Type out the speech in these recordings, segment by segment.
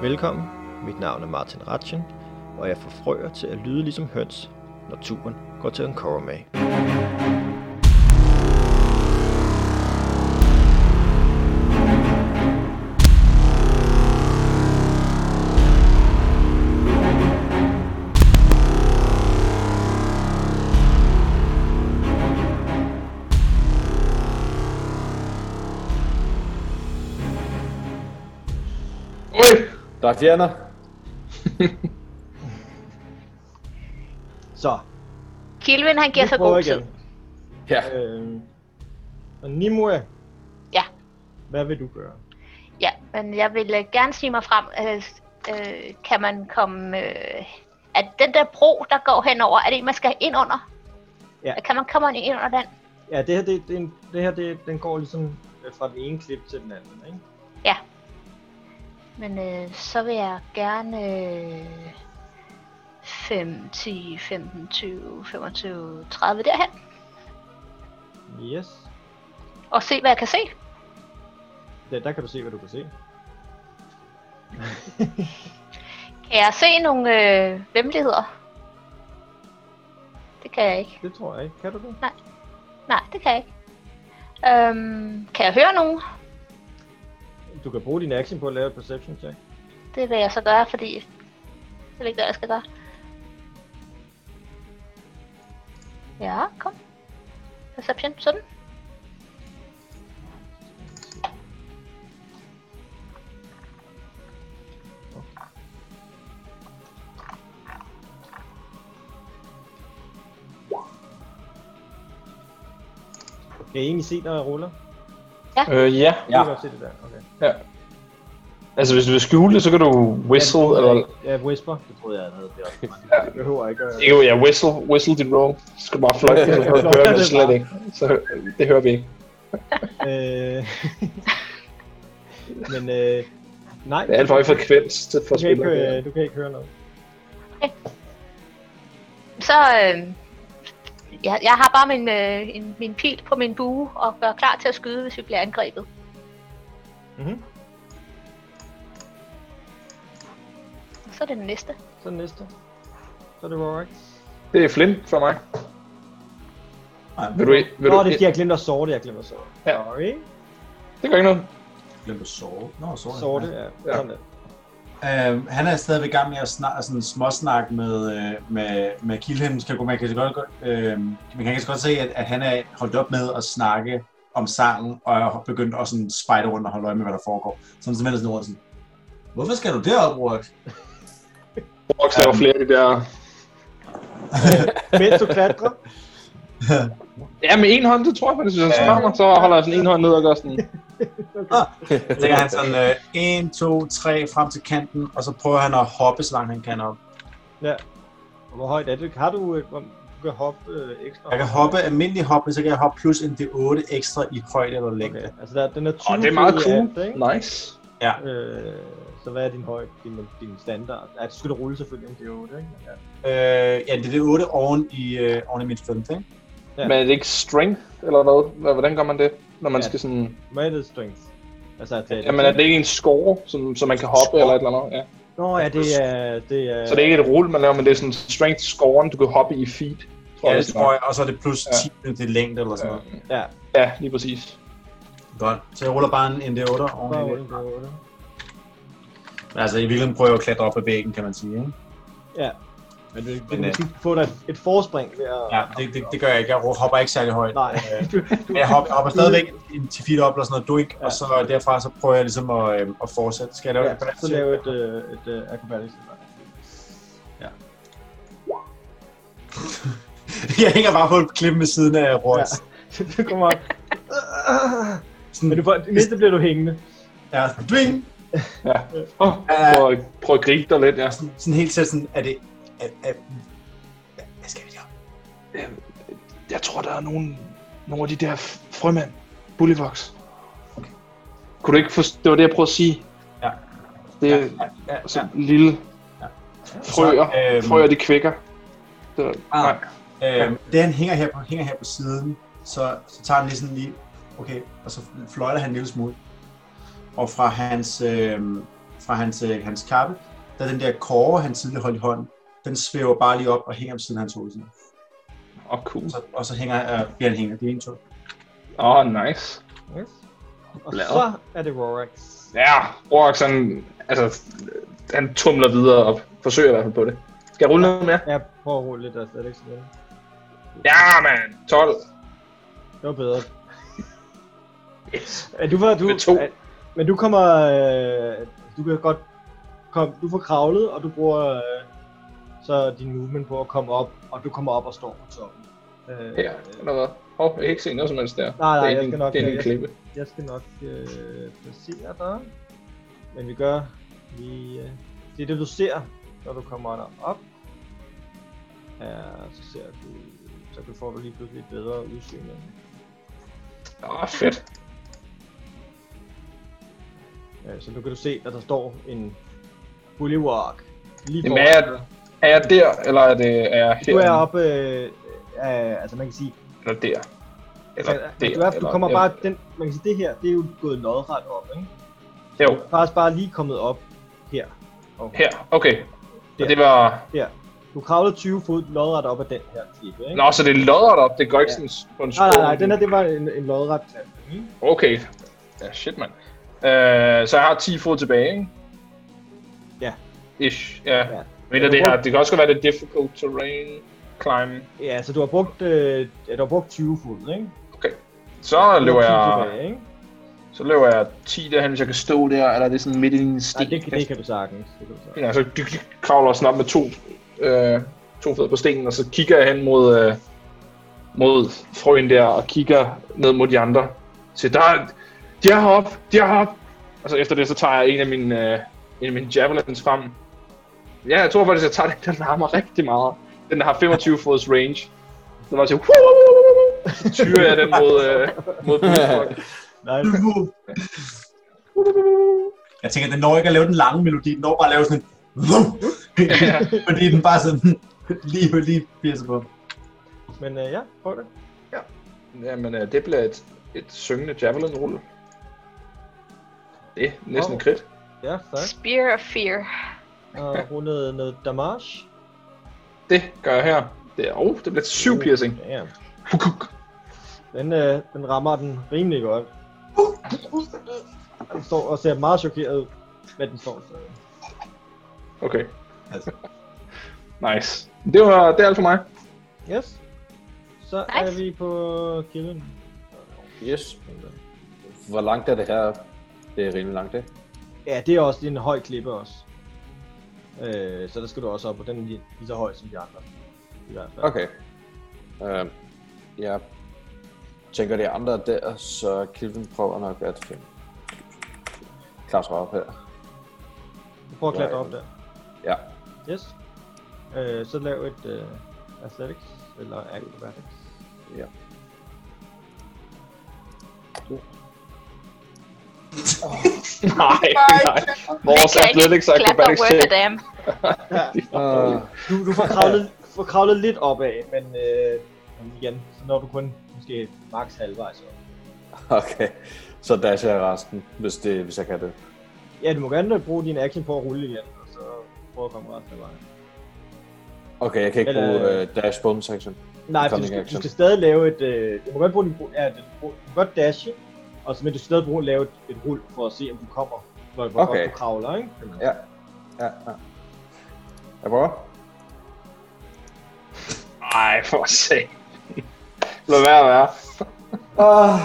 Velkommen, mit navn er Martin Ratchen, og jeg får frøer til at lyde ligesom høns, når turen går til en med. Der er fjerner. Så, Kilvin, han giver vi sig prøver god igen. tid. Ja. Øhm, og Nimue, Ja. hvad vil du gøre? Ja, men jeg vil øh, gerne sige mig frem. Øh, øh, kan man komme... Øh, at den der bro, der går henover, er det en, man skal ind under? Ja. Kan man komme ind under den? Ja, det her, det, det, er en- det her det, den går ligesom øh, fra den ene klip til den anden, ikke? Men øh, så vil jeg gerne... Øh, 5, 10, 15, 20, 25, 30 derhen. Yes. Og se, hvad jeg kan se. Ja, der kan du se, hvad du kan se. Kan jeg se nogle øh, vemmeligheder? Det kan jeg ikke. Det tror jeg ikke. Kan du det? Nej, det kan jeg ikke. Øhm, kan jeg høre nogen? Du kan bruge din action på at lave et perception check. Det vil jeg så gøre, fordi det ved ikke, hvad jeg skal gøre. Ja, kom. Perception, sådan. Kan I egentlig se, når jeg ruller? Øh, ja. Ja. Du kan godt se det der, okay. Altså, hvis du vil skjule det, så kan du whistle, ja, eller... Ja, whisper. Det troede jeg, jeg havde. Det, er også mange. Ja. det behøver ikke at... Ikke, jo, ja, whistle, whistle dit roll. Så skal du bare fløjte det, så hører vi det slet ikke. Så hø- det hører vi ikke. Øh... Men øh... Nej, Det er alt for høj frekvens til for du, kan ikke, spillere. øh, du kan ikke høre noget. Så øh, jeg, jeg har bare min, øh, en, min pil på min bue og gør klar til at skyde, hvis vi bliver angrebet. Mhm. Så er det den næste. Så den næste. Så er det Rorax. Det er Flynn for mig. Vil du, vil Nå, du, det er fordi, jeg glemte at sorte, jeg glemte at sorte. Ja. Sorry. det gør ikke noget. Glemte at sove. Nå, sove. Sorte, ja. Ja. Sådan der. Øh, han er stadigvæk i gang med at snak, sådan småsnak med, øh, med, med Kilhem. Kan, man, kan så godt, øh, man kan så godt se, at, at han er holdt op med at snakke om sangen, og er begyndt at sådan spejde rundt og holde øje med, hvad der foregår. Så han simpelthen sådan rundt sådan, hvorfor skal du derop, Rourke? Rox laver Ja. flere af de der... Mens du klatrer. Ja, med en hånd, det tror jeg, faktisk, hvis han Ja. spørger mig, så holder jeg sådan en hånd ned og gør sådan... Så tænker han sådan, øh, 1, 2, 3, frem til kanten, og så prøver han at hoppe, så langt han kan op. Hvor højt er det? Har du... øh, Hvor, du kan hoppe øh, ekstra? Jeg kan hoppe almindelig hop, men så kan jeg hoppe plus en d8 ekstra i højde eller længde. Okay. Altså, der, den er 20 Åh, det er meget fod i cool. alt, ikke? Nice. Øh, så hvad er din højde? Din, din standard? Ja, du skal da rulle selvfølgelig, om det er 8, ikke? Men Ja. Øh, ja, det er det 8 oven i, øh, oven i mit femte, ikke? Ja. Men er det ikke strength, eller hvad? Hvad- Hvordan gør man det, når man Ja. skal sådan... Rated strength. Altså, at det, Jamen, er det ikke en score, som, som man kan hoppe Score. eller et eller andet? Ja. Nå, ja, det er... Det er Så det er ikke et rulle, man laver, men det er sådan strength scoren, du kan hoppe i feet. Tror Ja, det det tror jeg, og så er det plus Ja. 10 ja. det er længde eller sådan var. noget. Ja, Ja, lige præcis. Godt. Så jeg ruller bare en, en D8 bare oven i det. 8 på 8. Altså, i virkeligheden prøver jeg at klatre op ad væggen, kan man sige, ikke? Ja. Men du, du Men, kan øh, sådan få dig et forspring ved at... Ja, det, det, det gør jeg ikke. Jeg hopper ikke særlig højt. Nej. Øh, Du, du, Men jeg hopper, jeg hopper stadigvæk en 10 feet op eller sådan noget doink, Ja. og så derfra så prøver jeg ligesom at, øh, at fortsætte. Skal jeg lave ja, det? så lave et, øh, et øh, acrobatics. jeg hænger bare på et klip ved siden af Royce. Ja. Så du kommer op. Sådan, Men du får, det næste bliver du hængende. ja, bling! Øh, Åh, prøv, at- prøv at gribe dig lidt, ja. Sådan, sådan helt tæt sådan, er det... Er, er, hvad skal vi der? Jeg tror, der er nogle, nogle af de der frømænd. Bullivox. Kunne du ikke forstå? Det var det, jeg prøvede at sige. Ja. Det er Ja, ja, så ja. lille frøer. øhm, frøer, de kvækker. Det, Ah. nej. Øh, det han hænger her, på, hænger her på siden, så, så tager han lige sådan lige, okay, og så fløjter han en lille smule. Og fra hans, øh, fra hans, øh, hans kappe, da den der kåre, han tidligere holdt i hånden, den svæver bare lige op og hænger om siden af hans hoved. sådan. Åh, oh, cool. Så, og så hænger, øh, bliver han hænger. Det er en to. Åh, oh, nice. Yes. Og Glad. så er det Rorax. Ja, Rorax han, altså, han tumler videre og forsøger i hvert fald på det. Skal jeg rulle noget mere? Jeg prøver at rulle lidt af Athletics igen. Ja, mand! 12. Det var bedre. Yes. Men du, var, du, Med to. øh, men du kommer... Øh, du kan godt... Kom, du får kravlet, og du bruger øh, så din movement på at komme op, og du kommer op og står på toppen. Øh, Ja, eller hvad? Hov, jeg kan ikke se noget som helst der. nej, det er jeg en- skal nok- øh, Det er en jeg- klippe. Jeg skal nok øh, placere dig. Men vi gør lige... Øh, det er det, du ser, når du kommer op. Her, så ser du... Så du får du lige pludselig et bedre udsyn. Åh, oh, fedt. Øh, så nu kan du se, at der står en bullywalk. Lige Jamen, foran er dig. Er jeg der, eller er, det, er jeg her? Du er oppe, øh, øh, altså man kan sige, Eller der? Eller altså, der? du, er, du eller- kommer eller- bare, den, man kan sige, det her, det er jo gået lodret op, ikke? Jo, Du er faktisk bare lige kommet op her. Og her. Okay. Og Der. det var... her. Du kravlede 20 fod lodret op af den her klippe, ikke? Nå, så det er lodret op. Det går ikke Ja. sådan s- på en nej, skål. nej, nej, den her, det var en, en lodret klap. ikke? Okay. Ja, shit, mand. Øh, så jeg har 10 fod tilbage, ikke? Ja. Ish, ja. Ja. ja. Men det, her, det kan også godt være, det er difficult terrain climb. Ja, så du har brugt, øh, ja, du har brugt 20 fod, ikke? Så Du løber har jeg, 10 Tilbage, ikke? så løber jeg 10 derhen, hvis jeg kan stå der, eller er det sådan midt i en Nej, sten? det, det, kan du sagtens. Det kan du sagtens. Ja, så du kravler sådan op med to, øh, to fødder på stenen, og så kigger jeg hen mod, øh, mod frøen der, og kigger ned mod de andre. Så der er, de er heroppe, de er heroppe. Og så efter det, så tager jeg en af mine, øh, en af mine javelins frem. Ja, jeg tror faktisk, jeg tager den, der larmer rigtig meget. Den der har 25 fods range. Så var jeg til, så tyrer jeg den mod, øh, mod bullfrog. Nej, Jeg tænker, den når ikke at lave den lange melodi, den når bare at lave sådan en... Fordi den bare sådan lige, lige pisser på. men øh, ja, prøv det. Jamen, øh, det bliver et, et syngende javelin-rulle. Det er næsten oh. krit. Ja, tak. Spear of Fear. Og rundet noget damage. Det gør jeg her. Det er, oh, det bliver syv piercing. Ja. Den, øh, den rammer den rimelig godt. Den står og ser meget chokeret ud, men den står stadig. Okay. Altså. Nice. Det var det er alt for mig. Yes. Så Nice. er vi på kilden. Yes. Hvor langt er det her? Det er rimelig langt, det. Ja, det er også det er en høj klippe også. Øh, så der skal du også op, og den er lige, lige så høj som de andre. I hvert fald. Okay. Uh, jeg tænker, det andre er der, så Kilvin prøver nok at finde. Klatre op her. Du prøver at klatre op der. Ja. Yes. Øh, så lav et øh, athletics, eller acrobatics. ja. Nej, nej. Vores Jeg kan ikke athletics og klatre acrobatics worth a check. damn. Uh, Du, du får, kravlet, får kravlet lidt opad, men øh, men igen, så når du kun måske max halvvejs op. okay. Så dasher jeg resten, hvis, det, hvis jeg kan det. Ja, du må gerne bruge din action på at rulle igen, og så prøve at komme resten af vejen. Okay, jeg kan ikke Eller- bruge uh, dash bonus action. Nej, for du Coming skal, du action. skal stadig lave et... Øh, du må godt bruge din... bru- Ja, du må- du kan godt dashe, og så, men du skal stadig bruge, lave et, et rul for at se, om du kommer. Hvor, hvor Okay. godt du kravler, ikke? Ja. Ja, ja. Jeg prøver. Nej, for at se. Lad være at være. Uh,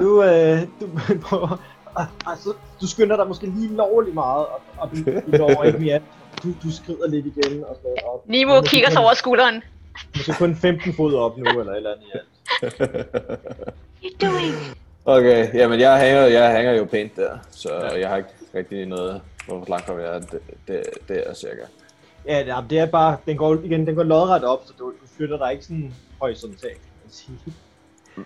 Du, øh, du prøver... ah, Altså, du skynder dig måske lige lovligt meget, og, og du, du når ikke mere. Du, du skrider lidt igen og sådan noget op. Nemo kigger sig over skulderen. Måske kun 15 fod op nu, eller et eller andet. Ja. You doing? Okay, jamen jeg hænger, jeg hænger jo pænt der, så jeg har ikke rigtig noget, hvor langt kommer jeg det, det, det er cirka. Ja, nej, men det er bare, den går, igen, den går lodret op, så du, du flytter dig ikke sådan horisontalt, kan man sige.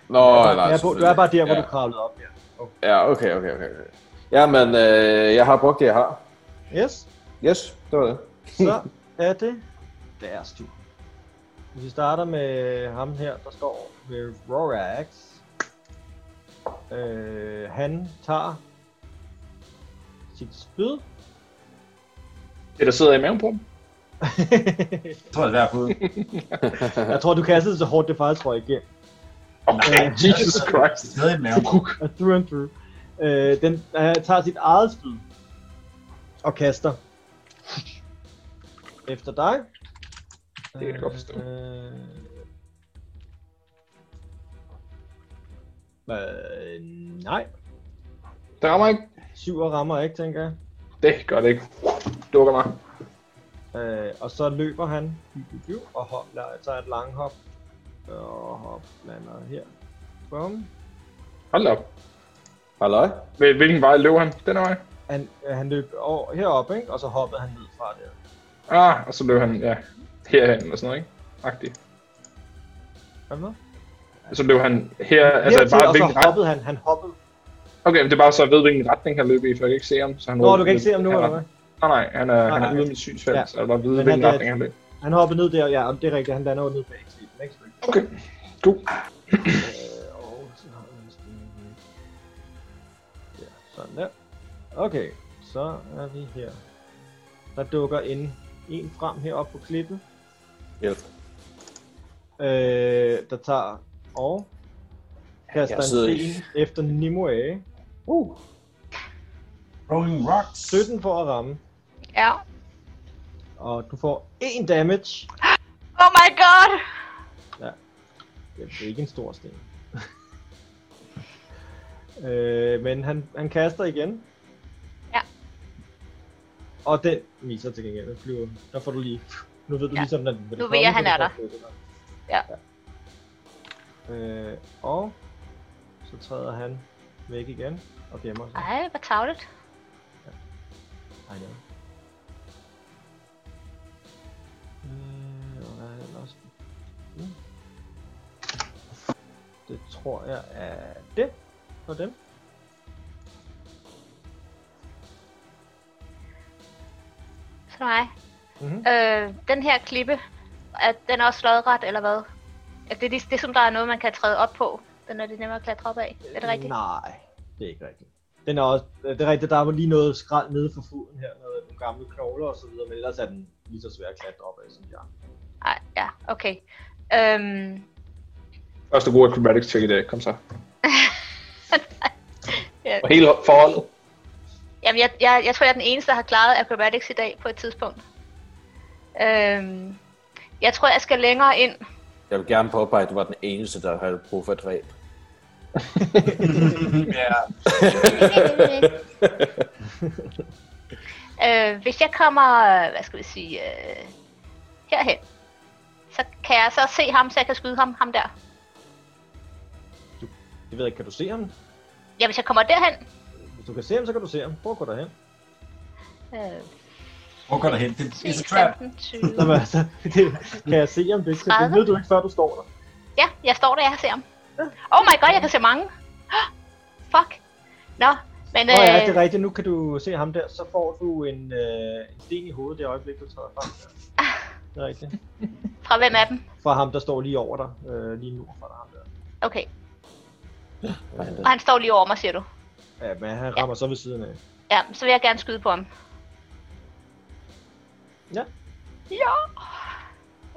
Nå, du, nej, er på, du er bare der, hvor ja. du kravlede op. Ja. Ja, okay, okay, okay. okay. Jamen, øh, jeg har brugt det, jeg har. Yes, Yes, det var det. så er det deres tur. Hvis Vi starter med ham her, der står ved Rorax. Øh, han tager sit spyd. Det, der sidder i maven på dem. Jeg tror, det er hvert fald. jeg tror, du kastede så hårdt, det faktisk røg igennem. Okay, Øh, Jesus Christ. Stadig i maven. Og through and through. Øh, den øh, tager sit eget spyd og kaster efter dig. Det kan jeg godt forstå. Øh, øh, nej, Det rammer ikke. syv og rammer ikke, tænker jeg. Det gør det ikke. Dukker mig. Øh, og så løber han og hop, la- tager et langhop. Og hop lander her. Bum. Hold da op. Halløj? Hvil- Hvilken vej løb han? Den vej? Han, øh, han løb over, herop, ikke? og så hoppede han ned fra der. Ah, og så løb han, ja, herhen og sådan noget, ikke? Agtigt. Hvad med? Så løb han her, altså Altså, Hertil, bare og hvilken så ret... hoppede han. Han hoppede. Okay, men det er bare så at jeg ved, hvilken retning han løb i, for jeg kan ikke se ham. Så han Nå, du kan ikke se ham nu, han, eller hvad? Nej, nej, han er, han er nej. ude af mit synsfelt, Ja. så jeg vil bare vide, Men hvilken han kan- retning han løb. Han hoppede ned der, ja, og det er rigtigt. Han lander jo ned bag skibet. Ikke? Så, Okay, god. øh, og så har han sådan- Ja, sådan der. Okay, så er vi her. Der dukker en, en frem heroppe på klippen. Hjælp. øh, der tager og kaster Jeg sidder en i- sten efter Nimue. Uh. Rolling rocks. 17 for at ramme, Ja. og du får 1 damage. Oh my god! Ja, Det er ikke en stor sten. øh, men han, han kaster igen. Ja. Og den viser til gengæld, den flyver. Der får du lige... Nu ved du Ja. ligesom, den... den Nu ved kommer, jeg, han så du er får flyttet dig. Ja. ja. Øh, og så træder han væk igen og gemmer sig. Ej, hvor tavlet. I know. Øh, og hvad er det ellers? Mm. Det tror jeg er det for dem. Så er det mig. Mhm. Øh, den her klippe, er den også lodret, eller hvad? Er det, det, det, som der er noget, man kan træde op på? Den er det nemmere at klatre op af. Er det rigtigt? Nej, det er ikke rigtigt. Den er også, øh, det er rigtigt, der er lige noget skrald nede for foden her, noget, nogle gamle knogler og så videre, men ellers er den lige så svær at klatre op af, som de andre. Nej. ja, okay. Øhm, Første gode acrobatics check i dag, kom så. ja. Og hele forholdet. Jamen, jeg, jeg, jeg tror, jeg er den eneste, der har klaret acrobatics i dag på et tidspunkt. Øhm, jeg tror, jeg skal længere ind. Jeg vil gerne påpege, at du var den eneste, der havde brug for et ræb. ja. øh, hvis jeg kommer, øh, hvad skal vi sige, øh, herhen, så kan jeg så se ham, så jeg kan skyde ham, ham der. Det ved jeg ikke, kan du se ham? Ja, hvis jeg kommer derhen, Hvis du kan se ham, så kan du se ham. Prøv at gå derhen. øh, Hvor går der hen? Det er 10, a trap. 15, 20, Nå, men altså, det, kan jeg se ham? Det, det ved du ikke, før du står der. Ja, jeg står der, jeg ser ham. Oh my god, jeg kan se mange. Hå, Fuck. Nå, men... Nå ja, det øh, er rigtigt. Nu kan du se ham der, så får du en, øh, en sten i hovedet det øjeblik, du træder frem. Der. Det er rigtigt. fra hvem af dem? Fra ham, der står lige over dig. Øh, lige nord for dig. Ham der. Okay, og han står lige over mig, siger du. Ja, men han rammer så ved siden af. Ja, så vil jeg gerne skyde på ham. Ja. Ja.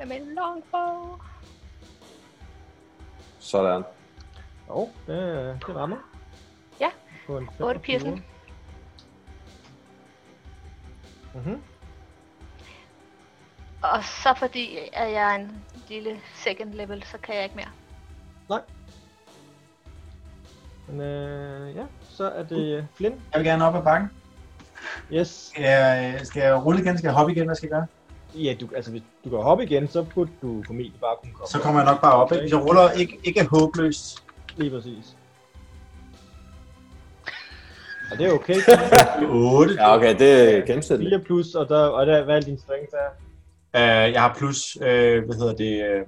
Jamen, longbow. Sådan. Jo, det, øh, det rammer. Ja. På en 8 piercing. Mm-hmm. Og så fordi at jeg er en lille second level, så kan jeg ikke mere. Men øh, ja, så er det øh, Flynn. Jeg vil gerne op ad bakken. Yes. Skal jeg, skal jeg rulle igen? Skal jeg hoppe igen? Hvad skal jeg gøre? Ja, du, altså hvis du kan hoppe igen, så burde du formentlig bare kunne komme. Så kommer jeg nok bare op. Ikke? Hvis jeg ruller ikke, ikke er håbløst. Lige præcis. Og det er okay. 8. Ja, okay, det er gennemsnitligt. 4 plus, og, der, og der, hvad er din strength er? Øh, jeg har plus, øh, hvad hedder det, øh,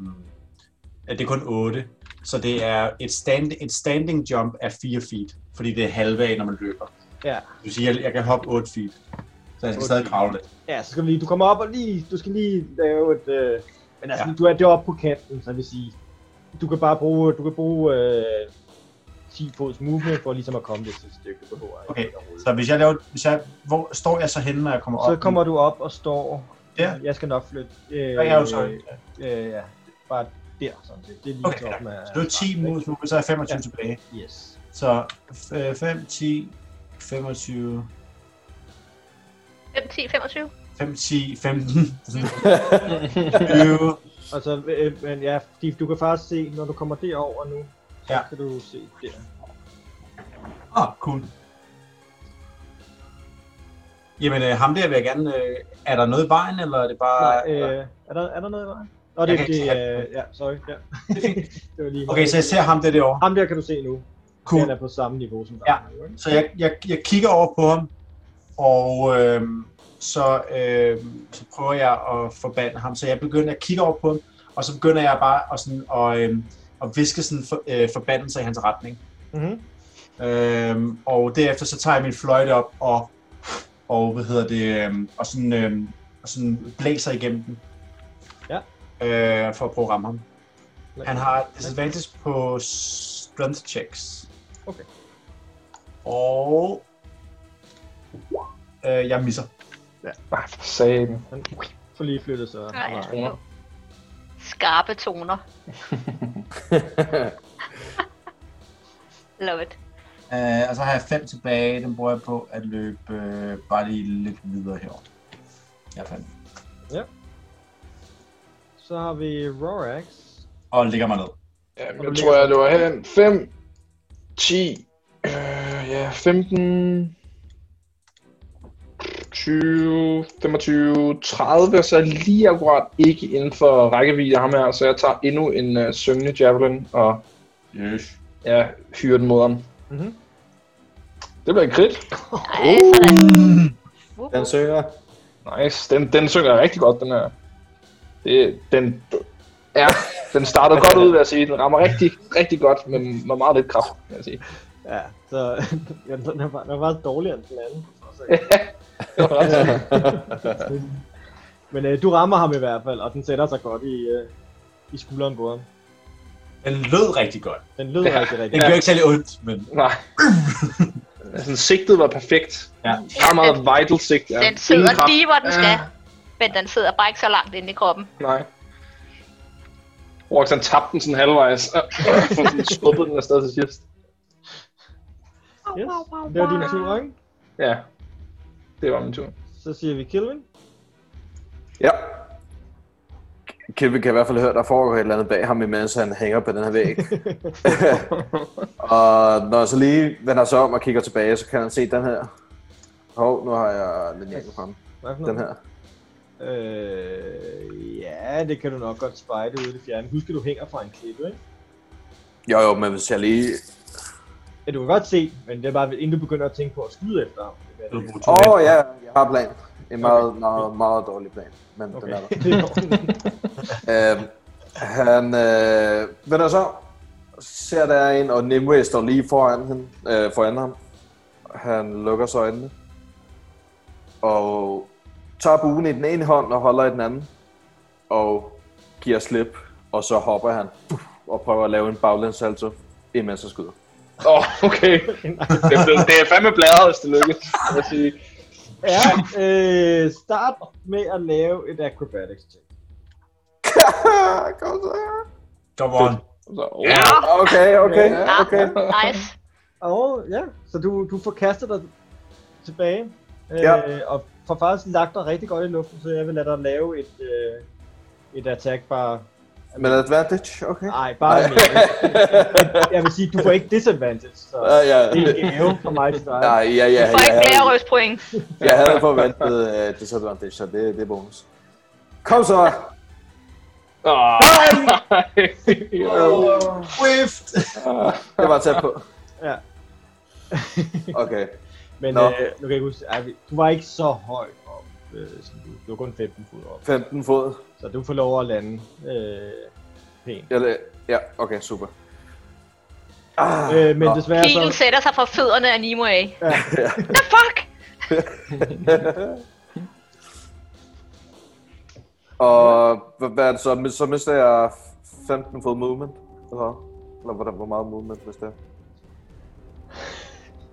at det er kun 8. Så det er et, stand, et standing jump af 4 feet, fordi det er halve af, når man løber. Ja. Det vil sige, at jeg, jeg kan hoppe 8 feet. Så jeg skal Otte stadig feet. kravle lidt. Ja, så skal vi lige, du kommer op og lige, du skal lige lave et, øh, men altså, Ja. ja. du er deroppe på kanten, så jeg vil sige, du kan bare bruge, du kan bruge øh, 10 fods movement for ligesom at komme det sidste stykke. Du behøver ikke Okay, at rulle. Så hvis jeg laver, hvis jeg, hvor står jeg så henne, når jeg kommer op? Så kommer du op og står... Der? Jeg skal nok flytte. Øh, Så er jeg jo så, øh, ja, bare der sådan set. Det er lige Okay, toppen af... så det er 10 moves, nu, så er jeg 25 Ja. tilbage. Yes. Så øh, 5, 10, 25, 5, 10, 25. 5, 10, 15, 20. Og så, øh, men ja, fordi du kan faktisk se, når du kommer derover nu, så Ja. kan du se der. Åh, oh, cool. Jamen, øh, ham der vil jeg gerne... Øh, er der noget i vejen, eller er det bare... Nej, øh, er, der, er der noget i vejen? Nå, det, Jeg kan det, ikke se er, øh, ja, sorry. Ja. det var lige Okay, så jeg ser ham der derovre. Ham der kan du se nu. Cool. Cool. Han er på samme niveau som dig. Ja. nu, ikke? Så jeg, jeg, jeg kigger over på ham, og øh, så, øh, så prøver jeg at forbande ham. Så jeg begynder at kigge over på ham, og så begynder jeg bare at, sådan, og, øh, at viske sådan for, øh, forbandelser i hans retning. Mhm. Øhm, og derefter så tager jeg min fløjte op og, og hvad hedder det, øhm, og sådan, øhm, og sådan blæser igennem den. Ja. Øh, for at prøve at ramme ham. Han har disadvantage på strength checks. Okay. Og øh, jeg misser. Nej, for satan. Han får lige flyttet sig. Nej, Nej. Ja. Skarpe toner. Love it. Øh, og så har jeg fem tilbage. Dem bruger jeg på at løbe øh, bare lige lidt videre herover. Jeg fandt. Så har vi Rorax. Og ligger mig ned. Jamen, jeg tror, jeg løber hen. 5, 10, øh, ja, 15, 20, 25, 30, så er jeg lige akkurat ikke inden for rækkevidde af ham her, så jeg tager endnu en uh, søvnig javelin og Yes. ja, hyrer den mod ham. Mhm. Det bliver en crit. Nej, sådan. Wup, Den synger. Nice. Den, den synger rigtig godt, den her. Det, den, ja, den startede godt ud, vil jeg sige. Den rammer rigtig, rigtig godt, men med meget lidt kraft, vil jeg sige. Ja, så ja, den, er bare, den er bare dårligere end den anden. Men øh, du rammer ham i hvert fald, og den sætter sig godt i, øh, i skulderen på ham. Den lød rigtig godt. Den lød Ja. rigtig, Den rigtig ja. godt. gjorde ikke særlig ondt, men Nej. altså, sigtet var perfekt. Ja. Meget, meget vital sigt. Ja. Den sidder Ingen kraft. lige, hvor den skal. Ja, Men den sidder bare ikke så langt inde i kroppen. nej. Rox, han tabte den sådan halvvejs. Øh, og så sådan skubbede den afsted til sidst. Yes. Det var din tur, ikke? Ja. Det var min tur. Så siger vi Kilvin. Ja. Kelvin kan i hvert fald høre, der foregår et eller andet bag ham, imens han hænger på den her væg. og når jeg så lige vender sig om og kigger tilbage, så kan han se den her. Hov, nu har jeg linjen frem. Hvad for Den noget? her. Øh, ja, det kan du nok godt spejde ude i det fjerne. Husk, at du hænger fra en klippe, ikke? Jo, jo, men hvis jeg lige... Ja, du kan godt se, men det er bare, inden du begynder at tænke på at skyde efter ham. Det er du det. bruger to Åh, oh, oh, ja, jeg har plan. En meget, okay. meget, meget dårlig plan. Men okay. Okay. den er der. det er ordentligt. Øh, han øh, vender så ser der er en, og Nimue står lige foran, hende, øh, foran ham. Han lukker så øjnene. Og tager buen i den ene hånd og holder i den anden. Og giver slip, og så hopper han puff, og prøver at lave en baglandssalto, imens han skyder. Åh, oh, okay. Det, blev, det er fandme bladret, hvis det lykkes. vil Jeg sige. ja, øh, start med at lave et acrobatics check. Ah, Kom så. Come on. Så, oh. Ja. Okay, okay, okay. Ah, Nice. Og ja, så du, du får kastet dig tilbage. Øh, Ja. Og får faktisk lagt dig rigtig godt i luften, så jeg vil lade dig lave et, øh, et attack bare... Med advantage, okay. Nej, bare mere. Jeg vil sige, du får ikke disadvantage, så Ah, Ja, ja. det er en gave for mig til dig. Nej, ja, ja, Du får ja, ikke ja. flere røstpoint. Jeg havde forventet uh, disadvantage, så det, det er bonus. Kom så! Oh. Swift! Det var tæt på. Ja. Okay. Men Nå. øh, nu kan jeg ikke huske, ej, vi- du var ikke så høj op, øh, som du, du var kun 15 fod op. 15 fod. Så du får lov at lande øh, pænt. Eller, ja, okay, super. Ah, Øh, men Nå. desværre Kilen så... sætter sig for fødderne af Nemo af. The fuck? Og hvad, hvad er det så? Så mister jeg 15 fod movement? Eller, hvad? eller hvordan, hvor meget movement, hvis det er?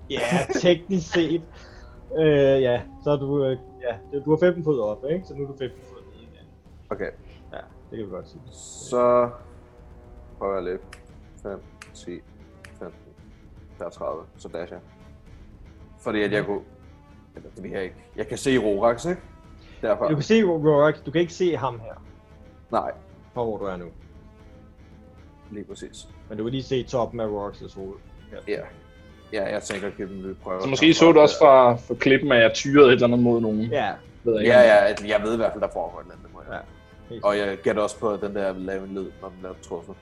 Ja, teknisk set. Øh, ja, så er du, øh, ja, du har 15 fod op, ikke? Så nu er du 15 fod ned igen. Okay, Ja, det kan vi godt sige. så prøver jeg at løbe. 5, 10, 15, 30, så dash jeg. Fordi at jeg kunne... Eller det vil jeg ikke. Jeg kan se Rorax, ikke? Derfor. Du kan se Rorak, du kan ikke se ham her, Nej, fra hvor du er nu. lige præcis. Men du kan lige se toppen af Roraks hoved. Ja. Ja, jeg tænker at give dem lidt prøve. Så måske så du også fra, fra klippen, at jeg tyrede et eller andet mod nogen. Ja, Ved jeg ikke. Ja, ja, at jeg ved i hvert fald, der foregår et eller andet. må jeg. Ja, helt Og jeg gætter også på, at den der vil lave en lyd, når den bliver truffet.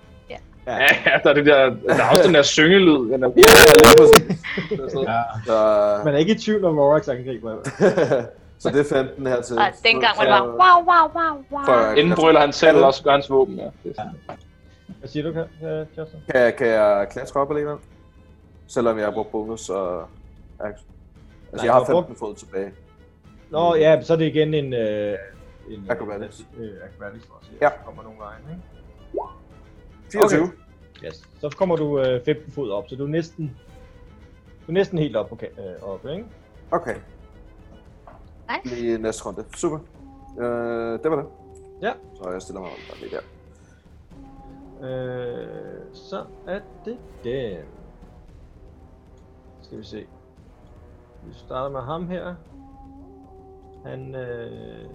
Ja, ja, der er, det der, der er også den der syngelyd. Den der, Ja, yeah, lige præcis. Ja. Så, man er ikke i tvivl om Roraks angriber. så det er 15 her til. Og dengang var det bare, wow, wow, wow, wow. For- inden brøller han selv, og også gør hans våben. Ja. Det er sådan. Hvad siger du, Ka- øh, Justin? Kan, jeg- kan jeg klatre op alligevel? Selvom jeg har brugt bonus og action. Altså, Nej, jeg du har har brugt- 15 fod tilbage. Nå, ja, så er det igen en... Øh, en Acrobatics. Øh, acrobatics for at se, Ja. ja. kommer nogle gange, ikke? 24. Yes. Så kommer du øh, 15 fod op, så du er næsten... Du er næsten helt op på ka- øh, op, ikke? Okay. Nice. Lige næste runde. Super. Øh, det var det. Ja. Så jeg stiller mig bare lige der. Øh, så er det den. Skal vi se. Vi starter med ham her. Han, øh,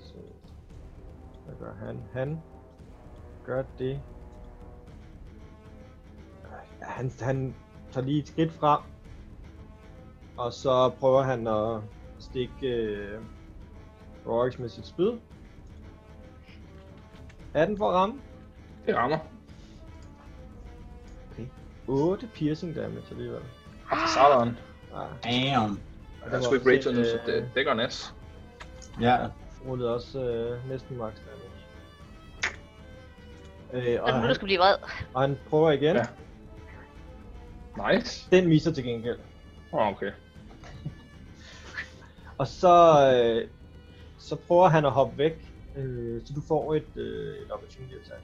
så, hvad gør han? Han gør det. Ja, Han, han tager lige et skridt frem. Og så prøver han at stikke øh, Rorix med sit spyd. 18 for at ramme. Det rammer. 8 piercing damage alligevel. Sådan. Ah, Damn. Han er sgu ikke rated nu, så det, det gør næs. Ja. rullede også øh, næsten max damage. Øh, og, Så nu du han, skal blive vred. og han prøver igen. Ja. Nice. Den viser til gengæld. Oh, okay. Og så, øh, så prøver han at hoppe væk. Øh, så du får et, øh, et opportunity attack.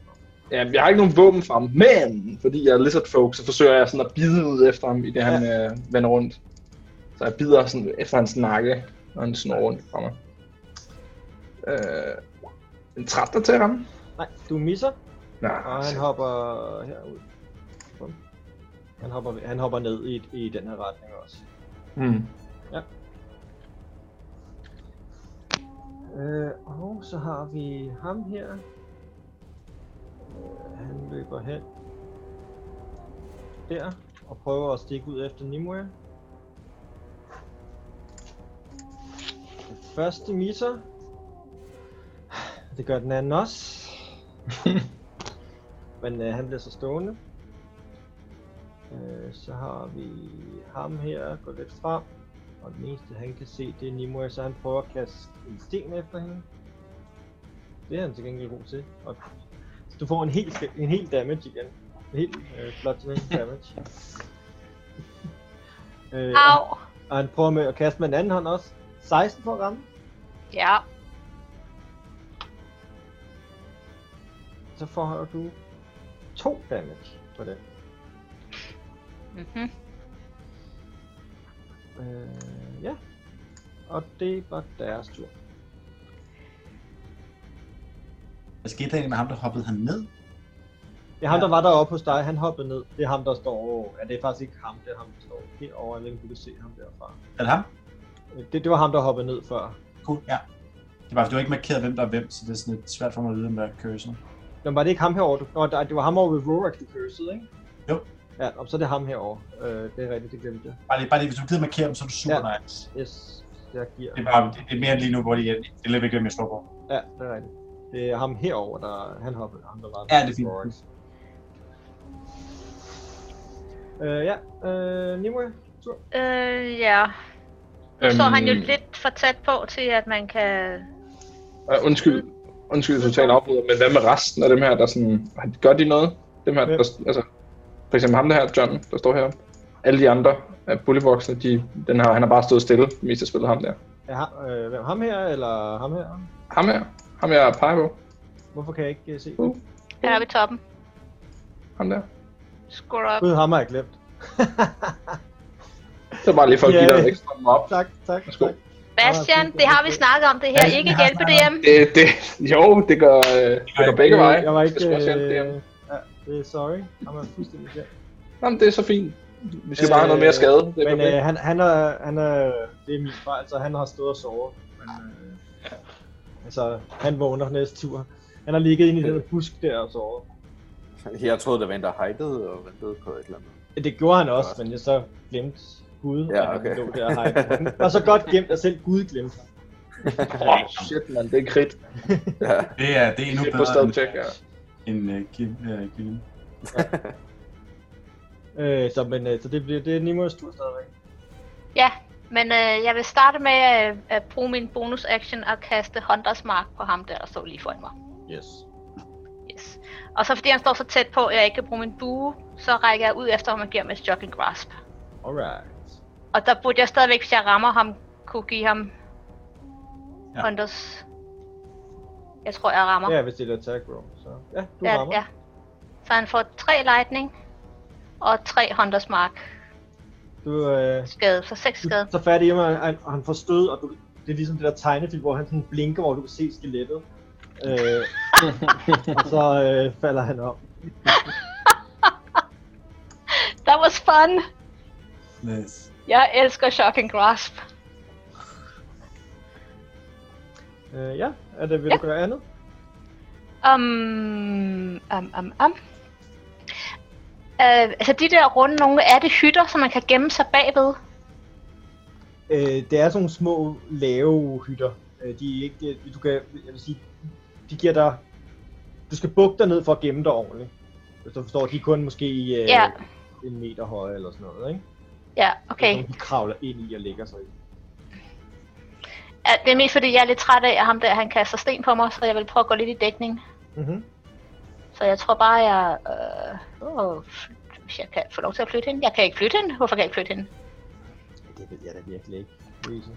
Ja, jeg har ikke nogen våben fra ham, men fordi jeg er lizard folk, så forsøger jeg sådan at bide ud efter ham, i det han øh, vender rundt. Så jeg bider sådan efter hans nakke, og han snor rundt fra mig. Øh, en 13 til ham? Nej, du misser, Nej, og han hopper herud. Bum. Han hopper, han hopper ned i, i den her retning også. hmm. Øh, og så har vi ham her. Øh, han løber hen. Der. Og prøver at stikke ud efter Nimue. Den første misser. Det gør den anden også. Men øh, han bliver så stående. Øh, så har vi ham her. Går lidt frem. Og den eneste han kan se, det er Nimue, så han prøver at kaste en sten efter hende. Det er han til gengæld god til. Og så du får en hel, sk- en hel damage igen. En helt øh, flot til en damage. øh, Au. og, og han prøver med at kaste med den anden hånd også. 16 for at ramme. Ja. Så får du 2 damage på den. Mhm. Øh, ja. Og det var deres tur. Hvad skete der Altså, egentlig med ham, der hoppede herned? Det er ham, Ja. der var deroppe hos dig. Han hoppede ned. Det er ham, der står... Ja, det er faktisk ikke ham. Det er ham, der står herovre. Jeg ved ikke, om du kan se ham derfra. Er det ham? Øh, Det, det var ham, der hoppede ned før. Cool, ja. Det var, fordi du har ikke markeret, hvem der er hvem, så det er sådan lidt svært for mig at vide, om der er cursor. Nå, var det ikke ham herovre? Du... Nå, der- det var ham over ved Rorak, du cursede, ikke? Jo. Ja, og så er det ham herovre. Øh, det er rigtigt, det glemte jeg. Bare lige, bare lige hvis du gider markere dem, så er du super Ja. ja. nice. Yes, jeg giver. Det er, bare, det, det er mere end lige nu, hvor de, det er lidt vigtigt, hvem jeg slår på. Ja, det er rigtigt. Det er ham herover, der han hoppede. Ham, der var Ja, det er fint. Rorak. Øh, ja, øh, Nimue, tur. Øh, ja. Øhm. Nu står han jo Øhm, lidt for tæt på til, at man kan... Uh, undskyld, undskyld totalt afbryder, men hvad med resten af dem her, der sådan, gør de noget? Dem her, der, Hvem? altså, for eksempel ham der her, John, der står her. Alle de andre af bullyvoksne, de, den her, han har bare stået stille, mest af spillet ham der. Er ham, øh, hvem, ham her, eller ham her? Ham her, ham jeg peger på, Hvorfor kan jeg ikke øh, se? Uh. Han er oppe i toppen. ham der. Skål op. Gud, ham har jeg glemt. Det var bare lige for at give Ja. dig en ekstra arm op. Tak, tak. Værsgo. tak. Bastian, det har vi snakket om det her. Bastian, Ikke vi har hjælpe det snakket hjem. Det, det, jo, det gør, øh, det gør begge Øh, veje. Jeg var Det skal også ikke... hjælpe det. Øh, ja, det er sorry. Han var fuldstændig glemt. Jamen, det er så fint. Vi skal bare have noget mere skade. Det er Men perfekt. øh, han, han, er, han er, det er min fejl, så han har stået og sovet. Men, øh, altså, han vågner næste tur. Han har ligget inde i den der busk der og sovet. Jeg troede, der var en, der hidede og ventede på et eller andet. Ja, Det gjorde han også, men jeg så glemte Gud, Ja, at okay. han lå der og hejte. Han var så godt glemt, at selv Gud glemte ham. Åh, oh, shit, mand. Det er kridt. Ja. Det er, det er endnu Det er på bedre stedet end, tjek, ja. end uh, Kim, uh, Kim. Øh, så, men, øh, så det bliver det er Nimo's tur stadigvæk. Ja, men øh, jeg vil starte med øh, at bruge min bonus action og kaste Hunters Mark på ham der, der står lige foran mig. Yes. Yes. Og så fordi han står så tæt på, at jeg ikke kan bruge min bue, så rækker jeg ud efter ham og giver ham et jogging grasp. Alright. Og der burde jeg stadigvæk, hvis jeg rammer ham, kunne give ham Ja. ja. Hunters. Jeg tror, jeg rammer. Ja, hvis det er et attack roll, så... Ja, du ja, rammer. ja. Så han får tre lightning og tre Hunters Mark Du, øh, skade, så seks skade. så fat i ham, og han, og han får stød, og du, det er ligesom det der tegnefilm, hvor han sådan blinker, hvor du kan se skelettet. Øh, og så øh, falder han om. That was fun! Nice. Jeg elsker Shock and Grasp. Øh, ja, er det, vil Ja. du gøre andet? Um, um, um, um. Uh, altså de der runde nogle, er det hytter, som man kan gemme sig bagved? Øh, det er sådan nogle små, lave hytter. Øh, de er ikke, du kan, jeg vil sige, de giver dig, du skal bukke dig ned for at gemme dig ordentligt. Hvis du forstår, de er kun måske øh, Ja. en meter høje eller sådan noget, ikke? Ja, Det er okay. sådan, de kravler ind i og lægger sig i. Uh, det er mest fordi, jeg er lidt træt af, at ham der, han kaster sten på mig, så jeg vil prøve at gå lidt i dækning. Mm-hmm. Så jeg tror bare, jeg... Øh, åh, hvis jeg kan få lov til at flytte hende. Jeg kan ikke flytte hende. Hvorfor kan jeg ikke flytte hende? Det ved jeg da virkelig ikke. Louise.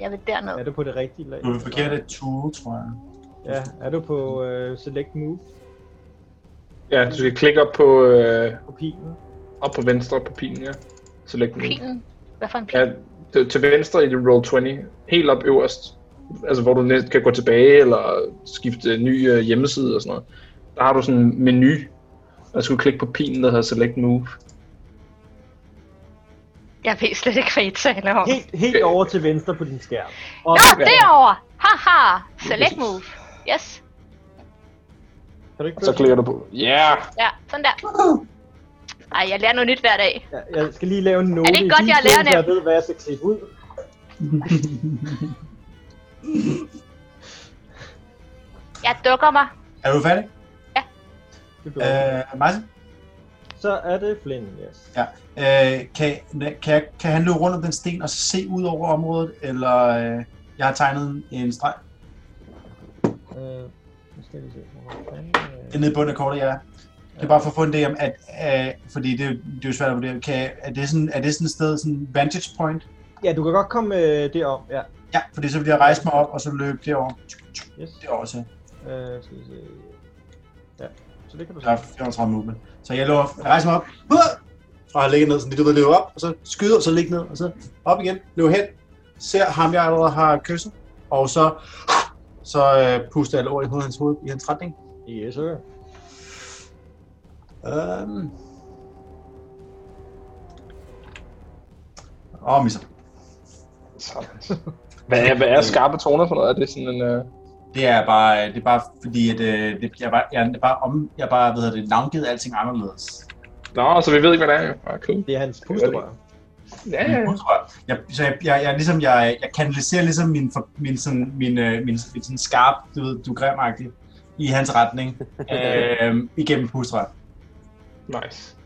Jeg vil derned. Er du på det rigtige lag? Du er Mm, forkert et tool, tror jeg. Ja, er du på øh, select move Ja, du skal klikke op på, øh, på pilen? op på venstre på pilen, ja. Så læg den ind. Pilen. Hvad for en pil? Ja, til, til venstre i din roll 20. Helt op øverst. Altså, hvor du næsten kan gå tilbage eller skifte ny øh, hjemmeside og sådan noget. Der har du sådan en menu. Og så skal du klikke på pilen, der hedder Select Move. Jeg ved slet ikke, hvad I taler om. Helt, helt over til venstre på din skærm. Og Nå, derovre! Haha! Select move. Yes. kan du ikke Og så klikker du på... Ja! Yeah. Ja, sådan der. Ej, jeg lærer noget nyt hver dag. Ja, Jeg skal lige lave en note. Er det ikke i godt, jeg er digitalen, lærer så Jeg nemt? ved, hvad jeg skal klippe ud. Jeg dukker mig. Er du færdig? Det gjorde jeg. Øh, Martin? Så er det Flynn, yes. Ja. Øh, kan, kan, kan han løbe rundt om den sten og se ud over området, eller øh, jeg har tegnet en streg? Øh, nu skal vi se. Hvor fanden, øh. Det er nede i bunden af kortet, ja. Det er bare for at få en idé om, at, øh, fordi det, det er jo svært at vurdere, kan, er, det sådan, er det sådan et sted, sådan en vantage point? øh, Ja, du kan godt komme øh, det om. Ja. Ja, fordi så vil jeg rejse mig op, og så løbe derover. Yes. Derover til. Øh, skal vi se. Ja, så det kan du Der er se. 35 movement. Så jeg løber, jeg rejser mig op, Hua! og har ligget ned, sådan lige du ved, løber op, og så skyder, og så ligger ned, og så op igen, løber hen, ser ham, jeg allerede har kysset, og så, så øh, puster jeg lort i hovedet, hans hoved, i hans retning. Yes, sir. Øhm. Åh, misser. Hvad er, hvad er skarpe toner for noget? Er det sådan en... Øh... Det er bare, det er bare fordi, at øh, det, jeg, er bare, jeg, er bare om, jeg er bare, hvad hedder det, navngivet alting anderledes. Nå, så vi ved ikke, hvad det er. Ah, cool. Det er hans pusterør. Ja, ja. ja. Jeg, så jeg, jeg, jeg, ligesom, jeg, jeg kanaliserer ligesom min, for- min, sådan, min, øh, min, min sådan skarp, du ved, du er grimagtig, i hans retning, øh, igennem pustrør. Nice.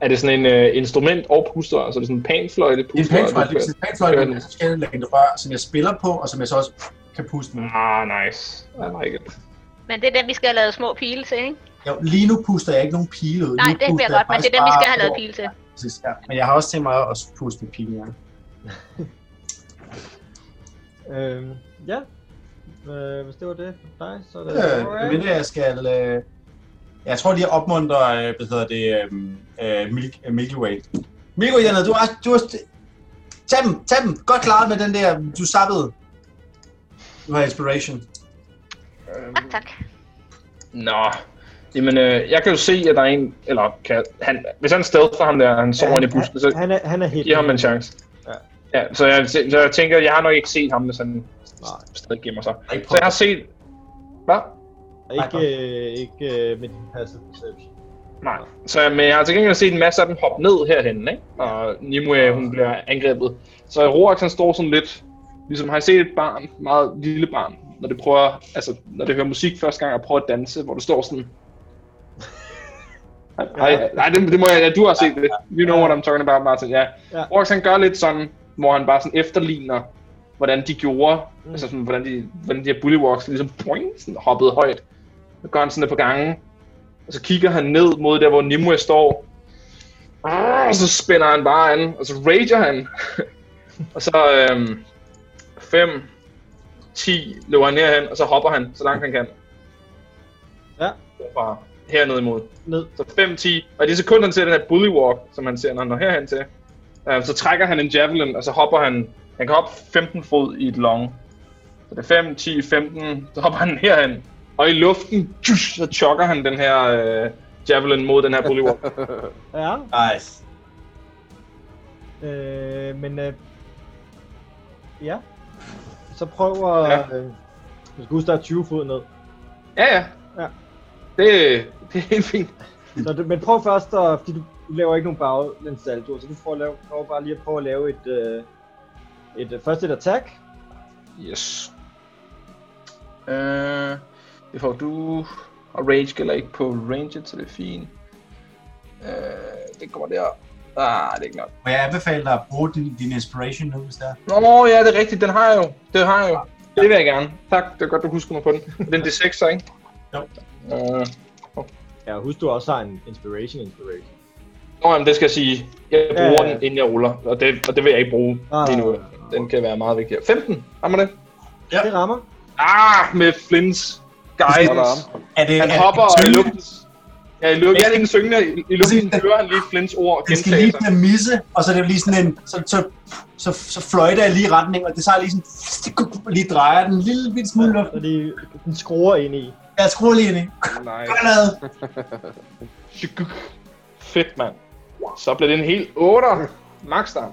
Er det sådan en øh, instrument og puster? Altså er det sådan en panfløjte En puster? panfløjt, det er en panfløjt Ja, med den- forskellige længde rør, som jeg spiller på, og som jeg så også kan puste med. Ah, nice. I like it. Men det er den, vi skal have lavet små pile til, ikke? Jo, lige nu puster jeg ikke nogen pile ud. Nej, nu det vil jeg puster godt, men det er den, vi faktisk skal bare have lavet over. pile til. Præcis, ja. Men jeg har også tænkt mig at puste med pile, ja. Øh, ja. Øh, hvis det var det for dig, så er det... Øh, men det jeg skal... Øh, jeg tror, de opmuntrer, øh, hvad hedder det, øh, øh, Milky, øh, Milky Way. Mikko, Janne, du har... Du har tag dem, tag dem. Godt klaret med den der, du sappede. Du har inspiration. Tak, tak. Nå, jamen øh, jeg kan jo se, at der er en, eller kan, han, hvis han sted for ham der, han sover ja, i busken, så han, er, han er helt... giver ham en chance. Ja. Ja, så jeg, så jeg tænker, jeg har nok ikke set ham, hvis han stadig gemmer sig. Ikke Så jeg har set... Hvad? Ikke, øh, ikke øh, med din passive perception. Nej. Så, men jeg har til gengæld set en masse af dem hoppe ned herhen, ikke? Og Nimue, hun bliver angrebet. Så Roax, han står sådan lidt... Ligesom har I set et barn, meget lille barn, når det prøver, altså, når det hører musik første gang og prøver at danse, hvor du står sådan... Nej, nej det, det, må jeg, ja, du har set det. You know what I'm talking about, Martin. Ja. Ja. Roax, han gør lidt sådan, hvor han bare sådan efterligner, hvordan de gjorde, altså sådan, hvordan de, hvordan de her bullywalks ligesom boing, sådan, hoppede højt. Så gør han sådan et par gange, og så kigger han ned mod der, hvor Nimue står. Ah, Og så spænder han bare an, og så rager han. og så øhm, 5, 10 løber han herhen, og så hopper han, så langt han kan. Ja. Fra hernede imod. Ned. Så 5, 10, og i det sekund, han ser den her bully walk, som han ser, når han når herhen til, øh, så trækker han en javelin, og så hopper han, han kan hoppe 15 fod i et long. Så det er 5, 10, 15, så hopper han herhen, og i luften, tjus, så chokker han den her øh, javelin mod den her bully walk. Ja, Nice. øh, men... Øh, ja. Så prøv at... Ja. Ja. Øh, du skal huske, der er 20 fod ned. ja, ja. Ja. Det, det er helt fint. Så du, men prøv først at... Fordi du, du laver ikke nogen baglæns salto, så du prøver, at lave, prøver bare lige at prøve at lave et... Øh, et øh, først et attack. Yes. Øh, det får du. Og Rage gælder ikke på Ranged, så det er fint. Øh, det kommer der. Ah, det er ikke nok. Må jeg anbefale dig at bruge din, din inspiration nu, hvis der? Nå, ja, det er rigtigt. Den har jeg jo. Det har jeg jo. Det vil jeg gerne. Tak, det er godt, du husker mig på den. Den er 6 så, ikke? Jo. Øh, Ja, husk du også har en inspiration inspiration. Nå, jamen, det skal jeg sige. Jeg bruger Ja, ja, ja. den, inden jeg ruller, og det, og det vil jeg ikke bruge Ah. lige nu. Den kan være meget vigtig. 15, rammer det? Ja. Det rammer. Ah, med Flins guidance. Er det, Han er hopper det, i luften. Ja, i luften. Ja, det er en syngende. I, i luften Præcis. hører han lige Flins ord Den skal gentage lige sig. blive misse, og så er det jo lige sådan en, så, så, så, så fløjter jeg lige i retning, og det tager lige sådan, og lige drejer den en lille bitte smule luft. Så de, den skruer ind i. Jeg skruer lige ind i. Godt Nice. lavet. Fedt, mand. Så bliver det en helt 8. Max Ah, der.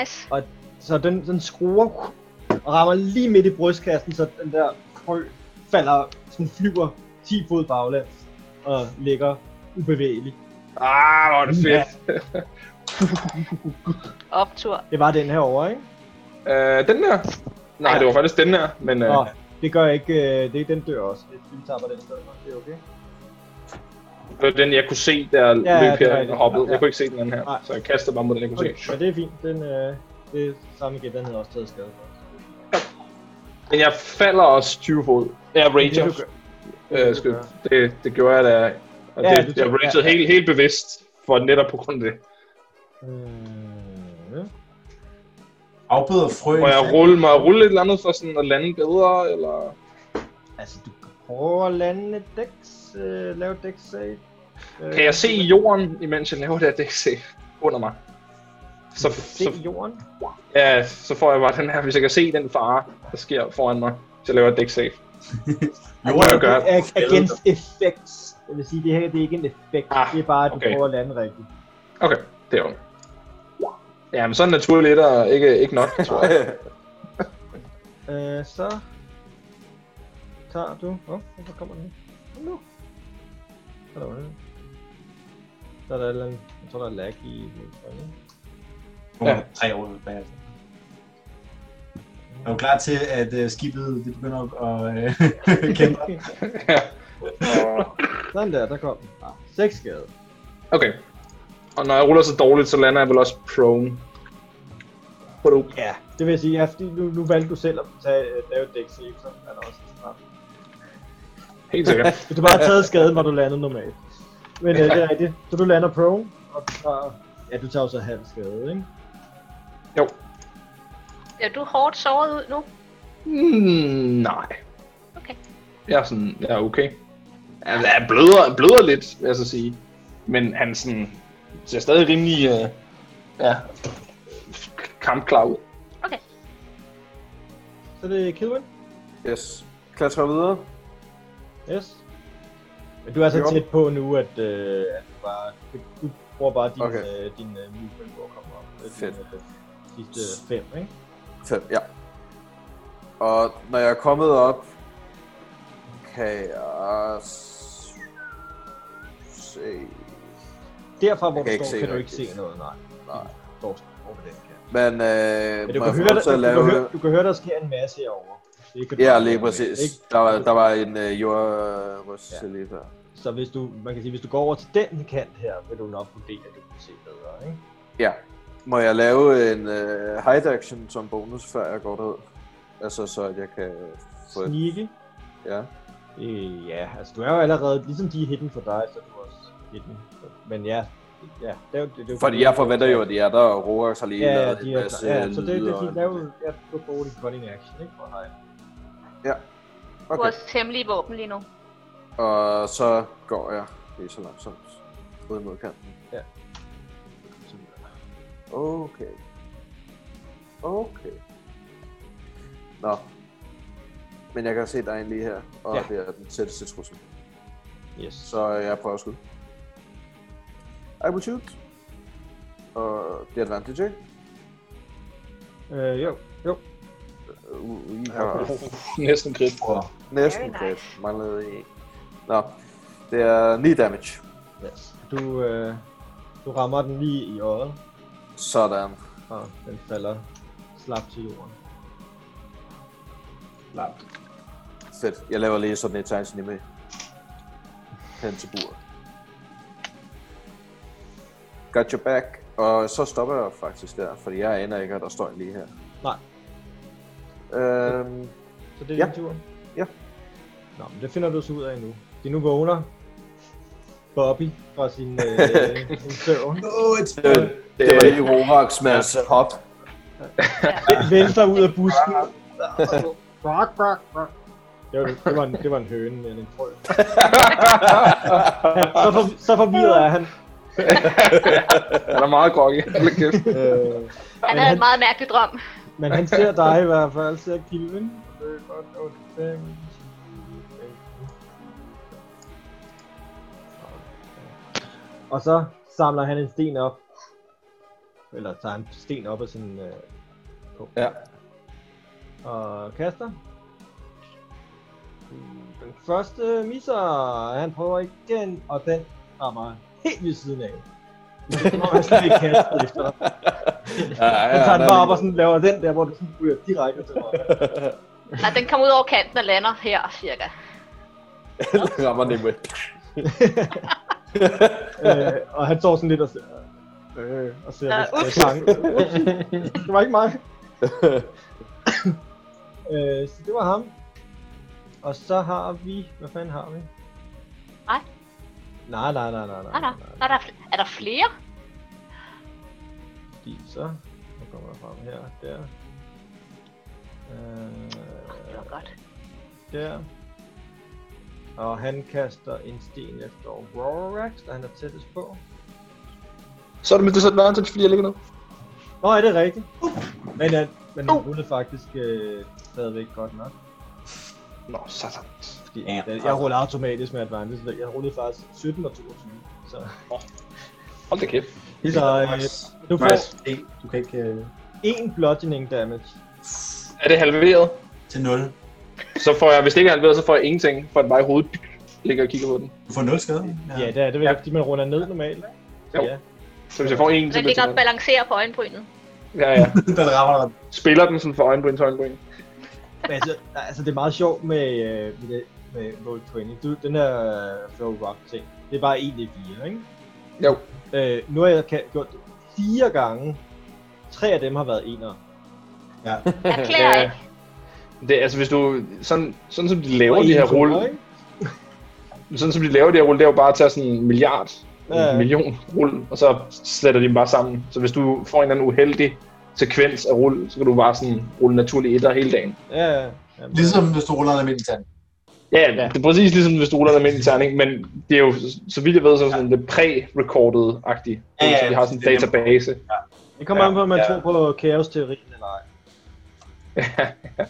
Nice. Så den, den skruer og rammer lige midt i brystkassen, så den der krø falder, sådan flyver 10 fod baglæns og ligger ubevægelig. Ah, hvor er det fedt. Optur. Det var den her over, ikke? Øh, den der? Nej, det var faktisk den der, men... Øh, Nå, det gør ikke, øh, det, den dør også. Det vi taber den i stedet for. det er okay. Det var den, jeg kunne se, der ja, løb ja, det er her rigtigt. og hoppede. Ja, Jeg ja. kunne ikke se den anden her, Nej. så jeg kastede bare mod den, jeg kunne okay. se. Men det er fint, den, øh, det er samme igen, den havde også taget skade. Men jeg falder også 20 fod. Jeg Det er rager. det, du gør. Det, øh, skyld. det, det gjorde jeg da. Og Ja, ja, det, det jeg tror jeg. ragede helt, helt bevidst for netop på grund af det. Øh, Afbøder frøen. Må jeg rulle mig rulle et eller andet for sådan at lande bedre, eller... altså, du kan prøve at lande et dæks, øh, lave et dæks save. Øh, Kan jeg se i jorden, imens jeg laver det her dæksæt under mig? Så, Se så, jorden? ja, så får jeg bare den her, hvis jeg kan se den fare, der sker foran mig, så laver jeg et dæksæt. Jo, Må jeg jeg gør. gøre? Ag- Against effects. Det vil sige, det her det er ikke en effekt. Ah, det er bare, at du okay. prøver at lande rigtigt. Okay, det er jo. Ja, men sådan naturligt er der ikke, ikke nok, tror jeg. Øh, så tager du... Åh, oh, hvorfor kommer den ikke? Kom nu! Så er der under. Så er der et eller andet... Jeg tror, der er lag i... Ja. Tre år tilbage. Er du klar til, at øh, skibet det begynder at øh, kæmpe? Sådan der, der kom den. Ah, seks skade. Okay. Og når jeg ruller så dårligt, så lander jeg vel også prone. Bado. Ja. Det vil sige, at fordi nu, nu valgte du selv at tage, øh, lave et dæk save, så er der også en straf. Helt sikkert. Hvis du bare har taget skaden, var du landet normalt. Men øh, det er rigtigt. Så du lander prone, og du tager... Ja, du tager jo så halv skade, ikke? Jo. Ser du hårdt såret ud nu? Mm, nej. Okay. Jeg er sådan, jeg er okay. Jeg jeg er bløder, bløder lidt, vil jeg så sige. Men han sådan, ser stadig rimelig øh, ja, kampklar ud. Så det er Kilwin. Yes. Klatrer videre. Yes. Men du er så Jo. tæt på nu, at, øh, at du bare... Du, du bruger bare din, Okay. okay. øh, din øh, movement for at komme op. Øh, din, Fedt. Øh, sidste fem, ikke? 5, ja. Og når jeg er kommet op, kan jeg s- se... Derfra, hvor Jeg kan du ikke står, se kan du ikke rigtigt. se noget, nej. Nej. Står over den kan. Men, Men øh, du kan, må jeg få høre, lov der, til at du, kan lave- høre, du kan høre, der sker en masse herovre. Det kan du Ja, bare lige høre, ikke? præcis. Der var, der var en øh, jordryst Ja. ja. lige der. Så hvis du, man kan sige, hvis du går over til den kant her, vil du nok vurdere, at du kan se bedre, ikke? Ja. Må jeg lave en øh, hide action som bonus, før jeg går derud? Altså, så at jeg kan få et... Sneaky. Ja. Øh, ja, altså du er jo allerede, ligesom de er hidden for dig, så er du også hidden. Men ja, ja, lav det, det, Fordi jeg forventer jo, at de er der, og Rorax har lige Ja, ja, lavet de en er, masse ja, så det, det er lyde fint. og- Lav, ja, du kan bruge din cutting action, ikke? For hej. Okay. Okay. Vores hemmelige våben lige nu. Og så går jeg lige så langsomt ud mod kanten. Ja. Okay. Okay. Nå. Men jeg kan se dig lige her, og Ja. ja. det er den tætteste trussel. Yes. Så jeg prøver at skyde. I will shoot. Og det er advantage, ikke? Øh, jo, jo. Uh, I har Næsten grib. næsten Very okay. nice. Manglede I. Nå. Det er 9 damage. Yes. Du, øh, du rammer den lige i øjet, Sådan. og den falder slap til jorden. Lap. Fedt. Jeg laver lige sådan et tegnsyn med. Hen til buret. Got your back. Og så stopper jeg faktisk der, fordi jeg aner ikke, at der står en lige her. Nej. Øhm, Så det er Ja. din tur. Ja. Nå, men det finder du så ud af nu. De nu vågner Bobby fra sin, øh, sin søvn. No, it's det, det var lige Rorax med hans hop. vendte sig ud af busken. Det var, det var, en, det var en høne, men en frø. Han, så, for, så forvirret er han. Han er meget groggy. Hold kæft. Øh, Han Men havde han- en meget mærkelig drøm. men han ser dig i hvert fald, ser kilven. Det er godt, otte, fem, ti, femten. Og så samler han en sten op. Eller tager en sten op af sin øh, på. Ja. Og kaster. Den første misser, han prøver igen, og den rammer helt ved siden af. Som om han slet ikke kaster efter dig. Ja, ja, Han tager der den bare er lige- op og sådan laver den der, hvor du sådan ryger direkte til mig. Nej, den kom ud over kanten og lander her, cirka. rammer den med. øh, og han står sådan lidt og ser, øh, og ser Øh, lidt ups. bange. det var ikke mig. øh, så det var ham. Og så har vi... Hvad fanden har vi? Nej. Nej, nej, nej, nej, nej. Nej, nej. Nå, der er, fl- er der flere? Fordi så... Nu kommer jeg frem her. Der. Øh, Det var godt. der. Og han kaster en sten efter Rorax, der han er tættest på. Så er det med disadvantage, fordi jeg ligger ned. Nå, er det rigtigt? Uh. Men, han, men han rullede faktisk øh, stadigvæk godt nok. Nå, satan. Fordi, Ja. ja. Jeg rullede automatisk med advantage, så jeg rullede faktisk 17 og 22. Så, Hold da kæft. så øh, du får Nice. Du kan ikke... øh, én bludgeoning damage. Er det halveret? Til 0. Så får jeg, hvis det ikke er halveret, så får jeg ingenting, for at bare i hovedet ligger og kigger på den. Du får 0 skade. Ja, ja det er det vel, ja. fordi man runder ned normalt, ikke? Jo. Ja. Så hvis jeg får en, så Den bliver ligger det og balancerer på øjenbrynet. Ja, ja. den rammer dig. Spiller den sådan fra øjenbryn til øjenbryn. Men altså, altså, det er meget sjovt med, øh, med, det- med Roll20. Du, den her øh, Throw Rock ting, det er bare 1d4, ikke? Jo. Øh, nu har jeg ka- gjort det fire gange. Tre af dem har været enere. Erklærer Ja. ikke. Det, er altså, hvis du, sådan, sådan som de laver Og de en her toer, rulle, ikke? sådan som de laver de her rulle, det er jo bare at tage sådan en milliard, Ja. en million rulle, og så sletter de dem bare sammen. Så hvis du får en eller anden uheldig sekvens af rulle, så kan du bare sådan rulle naturlige etter hele dagen. Ja, ja. Jamen, Ligesom hvis du ruller en almindelig tand. Ja, det er præcis ligesom hvis du ruller en almindelig terning, men det er jo, så vidt jeg ved, så er det sådan lidt præ-recordet-agtigt. Ja, ja, så de har sådan en det er nemt. database. øh, Det kommer Ja, ja, an på, om man ja. ja. tror på kaosteorien eller ej.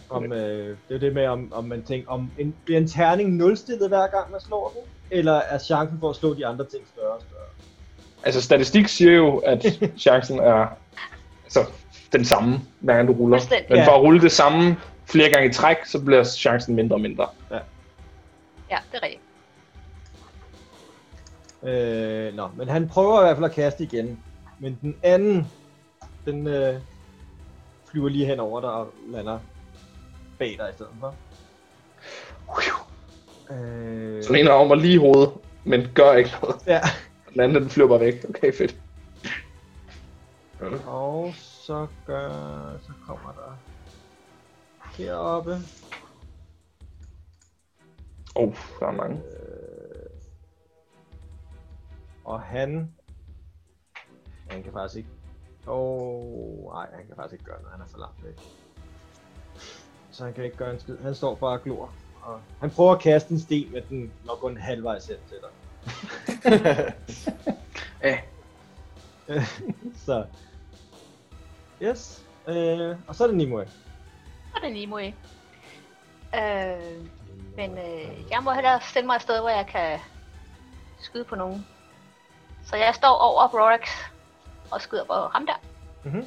om, øh, det er jo det med, om, om man tænker, om en, bliver en terning nulstillet hver gang man slår den? Eller er chancen for at slå de andre ting større og større? Altså, statistik siger jo, at chancen er altså, den samme, hver gang du ruller. Fuldstændig. Men Ja. for at rulle det samme flere gange i træk, så bliver chancen mindre og mindre. Ja, det er rigtigt. Øh, nå, men han prøver i hvert fald at kaste igen. Men den anden, den øh, flyver lige hen over dig og lander bag dig i stedet for. Øh, Så den ene rammer lige i hovedet, men gør ikke noget. ja. Den anden, den flyver bare væk. Okay, fedt. Og så gør, så kommer der heroppe. Åh, oh, der er mange. Og han... Han kan faktisk ikke... Åh, oh, nej, han kan faktisk ikke gøre noget, han er for langt væk. Så han kan ikke gøre en skid. Han står bare og glor. Og han prøver at kaste en sten, men den når kun halvvejs hen til dig. Ja. Så... Yes. Øh, og så er det Nimue. Så er det Nimue. Øh, men øh, jeg må hellere stille mig et sted, hvor jeg kan skyde på nogen. Så jeg står over Rorax og skyder på ham der. Mhm.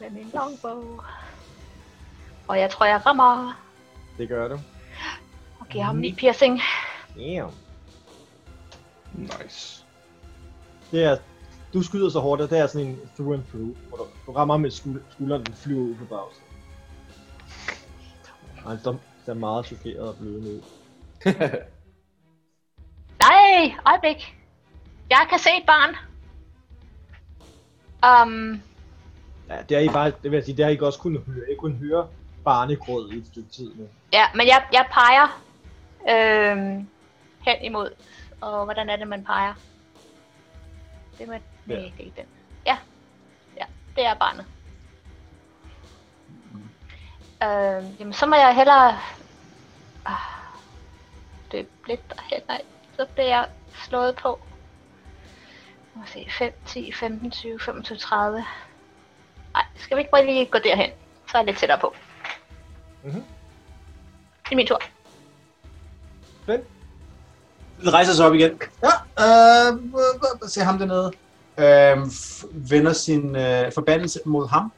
Med min longbow. Og jeg tror, jeg rammer Det gør du. og giver ham 9 piercing. Damn. Nice. Det er, du skyder så hårdt, at det er sådan en through and through, hvor du, du rammer med skul- skulderen, den flyver ud på bagsiden. Og han står- ser meget chokeret og blødende ud. Nej, øjeblik. Jeg kan se et barn. Um, Ja, det har I bare, det vil jeg sige, det har I ikke også kunnet høre. I kunne høre barnegrød i et stykke tid nu. ja, men jeg, jeg peger øhm, hen imod. Og hvordan er det, man peger? Det er man... Ja. Ja. Nej, det er ikke den. Ja. ja, det er barnet. Øhm, jamen, så må jeg hellere ah, løbe lidt derhen. Nej, så bliver jeg slået på. Lad mig se, 5, 10, 15, 20, 25, 30. Nej, skal vi ikke bare lige gå derhen? Så er jeg lidt tættere på. Mhm. Det er min tur. Den rejser sig op igen. Ja, øh, øh, øh, se ham dernede. Øh, f- vender sin øh, forbandelse mod ham.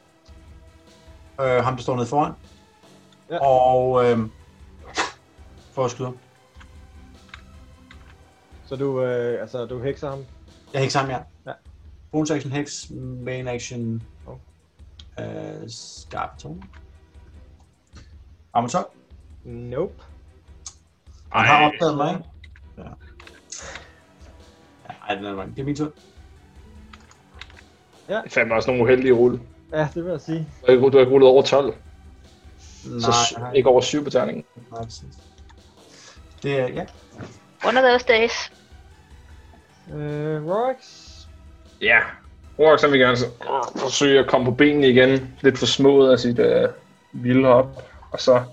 Øh, ham, der står nede foran. Ja. Ja. Og øh, for at skyde ham. Så du, øh, altså, du hekser ham. Jeg hækker sammen, ja. Ja. ja. Oh. Bonus action hex, main action Hov. øh, skarp tone. Armor 12. Nope. Han har opdaget mig, ikke? Ja. Ja, Ej, den er mange. Det er min tur. Det er fandme også nogle uheldige rulle. Ja, det vil jeg sige. Du har ikke- du har ikke rullet over 12, så Nej, s- nej, ikke over 7 på terningen. nej, præcis. Det er, ja. One of those days. Øh, Rorax. Ja. Rorak, som vi gerne så øh, forsøge at komme på benene igen. Lidt for smået af sit øh, vilde hop. Og så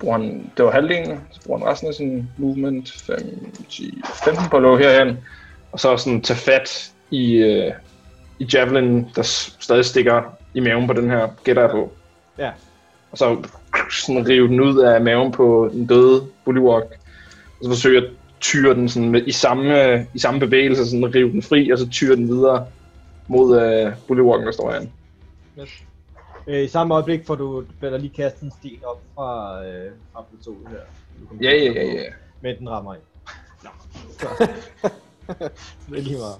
bruger han, det var halvdelen, så bruger han resten af sin movement, 5, 10, 15 på at løbe herhen. Og så sådan tage fat i, øh, i javelin, der s- stadig stikker i maven på den her gætter jeg på. Ja. Og så sådan rive den ud af maven på den døde Bullywog. Og så forsøge at tyre den sådan med, i, samme, i samme bevægelse, sådan rive den fri, og så tyre den videre mod øh, Bullywoggen, der står herinde. Øh, I samme øjeblik får du, bliver der lige kastet en sten op fra, øh, fra plateauet her. Du kommer Ja, til ja, at ja, slå. ja. Men den rammer ind. Så. det er lige meget.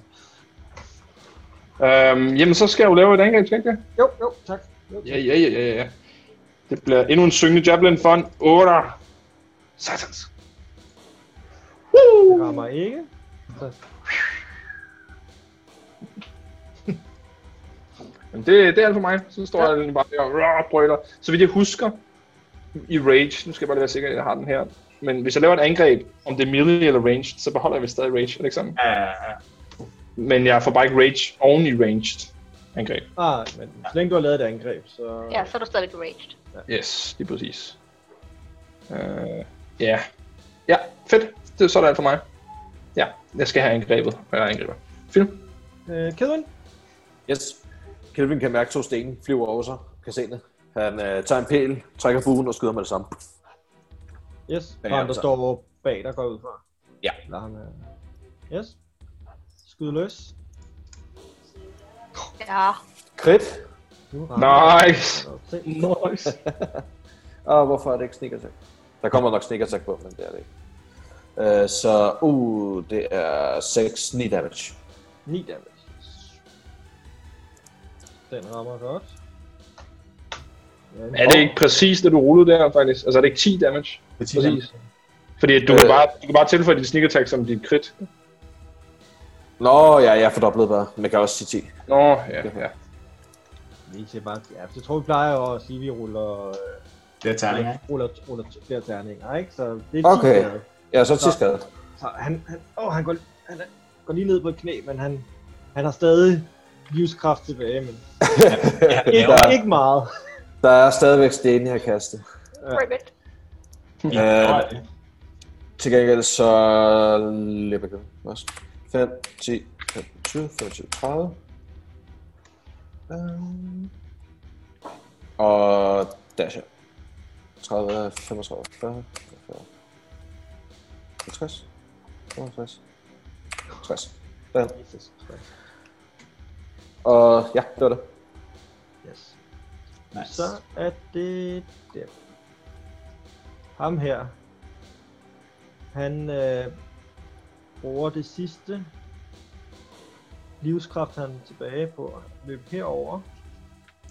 Øhm, jamen, så skal jeg jo lave et angreb, skal jeg ikke det? Jo, jo, tak. Jo, Ja, ja, ja, ja, ja. Det bliver endnu en syngende javelin for en 8. Satans. Det Woo! rammer ikke. Så Jamen, det, det er alt for mig. Så står ja. jeg egentlig bare der og rah, brøler. Så vidt jeg husker i rage, nu skal jeg bare lige være sikker, at jeg har den her. Men hvis jeg laver et angreb, om det er melee eller ranged, så beholder jeg vist stadig rage, er det ikke sådan? Ja, Men jeg får bare ikke rage oven i ranged angreb. Ah, men så længe du har lavet et angreb, så... Ja, så er du stadigvæk raged. Yes, det er præcis. Øh, ja. Ja, fedt. Det er sådan for mig. Ja, jeg skal have angrebet. Jeg er angriber. Film. Øh, kæden? Yes. Kelvin kan mærke to sten flyver over sig. Kan se det. Han øh, tager en pæl, trækker buen og skyder med det samme. Yes. Ja, Ja, ja, Ham, der så- står hvor bag, der går ud fra. Ja. Lad ham, øh... Yes. Skyd løs. Ja. Krit. Nu Nice. Nej. Nice. Og hvorfor er det ikke sneak attack? Der kommer nok sneak attack på, men det er det ikke. Øh, så, uh, det er 6 9 damage. 9 damage. Den rammer godt. Ja, Er det ikke præcis det, du rullede der, faktisk? Altså, er det ikke 10 damage? Det er ti Præcis. damage. Fordi at du, øh. kan Øh. bare, du kan bare tilføje din sneak attack som din crit. Nå, ja, jeg fordoblede bare. Men jeg kan også sige 10. Nå, ja, ja. Vi ser bare, ja, jeg tror, vi plejer jo at sige, at vi ruller, øh, Det er terninger. ikke? ruller, ruller t- flere terninger, ikke? Så det er 10 Okay. skade. Ja, så er det 10 Nå. skade. Så han, han, åh, han, går, han er- går lige ned på et knæ, men han, han har stadig livskraft tilbage, men ikke, Der- ikke meget. Der er stadigvæk sten, jeg kan kaste. Rip it. Øh, til gengæld så løber jeg også. 5, 10, 15, 20, 25, 30. Øhm. Og dasher. 30, 35, 40, 40. 50, 55, 60. Derhen. Jesus Christ. Og ja, det var det. Yes. Nice. Så er det der. Ham her. Han øh, bruger det sidste livskraft, han er tilbage på at løbe herover.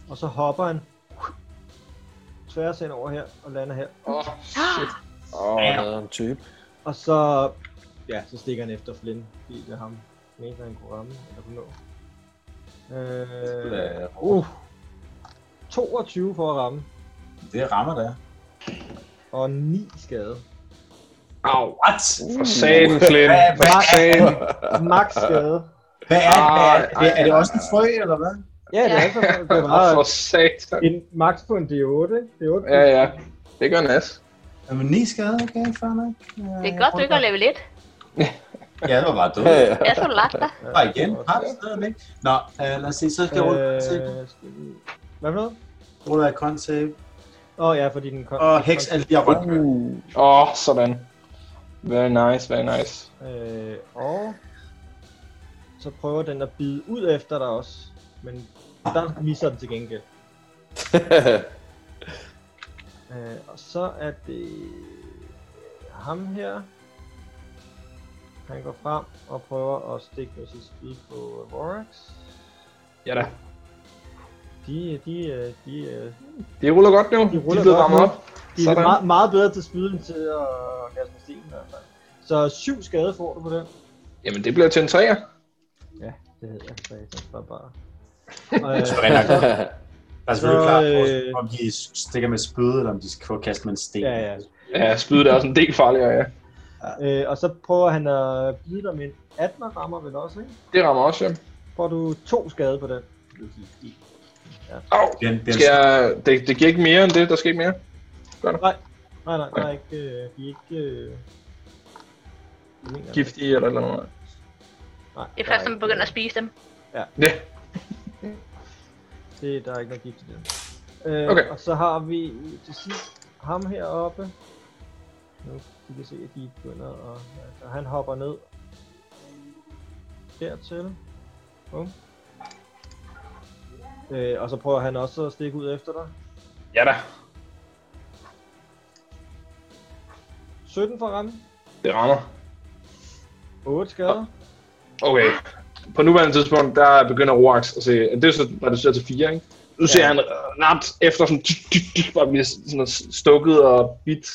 Og så hopper han tværs ind over her og lander her. Åh, shit. Og jeg havde en type. Og så, ja, så stikker han efter Flynn, fordi det er ham, den eneste, han kunne ramme, eller kunne nå. Øh, uh, 22 for at ramme, Det rammer der. og 9 skade. Au. What? For satan, Flynn. Mm. Hvad- For hvad- satan. Max skade. Hvad er, hvad er, Ah, Ej, er, det, er det også en frø, eller hvad? Ja, det er altså, det For var satan. en max på en D8, ikke? D8. Ja, ja. Det gør Nas. Jamen, ni skade, okay, fair nok. Det er godt, du ikke har level 1. Ja, det var bare død. Ja, ja. Jeg skulle lagt dig. Bare igen, har det stadigvæk. Nå, øh, lad os se, så skal jeg rulle con save. Øh, skal vi- Hvad for noget? Ruller jeg con save. Åh oh, ja, fordi den kom. Og heks alle de her rundt. Åh, oh, sådan. Very nice, very nice. Øh, og så prøver den at bide ud efter dig også. Men der misser den til gengæld. Øh, og så er det ham her. Han går frem og prøver at stikke med sit spyd på Vorax. Ja da. De, de, øh, de, øh, De ruller godt nu. De, ruller er blevet godt varmet nu. op. de er Sådan. meget, meget bedre til spyd end til at kaste med sten i hvert fald. Så syv skade får du på den. Jamen, det bliver til en træer. Ja, det hedder jeg satan for bare. Så Og, er det nok. Der Altså, er selvfølgelig Så, klart, forskel, øh, om de stikker med spyd, eller om de skal prøve at kaste med en sten. Ja, ja. Ja, spydet er også en del farligere, ja. øh, øh, og så prøver han at bide dig med en 18 og rammer vel også, ikke? Det rammer også, ja. Får du to skade på den. Au. Den, den, Skal jeg... det, det giver ikke mere end det. Der skal ikke mere. Nej, nej, der er ikke, øh, de er ikke... Øh, jeg mener, Giftige eller eller noget. Nej, Det er der først, ikke- når man begynder at spise dem. Ja. Det, der er ikke noget gift i den. Øh, Okay. okay. Og så har vi til sidst ham heroppe. Nu vi kan se, at de begynder at... Altså, han hopper ned. Dertil. Bum. Øh, og så prøver han også at stikke ud efter dig. Ja da. 17 for ramme. Det rammer. 8 skader. Okay. På nuværende tidspunkt, der begynder Roax at se, det er så reduceret til fire, ikke? Nu ser Ja. han øh, ramt efter sådan, tyk, tyk, tyk, bare bliver sådan stukket og bit,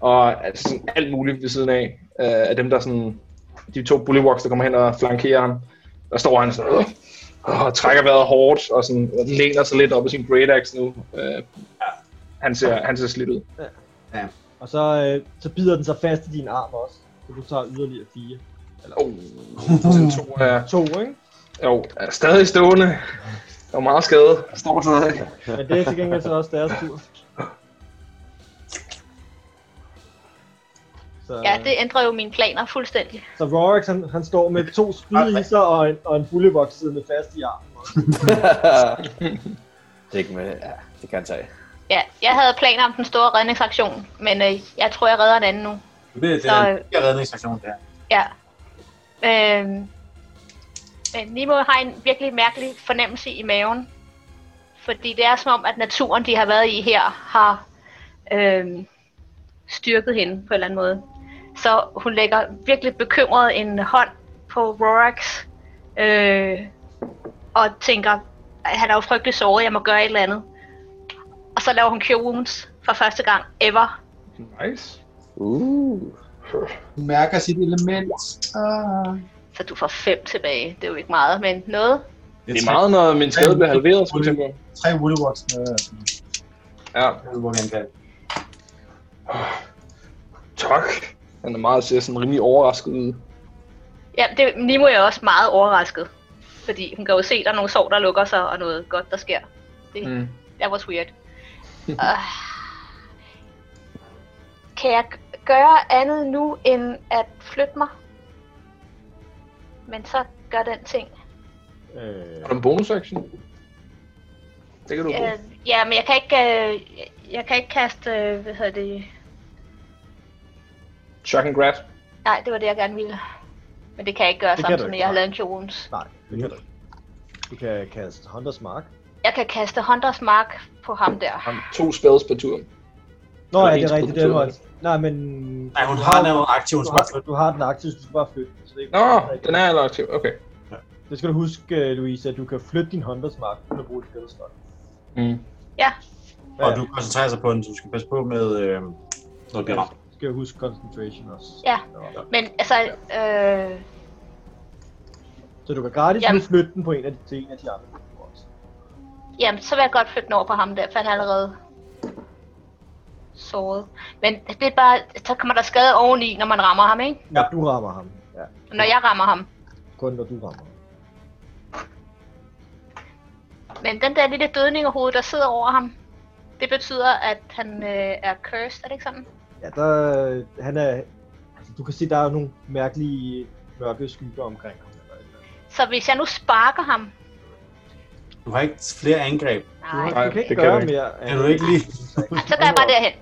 og altså sådan alt muligt ved siden af, øh, af dem der sådan, de to bullywalks, der kommer hen og flankerer ham. Der står han sådan, øh, og trækker vejret hårdt, og sådan og læner sig lidt op i sin great axe nu. Øh, han ser, han ser slidt ud. Og så, øh, så bider den sig fast i din arm også. Så du tager yderligere 4. Oh, sådan to er, 2, ikke? jo, er stadig stående. Der er meget skade. Står stadig. Men det er til gengæld så også deres tur. Så, Ja, det ændrer jo mine planer fuldstændig. så Rorax, han, han står med to spyd i sig og en, og en bullevoks siddende fast i armen. det er ikke med. Ja, det kan jeg tage. Ja, jeg havde planer om den store redningsaktion, men øh, jeg tror, jeg redder en anden nu. Det, det Så, er øh, en redningsaktion der. Ja. Øhm, men Nimo har en virkelig mærkelig fornemmelse i maven. Fordi det er som om, at naturen, de har været i her, har øhm, styrket hende på en eller anden måde. Så hun lægger virkelig bekymret en hånd på Rorax. Øh, og tænker, at han er jo frygtelig såret, jeg må gøre et eller andet. Og så laver hun Cure Wounds for første gang ever. Nice. Uh. Hun mærker sit element. Ah. Så du får fem tilbage. Det er jo ikke meget, men noget. Det er meget, når min skade bliver halveret, for eksempel. Tre Woodwalks med Ja, Woodwalk angreb. tak. Han er meget, ser sådan rimelig overrasket ud. Ja, det, Nimo er også meget overrasket. Fordi hun kan jo se, at der er nogle sår, der lukker sig, og noget godt, der sker. Det Mm. that was weird. uh, kan jeg g- gøre andet nu, end at flytte mig? Men så gør den ting. Øh, Har du en bonus action? Det kan du bruge. Øh, ja, men jeg kan ikke, øh, jeg- jeg kan ikke kaste, øh, hvad hedder det? Chuck and grab. Nej, det var det, jeg gerne ville. Men det kan jeg ikke gøre, Det kan du samtidig med, ikke, at jeg har nej. lavet en Jones. nej, det kan du ikke. Du kan kaste Hunters Mark. Jeg kan kaste Hunters Mark på ham der. Ham to spells per tur. Nå, Det er ja, det hendes er rigtigt, det produktion. var... Nej, men... Nej, hun har noget aktiv, hun du skal bare har, flytte. du har den aktive, så du skal bare flytte. den, Så det, Nå, den er allerede aktiv. Okay. det skal du huske, øh, Louise, at du kan flytte din Hunters Mark, uden at bruge et skillstok. Mm. Og du koncentrerer sig på den, så du skal passe på med, øh, når du bliver ramt. Du skal huske concentration også. Ja. Nå. Men altså, øh, Så du kan gratis Jamen. Jamen. flytte den på en af de, til en af de andre. figurer også. Jamen, så vil jeg godt flytte den over på ham der, for han er allerede såret. Men det er bare, så kommer der skade oveni, når man rammer ham, ikke? Når du rammer ham. Ja. Når jeg rammer ham. Kun når du rammer ham. Men den der lille dødning i hovedet, der sidder over ham, det betyder, at han øh, er cursed, er det ikke sådan? Ja, der... Han er... Altså, du kan se, der er nogle mærkelige mørke skygger omkring ham. Eller et eller andet. Så hvis jeg nu sparker ham, Du har ikke flere angreb. nej, Du kan det ikke kan gøre du ikke. mere. Kan du ikke lige... så går jeg bare derhen.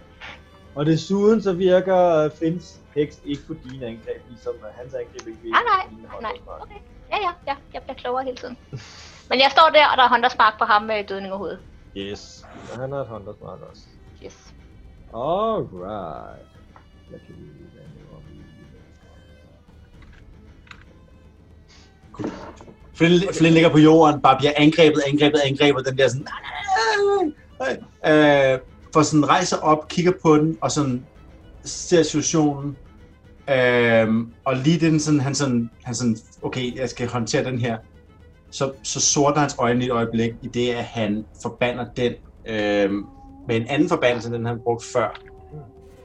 Og desuden så virker øh, Finns heks ikke på dine angreb, ligesom at hans angreb ikke virker Ah, Nej, nej, på dine nej, håndboldmark. okay. Ja, ja, ja, jeg bliver klogere hele tiden. Men jeg står der, og der er hånderspark på ham med dødning i hovedet. Yes. Og han har et håndboldmark også. Yes. Alright. Jeg kan lige hvad det var, vi- Flynn, Flynn ligger på jorden, bare bliver angrebet, angrebet, angrebet, den der sådan... Øh, for sådan rejser op, kigger på den, og sådan ser situationen. Øh, og lige den sådan, han sådan, han sådan, okay, jeg skal håndtere den her. Så, så sorter hans øjne et øjeblik, i det at han forbander den øh, med en anden forbandelse, end den han brugte før.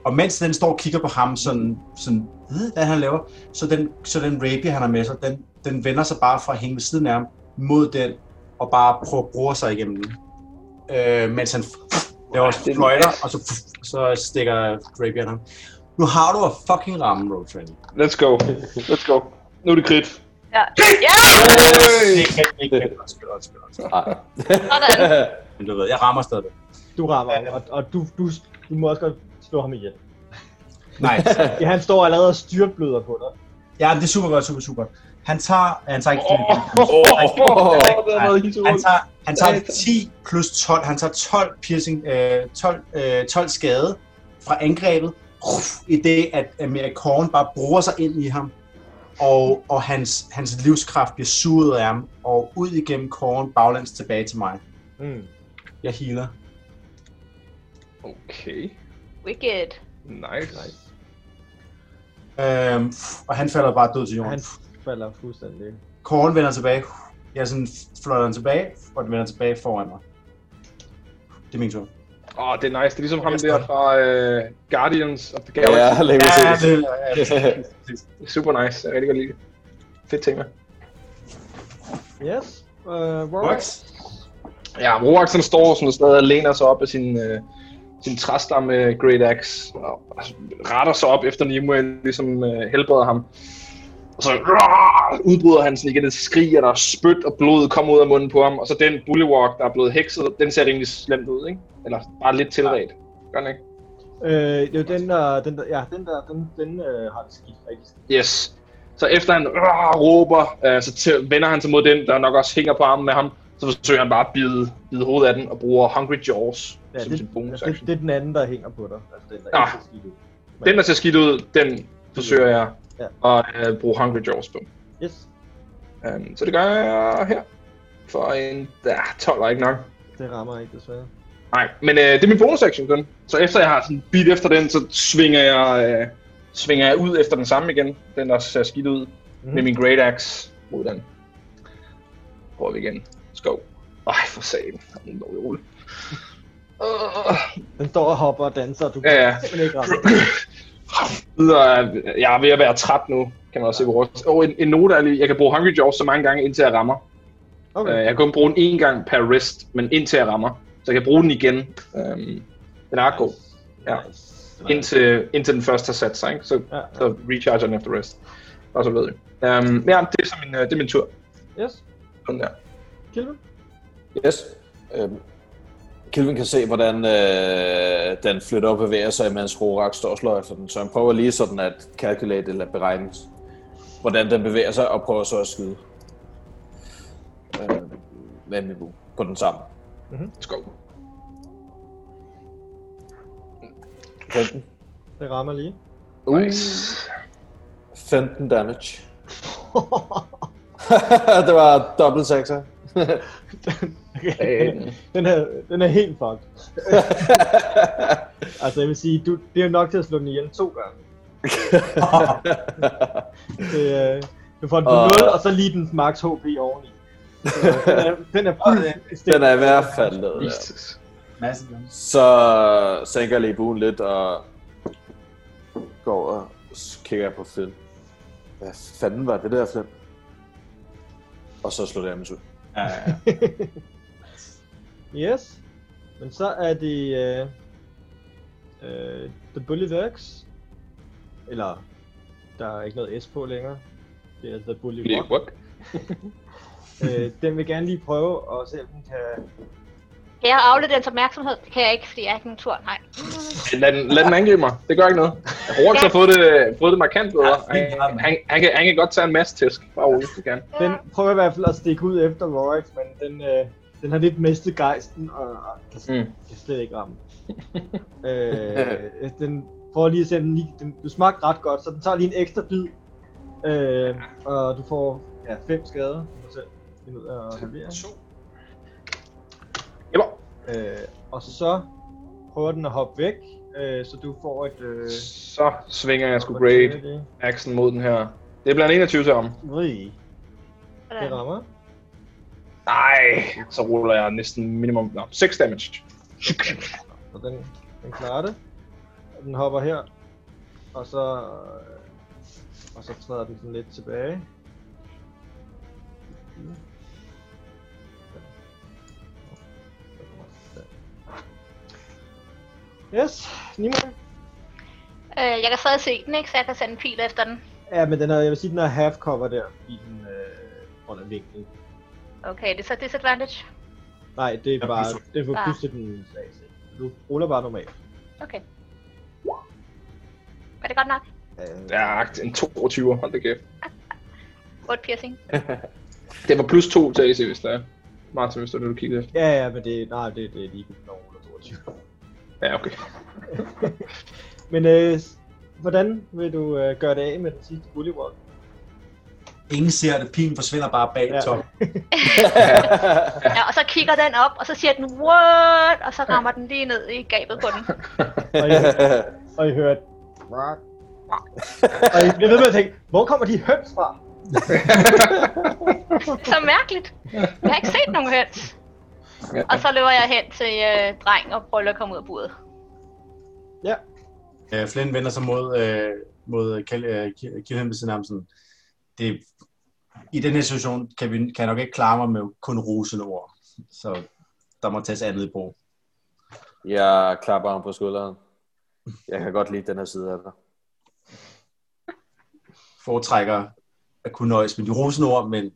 Og mens den står og kigger på ham sådan, sådan "Øh, hvad han laver, så den, så den rapier, han har med sig, den, den vender sig bare fra at hænge ved siden af ham mod den, og bare prøver at bruge sig igennem den. Øh, mens han laver det er fløjter, og så, så stikker rapieren ham. Nu har du at fucking ramme, Road Trend. Let's go. Let's go. Nu er det krit. Ja, ja Det kan ikke det kan- undskyld, undskyld, undskyld. sådan. Men du ved, jeg rammer stadig. Du rammer ham, og, og du, du, du må også godt slå ham ihjel. Nej, Ja, han står allerede og styrtbløder på dig. ja, det er super godt, super, super. Han tager, han tager ikke Åh, det har været helt Han utroligt. tager, han tager 10 plus 12. Han tager 12 piercing, øh, 12, øh, 12 skade fra angrebet. Ruff, I det, at America Korn bare bruger sig ind i ham. Og, og hans, hans livskraft bliver suget af ham. Og ud igennem Korn baglands tilbage til mig. Hmm. Mm. Jeg healer. Okay. Wicked. Nice. Nice. Øhm, og han falder bare død til Og Han jorden. falder fuldstændig. Korn vender tilbage. Jeg sådan fløjter den tilbage, og den vender tilbage foran mig. Det er min tur. Åh, oh, det er nice. Det er ligesom ham der fra uh, Guardians of the Galaxy. ja, lad mig se. det, ja, Super nice. Jeg kan rigtig godt lide det. Fedt tema. Yes. Uh, Rorax. Works. Ja, Roaxen står sådan stadig og læner sig op af sin, øh, sin træstamme øh, Great Axe og altså, retter sig op efter Nimue, ligesom øh, helbreder ham. Og så rar, udbryder han sådan igen et skrig, og der er spyt og blod kommer ud af munden på ham. Og så den bullywalk, der er blevet hekset, den ser rimelig slemt ud, ikke? Eller bare lidt tilret. Gør den ikke? Øh, jo, den der, den der, ja, den der, den, den øh, har det skidt rigtig skidt. Yes. Så efter han rar, råber, øh, så til, vender han sig mod den, der nok også hænger på armen med ham. Så forsøger han bare at bide, bide hovedet af den og bruger Hungry Jaws Ja, ja, som det, sin bonus ja, det, action. Ah. det, er den anden, der hænger på dig. Altså, den Nå. der ikke ser skidt ud. Den, der ser skidt ud, den forsøger jeg Ja. at øh, bruge Hungry Jaws på. Yes, Um, så det gør jeg her. For en... Ja, 12 var ikke nok. det rammer ikke desværre. Nej, men øh, det er min bonus action, den. Så efter jeg har sådan beat efter den, så svinger jeg, øh, svinger jeg ud efter den samme igen. Den der ser skidt ud. Mhm. Mm. Med min Great Axe mod den. Prøver vi igen. Skov. Ej, for satan. Kom nu, dog, Ole. Øh, Den står og hopper og danser, og du Ja, ja. kan simpelthen ikke ramme. videre. Jeg er ved at være træt nu, kan man også se på vores. Og en, en note er lige, jeg kan bruge Hungry Jaws så mange gange, indtil jeg rammer. Okay. Øh, jeg kan kun bruge den én gang per wrist, men indtil jeg rammer. Så jeg kan bruge den igen. Øhm, den er ret god. Ja. Nice. Indtil, indtil den første har sat sig, ikke? Så, Ja, ja. så recharger den efter wrist. Og så ved jeg. Øhm, ja, det er, så min, øh, det er min tur. Yes, Sådan der. Kilvin. Yes. Øhm, Kelvin kan se, hvordan øh, den flytter og bevæger sig, mens Rorak står og slår efter den. Så han prøver lige sådan at calculate eller beregne, hvordan den bevæger sig, og prøver så at skyde. Øh, med min bue på den samme. Skov. 15. Det rammer lige. Nice. 15 damage. det var dobbelt sekser. den, den, her, den er helt fucked. altså, jeg vil sige, du, det er jo nok til at slå den ihjel to gange. Det, øh, du får den på Og- 0, og så lige dens max HP oveni. Så, øh, den er, den er øh, fuldstændig... den er i hvert fald lavet. Ja. Jesus. Masse guns. Så sænker jeg lige buen lidt og går over og s- kigger på Flynn. Hvad fanden var det der, Flynn? Og så slår det ham ud. Ja, ja, ja. Yes. Men så er det... Øh, øh, The Bullyworks. Eller... Der er ikke noget S på længere. Det er The Bully Rock. What? Øh, den vil gerne lige prøve at se, om den kan... Kan jeg aflede dens opmærksomhed? Det kan jeg ikke, fordi jeg er ikke en tur, nej. Lad den, lad den angribe mig. Det gør ikke noget. Rorik har fået det, fået det markant bedre. Han, han, han, kan, han kan godt tage en masse tæsk. Bare roligt, det kan. han. Den prøver i hvert fald at stikke ud efter Rorik, men den, øh, den har lidt mistet gejsten og, og kan, mm. Mm. kan slet ikke ramme. øh, den prøver lige at sende den, lige- den, du smagte ret godt, så den tager lige en ekstra bid, øh, og du får ja, fem skader. Du må selv finde ud af at halvere. Jepper. Øh, og så prøver den at hoppe væk, øh, så du får et... Øh, Så svinger jeg sgu Great Axen mod den her. Det er blandt 21 til ham. Ui, det Sådan. rammer. Nej, så ruller jeg næsten minimum no, 6 damage. Og den, den klarer det. Og den hopper her. Og så... øh, Og så træder den sådan lidt tilbage. Yes, Nimo. Øh, jeg kan stadig se den, ikke? Så jeg kan sende en pil efter den. Ja, men den er, jeg vil sige, den er half cover der, i den øh, under vinklen. Okay, det er så disadvantage. Nej, det er Ja, bare, plus- det er for Bare. plus til den AC. Du ruller bare normalt. Okay. Var det godt nok? Øh, Ja, en 22, hold da kæft. 8 piercing. Det var plus 2 til AC, hvis det er. Martin, hvis det er det, du kiggede efter. Ja, ja, men det, nej, det, det er lige når hun ruller 22. Ja, okay. Men øh, hvordan vil du øh, gøre det af med den sidste bully walk? Ingen ser det. Pilen forsvinder bare bag Ja. ja. top. Ja, og så kigger den op, og så siger den, what? Og så rammer den lige ned i gabet på den. Og I, og I hører et rock. Og I bliver ved med at tænke, hvor kommer de høns fra? Så mærkeligt. Jeg har ikke set nogen høns. Og så løber jeg hen til øh, drengen og prøver at komme ud af buret. Øh, Flynn vender sig mod, øh, mod Kjell, øh, Kjellheim ved siden af ham sådan, det, i den her situation kan, vi, kan jeg nok ikke klare mig med kun rosende ord, så der må tages andet i brug. Jeg klapper ham på skulderen. Jeg kan godt lide den her side af dig. Foretrækker at kunne nøjes med de rosende ord, men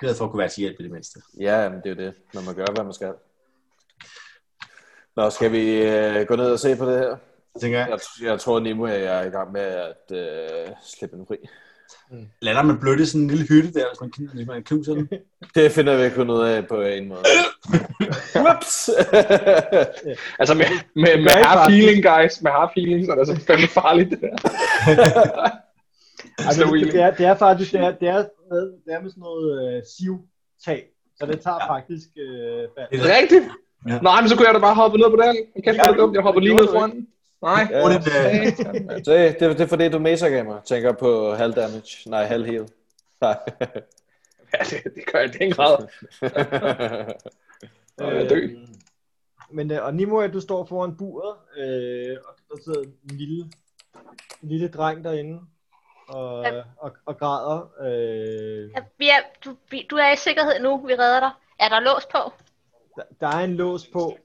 glad for at kunne være til hjælp i det mindste. Ja, men det er jo det, når man gør, hvad man skal. Nå, skal vi øh, gå ned og se på det her? Så tænker jeg, Jeg, jeg tror, Nemo er i gang med at øh, slippe den fri. lader man blødt i sådan en lille hytte der, hvis man, kn- hvis man knuser den? Det finder vi kun ud af på en måde. Whoops! Altså med, med, med half healing, guys. Med half healing, så er det altså fandme farligt, det der. Altså, Slow det, det, healing. er, det er faktisk det er, det er med, det er med sådan noget øh, siv-tag, så det tager ja. faktisk... Øh, fald. Det Rigtigt? Ja. Nej, men så kunne jeg da bare hoppe ned på den. Kæft, hvor er det dumt. Jeg hopper lige ned gjorde foran. Nej. Ja. Hvor er det, øh, Satan, mand. det, det, det er for det, du mesa gav mig. Tænker på halv damage. Nej, halv heal. Nej. Ja, det, det gør jeg i den grad. Og jeg er død. Øhm, Men, øh, og Nimue, du står foran buret, øh, og der sidder en lille, en lille dreng derinde og, Ja. og, og græder. Øh, Ja, vi er, du, vi, du er i sikkerhed nu, vi redder dig. Er der lås på? der, der er en lås på,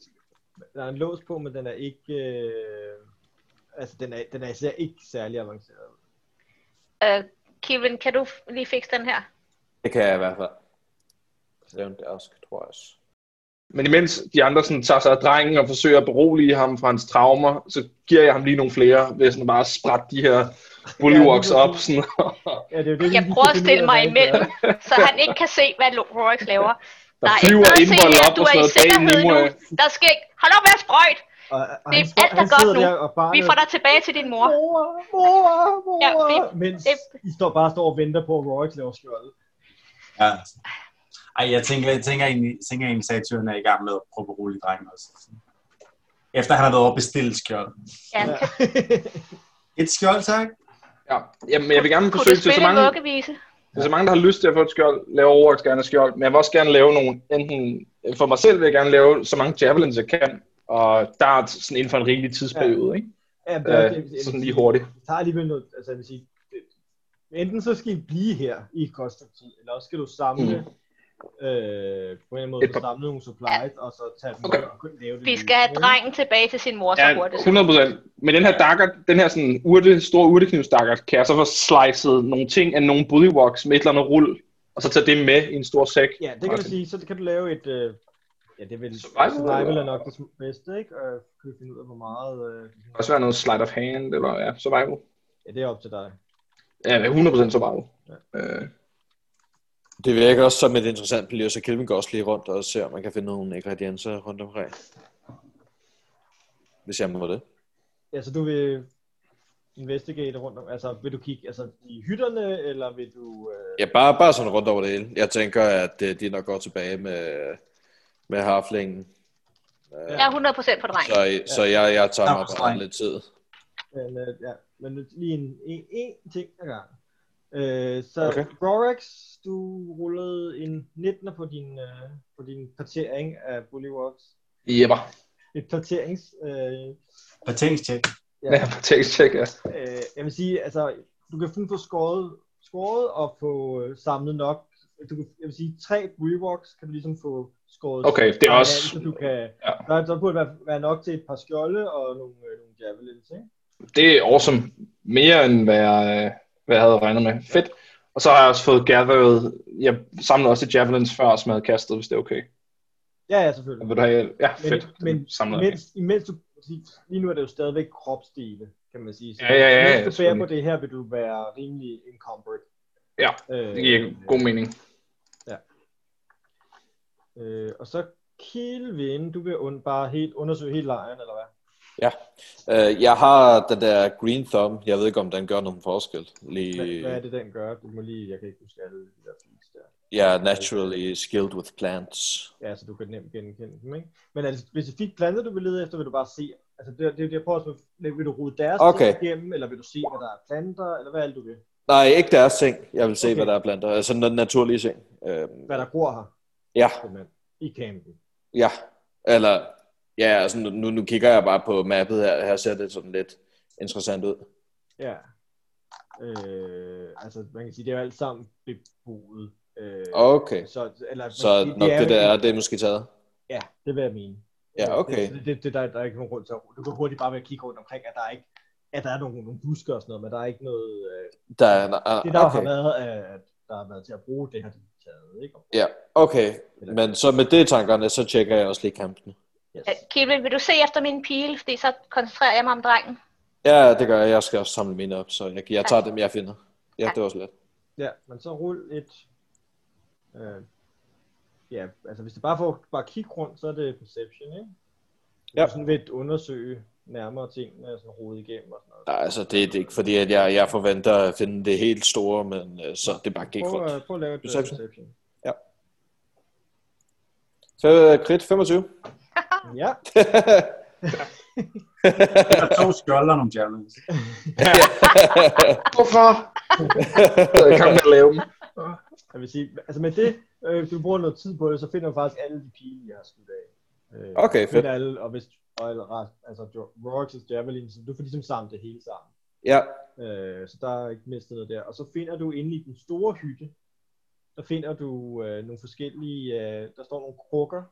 der er en lås på, men den er ikke, øh, altså den er, den er især ikke særlig avanceret. Øh, Kevin, kan du f- lige fikse den her? det kan jeg i hvert fald. Lave en dask, tror jeg også. Men imens de andre sådan, tager sig af drengen og forsøger at berolige ham fra hans traumer, så giver jeg ham lige nogle flere ved sådan bare at sprætte de her bullywalks Ja, det er op. Sådan, Ja, det er jo det, vi Jeg lige prøver at skal finde stille ud af, mig hvad det er. imellem, så han ikke kan se, hvad Rolex laver. der Der er ikke flyver indvold noget at se her, op du og er sådan i noget bag sikkerhed Nimue. nu. Der skal ikke... Hold op med at sprøjte! Og, og Det er han står- alt, der han er godt sidder nu. Der, og barnet, Vi får dig tilbage til din mor. Mor, mor, mor. Ja, Ja, det- mens det- I står bare står og venter på, at Rorik laver skjoldet. Ja. Ej, jeg tænker, jeg tænker egentlig, jeg tænker egentlig satyren er i gang med at prøve at berolige drengen også. Efter han har været over at bestille skjold. Ja, Ja. kan, Et skjold, tak. Ja. Jamen, jeg vil gerne kunne du forsøge til så spille mange, en vuggevise? til så mange, der har lyst til at få et skjold, lave overvagt gerne et skjold, men jeg vil også gerne lave nogle, enten for mig selv vil jeg gerne lave så mange javelins, jeg kan, og der er sådan inden for en rimelig tidsperiode, ikke? Ja, men det er- det- Øh, det- sådan lige hurtigt. Det tager alligevel noget, altså jeg vil sige, det, enten så skal I blive her i et godt stykke tid, eller også skal du samle, mm. øh, på en eller anden måde, Et få par- samlet nogle supplies, og så tage dem Okay. okay. og lave det. Vi nye. skal have drengen tilbage til sin mor så Ja, hurtigt. 100 procent. Men den her dakkert, den her sådan urte, store urteknivsdakkert, kan jeg så få slicet nogle ting af nogle bullywalks med et eller andet rull, og så tage det med i en stor sæk. Ja, det kan du Okay. sige, så kan du lave et, øh, ja det vil, Survival, survival, survival er eller? nok det sm- bedste, ikke? Og kan finde ud af, hvor meget, øh, Det kan også være noget sleight of hand, eller ja, survival. ja det er op til dig. Ja, 100 procent survival. Øh, Det virker også som et interessant miljø, så Kelvin går også lige rundt og ser, om man kan finde nogle ingredienser rundt omkring. Hvis jeg må det. Ja, så du vil investigate rundt om, altså vil du kigge altså, i hytterne, eller vil du... Øh, Ja, bare, bare sådan rundt over det hele. Jeg tænker, at øh, de nok går tilbage med, med harflingen. Jeg er 100 procent på drengen. Så, så jeg, jeg tager mig Tak, bare dreng. lidt tid. Men, øh, ja, men nu lige en, en, en ting ad gangen. Øh, så Okay. okay. Rorex, du rullede en 19'er på din, øh, på din partering af Bullywogs. Jepper. Et parterings... Øh, Partænkstjek. Ja, text check, ja. øh, jeg vil sige, altså, du kan finde på skåret, skåret og få øh, samlet nok. Du kan, jeg vil sige, tre Bullywogs kan du ligesom få skåret. Okay, det er fra også- hinanden, Så du kan, Ja. ja. der, der burde være, være nok til et par skjolde og nogle, øh, nogle javelins, ikke? Det er awesome. Mere end hvad jeg, øh, hvad jeg havde regnet med. Fedt. Og så har jeg også fået gathered, jeg samlede også de javelins før, som jeg havde kastet, hvis det er okay. Ja, ja, selvfølgelig. Vil du have, ja, Men, fedt. men samler jeg. imens, imens du, lige nu er det jo stadigvæk kropsdele, kan man sige. Så Ja, ja, ja, ja, Hvis du bærer på selvfølgelig. det her, vil du være rimelig encumbered. Ja, øh, Det giver god mening. Øh, og så Kilvin, du vil und, bare helt undersøge hele lejren, eller hvad? Øh, jeg har den der green thumb. Jeg ved ikke, om den gør nogen forskel. Hvad, hvad er Lige, det, den gør? Du må lige, jeg kan ikke huske alle de der fisk der. jeg er naturally skilled with plants. Ja, så du kan nemt genkende dem, ikke? Men er det specifikt planter, du vil lede efter, vil du bare se? Altså, det, er- det, er- det jeg prøver at spørge, vil du rode deres Okay. ting igennem, eller vil du se, hvad der er planter, eller hvad er det, du vil? Nej, ikke deres ting. Jeg vil se, Okay. okay. hvad der er blandt der. Altså den naturlige ting. Øhm, Hvad der gror her, ja, simpelthen, i campen. Ja, eller ja, altså nu- nu, nu kigger jeg bare på mappet her, her ser det sådan lidt interessant ud. Ja. Øh, altså, man kan sige, det er jo alt sammen beboet. Øh, Okay, Så, eller, man så kan sige, nok er det jo der er, en- det er måske taget. Ja, det vil jeg mene. Øh, Ja, okay. Det, det, det der, der er ikke nogen grund til at Du kan hurtigt bare ved at kigge rundt omkring, at der er ikke at der er nogle, nogle busker og sådan noget, men der er ikke noget... Øh, Der, er- der, det der okay. har Ah, okay. været, øh, der har været til at bruge det her, de har taget, ikke? Ja, okay. Men så med det i tankerne, så tjekker jeg også lige kampene. Yes. Øh, Kilvin, vil du se efter min pile? Fordi så koncentrerer jeg mig om drengen. Ja, det gør jeg. Jeg skal også samle mine op, så jeg, jeg tager dem, jeg finder. Ja, Ja. det var slet. Ja, men så rul et... Øh, ja, altså hvis det bare får bare kig rundt, så er det perception, ikke? Ja. Ja. Sådan lidt undersøge nærmere tingene, sådan rode igennem og sådan noget. Nej, altså det er det ikke, fordi at jeg, jeg forventer at finde det helt store, men øh, så det bare gik Prøv, rundt. at- prøv at lave et øh, Perception. perception. perception. Så øh, krit 25. Ja, Der er to skjolder og nogle javelins. Hvorfor? Jeg er i gang med at lave dem. jeg vil sige, altså med det, øh, hvis du bruger noget tid på det, så finder du faktisk alle de pile, jeg har skudt af. Øh, Okay, du fedt. Finder alle, og hvis og eller, ret- altså Rorik's Javelin, så du får ligesom samlet det hele sammen. Ja, Øh, så der er ikke mistet noget der. Og så finder du inde i den store hytte, der finder du øh, nogle forskellige, øh, der står nogle krukker,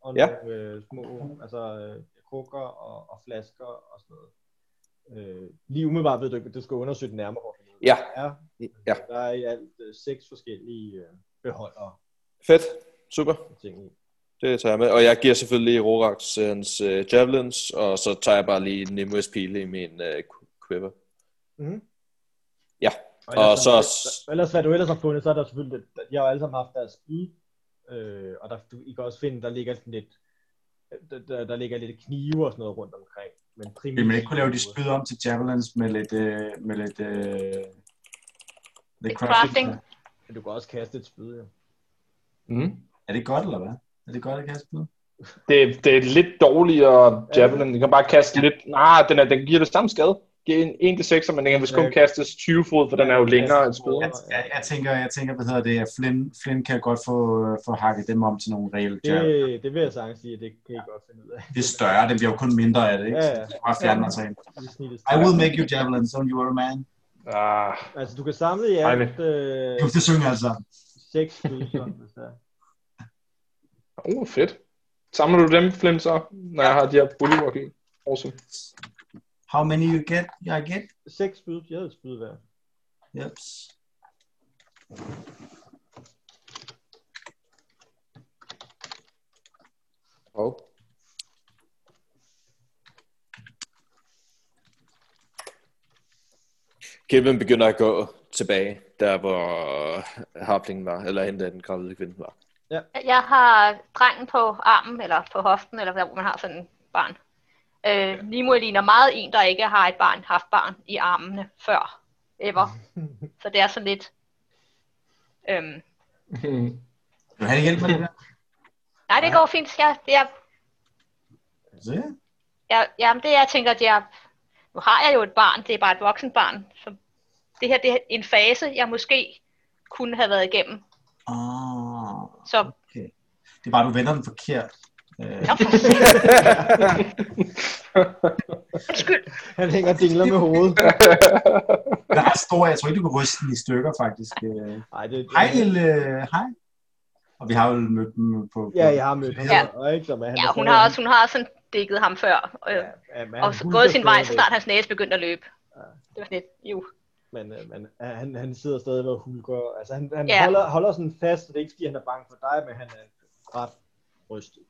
og Ja. nogle øh, små, altså øh, krukker og, og flasker og sådan noget. Øh, lige umiddelbart ved du ikke, du skal undersøge det nærmere. hvor det er. ja, Ja, ja. der er i alt øh, seks forskellige øh, beholdere Fedt. Super. og ting i. Det tager jeg med. Og jeg giver selvfølgelig Rorax øh, hans øh, javelins, og så tager jeg bare lige Nimue's pile i min øh, quiver. Mhm. Ja, og ellers, så- Ellers hvad du ellers har fundet, så er der selvfølgelig, de har jo alle sammen haft deres spyd, øh, og der, du, I kan også finde, der ligger sådan lidt, der, der, der ligger lidt knive og sådan noget rundt omkring. Men primært... Vil man ikke kunne lave de spyd om til javelins med lidt... Øh, med lidt, øh, lidt Lidt crafting. Men Du kan også kaste et spyd, ja. Mm. Er det godt, eller hvad? Er det godt at kaste spyd? Det, det er lidt dårligere javelin. Den kan bare kaste lidt... Nej, den, er, den giver det samme skade. Det er en- en til 6, men den kan vist kun Ja. kastes 20 fod, for den er jo længere end spyd. Jeg, jeg, jeg, tænker, jeg tænker, hvad hedder det, at Flynn, Flynn kan godt få, få hakket dem om til nogle reelle javelins. Det, det vil jeg sagtens sige, at det kan I godt finde ud af. Det er større, det bliver jo kun mindre af det, ikke? Ja, Ja, ja. ja. Så det er bare at fjerne mig til en. I snittet. I will make you javelins, don't you worry, man. Ah, Altså, du kan samle i Ej, alt øh, Jo, det synger altså. seks spyd, sådan, hvis der. oh, fedt. Samler du dem, Flim, så? Når jeg har de her bullyrock i. Awesome. How many you get? I get? Seks spyd, jeg havde et spyd hver. Yep. Og Kevin begynder at gå tilbage, der hvor harplingen var, eller hende den gravide kvinde var. Jeg har drengen på armen, eller på hoften, eller der, hvor man har sådan en barn. Øh, Nimo ligner meget en, der ikke har et barn, haft barn i armene før, ever. Så det er sådan lidt... Øhm, Vil du have hjælp med det der? nej, det går fint. Jeg, jeg, Så ja. jeg, jamen, det jeg tænker, at jeg... Nu har jeg jo et barn, det er bare et voksent barn. Så det her det er en fase, jeg måske kunne have været igennem. Ah, Så okay. Det er bare, du vender den forkert. Øh, Nå, for satan. undskyld. Han hænger og dingler med hovedet. den er ret stor, jeg tror ikke, du kan ryste den i stykker, faktisk. Øh, Ej, det, Hej, lille. øh, Hej. Og vi har jo mødt dem på... på Ja, jeg har mødt ham. Ja. Og ikke, som er, han Ja, er hun stadig- har, også, hun har sådan dækket ham før. Øh, Ja, ja, men og han hulker gået sin vej, så stadigvæk. snart hans næse begyndte at løbe. Det var sådan lidt, jo. Men, øh, men øh, han, han sidder stadig og hulker. Altså, han, han Ja. holder, holder sådan fast, så det er ikke, fordi han er bange for dig, men han er ret rystet.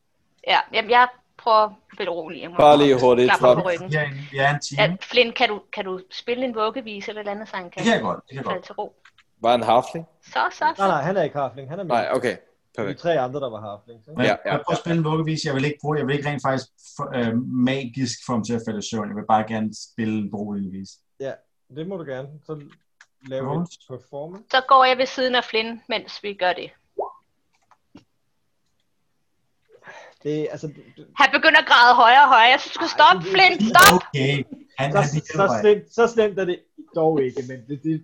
Ja, jamen, jeg prøver at berolige ham. Bare lige hurtigt Klap frem. ham på ryggen. Ja, vi er en time. Ja, Flynn, kan du, kan du spille en vuggevise eller et eller andet, så han Det kan kan jeg godt, det kan jeg falde godt. til ro? Var en harfling? Så, så, Nej, så. nej, han er ikke harfling. Han er med. Nej, okay. De Perfekt. tre andre, der var harfling. Så. Men Ja, ja, ja, ja, jeg prøver at spille en vuggevis. Jeg vil ikke bruge, jeg vil ikke rent faktisk for, øh, magisk få ham til at falde i søvn. Jeg vil bare gerne spille en brugeligvis. Det må du gerne. Så lave en Rolls. performance. Så går jeg ved siden af Flynn, mens vi gør det. Det, er- altså, du- du- Han begynder at græde højere og højere. Jeg synes, du skal stoppe, Flynn, stop! Okay. Han, så, han så, hjælper, ikke. slemt, så slemt er det dog ikke, men det, det,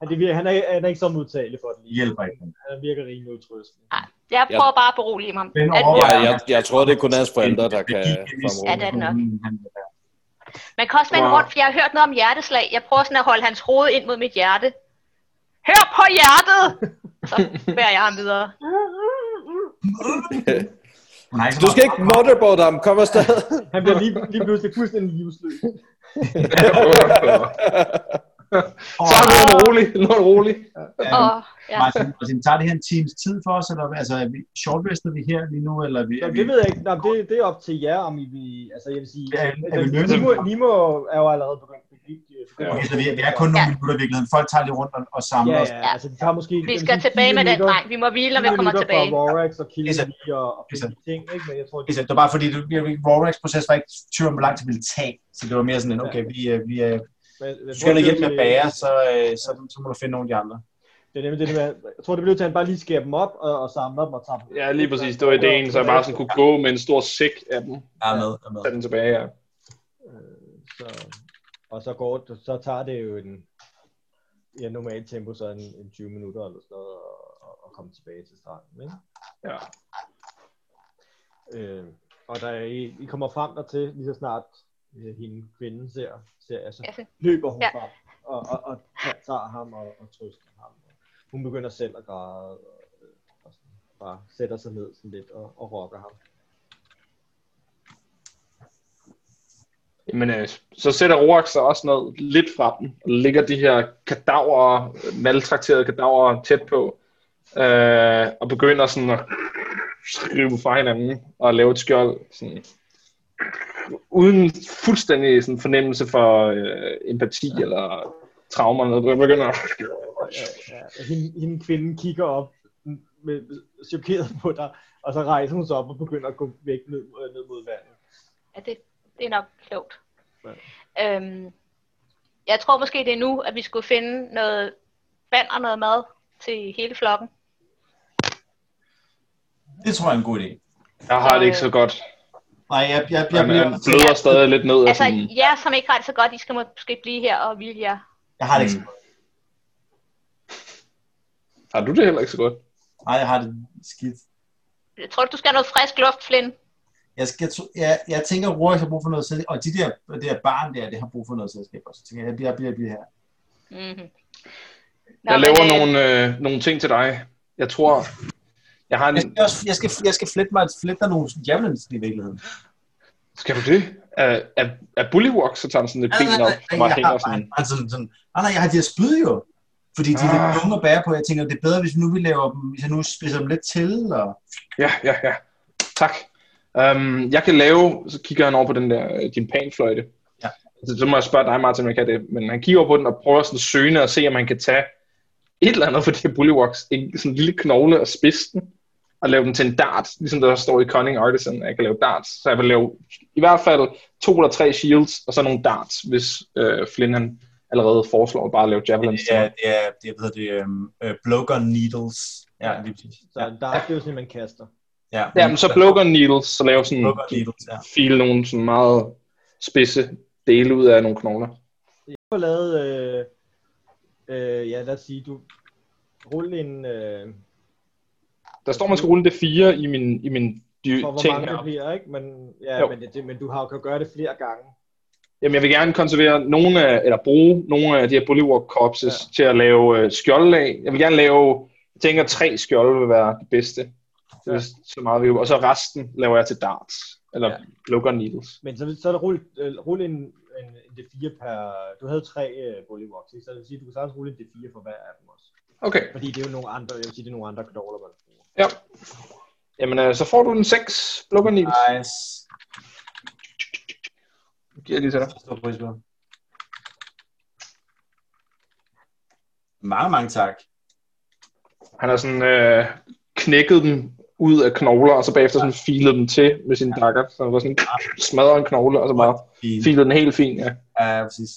han, det virker, han, er, han er ikke så modtagelig for det Han lige. hjælper ikke. Han virker rimelig udtrystende. Nej. Jeg prøver bare at berolige ham. Den At, overvejer- Ja, jeg, jeg tror, det er kun hans forældre, der kan Ja, fremrode. det er det nok. Han, man kan også vende Wow. rundt, for jeg har hørt noget om hjerteslag. Jeg prøver sådan at holde hans hoved ind mod mit hjerte. Hør på hjertet! Så bærer jeg ham videre. Hun har ikke så Du meget- skal ikke motherboard ham, kom afsted. Han bliver lige, lige pludselig fuldstændig livsløs. Så er det rolig, nu er det rolig. Øhm, Og, ja. Martin, Martin, tager det her en times tid for os, eller hvad? altså, er vi shortlister vi her lige nu, eller er vi, Nå, er vi, det ved jeg ikke. Nå, men det, det er op til jer, om I vil... Altså, jeg vil sige... altså, Ja, er vi nødt til- Nimo, Nimo er jo allerede begyndt at blive... okay, så vi, er, vi er kun nogle Ja. minutter i virkeligheden. Folk tager lige rundt og, og samler Ja, os. ja, altså de tager måske... Vi skal tilbage med den dreng. Vi må hvile, når vi kommer tilbage. Fra Rorax og Killing Lisa. lige og, og Lisa. forskellige ting, ikke? Men jeg tror, Det var bare fordi, det, Rorex proces var ikke tyr om, hvor lang tid ville tage. Så det var mere sådan, en, okay, vi, øh, vi, øh, det... hvis du skal have hjælp med at bære, så, øh, så, så må du finde nogle af de andre. Det er nemlig det, der med- jeg tror, det blev til, at han bare lige skærer dem op og, og samler dem og tager dem. Ja, lige præcis. Det var ideen, så jeg bare sådan kunne gå med en stor sæk af dem. Jeg er med. Jeg er med. Tag den tilbage, ja. Så, og så går det, så tager det jo en, ja, normalt tempo, så en, en 20 minutter eller sådan noget, og, og, og komme tilbage til stranden, ikke? ja. Øh, og da I, I kommer frem dertil, lige så snart øh, hende kvinden ser, ser altså, Ja, så- løber hun Ja. ja. frem og, og, og tager- tager ham og, og trøster ham. Hun begynder selv at græde og, og sådan, bare sætter sig ned sådan lidt og, og rokker ham. Men øh, så sætter Roax sig også ned lidt fra dem, og ligger de her kadaver, øh, maltrakterede kadaver tæt på, øh, og begynder sådan at skrive fra hinanden og lave et skjold. Sådan, uden fuldstændig sådan fornemmelse for øh, empati eller traumer eller noget. Begynder at... Ja, ja. Hende, hende kvinden kigger op med, med, chokeret på dig, og så rejser hun sig op og begynder at gå væk ned, øh, ned mod vandet. Ja, det, det er nok klogt. Ja. Øhm, jeg tror måske, det er nu, at vi skulle finde noget vand og noget mad til hele flokken. Det tror jeg er en god idé. Jeg har det ikke så godt. Nej, jeg, jeg, jeg, Jeg, bliver, jeg bløder stadig lidt ned. Og Altså, sådan, jer, som ikke har det så godt, I skal måske blive her og hvile jer. jeg har det ikke så godt. har du det heller ikke så godt? Nej, jeg har det skidt. Jeg tror, du skal have noget frisk luft, Flynn. Jeg, skal, jeg, jeg tænker, at Rorik har brug for noget selskab, og de der, det der barn der, det har brug for noget selskab også. Så tænker jeg, jeg bliver, jeg bliver, jeg bliver her. Mm-hmm. Jeg laver nogle, øh, nogle ting til dig. Jeg tror, jeg har Jeg en... skal, også, jeg skal, jeg skal flette, mig, flette dig nogle javelins i virkeligheden. Skal du det? Er, er, er Bullywalk, så tager han sådan et ben op, og bare jeg hænger har sådan. bare sådan, sådan, nej, nej, jeg har de her spyd jo. Fordi de er lidt Ah. tunge at bære på. Jeg tænker, det er bedre, hvis vi nu vi laver dem, hvis jeg nu spidser dem lidt til. Og... Ja, ja, ja. Tak. Um, jeg kan lave... Så kigger han over på den der, øh, din panfløjte. Ja. Så, så må jeg spørge dig, Martin, om jeg kan det. Men han kigger over på den og prøver sådan søgende at se, om han kan tage et eller andet for de her Bullywalks. En sådan en lille knogle og spidse den og lave dem til en dart, ligesom der står i Cunning Artisan, at jeg kan lave darts. Så jeg vil lave i hvert fald to eller tre shields, og så nogle darts, hvis øh, Flynn han allerede foreslår bare at lave javelins til Ja, mig. det er, det, hedder det, um, uh, blowgun needles. Ja, lige præcis. Så ja. der er det jo sådan, at man kaster. Ja, Ja, men så blowgun needles, så lave sådan Blowgun needles, ja. file nogle sådan meget spidse dele ud af nogle knogler. Du har lavet, øh, øh, ja lad os sige, du rulle en, øh, Der står, man skal rulle det fire i min, i min dy- for hvor ting mange det her. bliver, ikke? Men, ja, Jo. men, det, men du har, kan gøre det flere gange. Jamen, jeg vil gerne konservere nogle af, eller bruge nogle af de her Bullywalk corpses ja. til at lave øh, skjolde af. Jeg vil gerne lave, jeg tænker, tre skjolde vil være det bedste. Ja. Ja. Så meget vi Og så resten laver jeg til darts, eller Ja. ja. blowgun needles. Men så, så er der rulle, øh, rulle en, en, en D4 per... Du havde tre øh, bullywalks, ikke? så det vil sige, at du kan sagtens rulle en D4 for hver af dem også. Okay, Fordi det er jo nogle andre, jeg vil sige, det er nogle andre knogler, man bruger. ja. Jamen, øh, så får du den 6 blowgun needles. Nice. Det giver jeg lige til dig. Stor pris på. Mange, mange tak. Han har sådan øh, knækket dem ud af knogler, og så bagefter sådan filet dem til med sin dakker. Så han var sådan smadret en knogle, og så bare Fint. filet den helt fint, ja. Ja, præcis.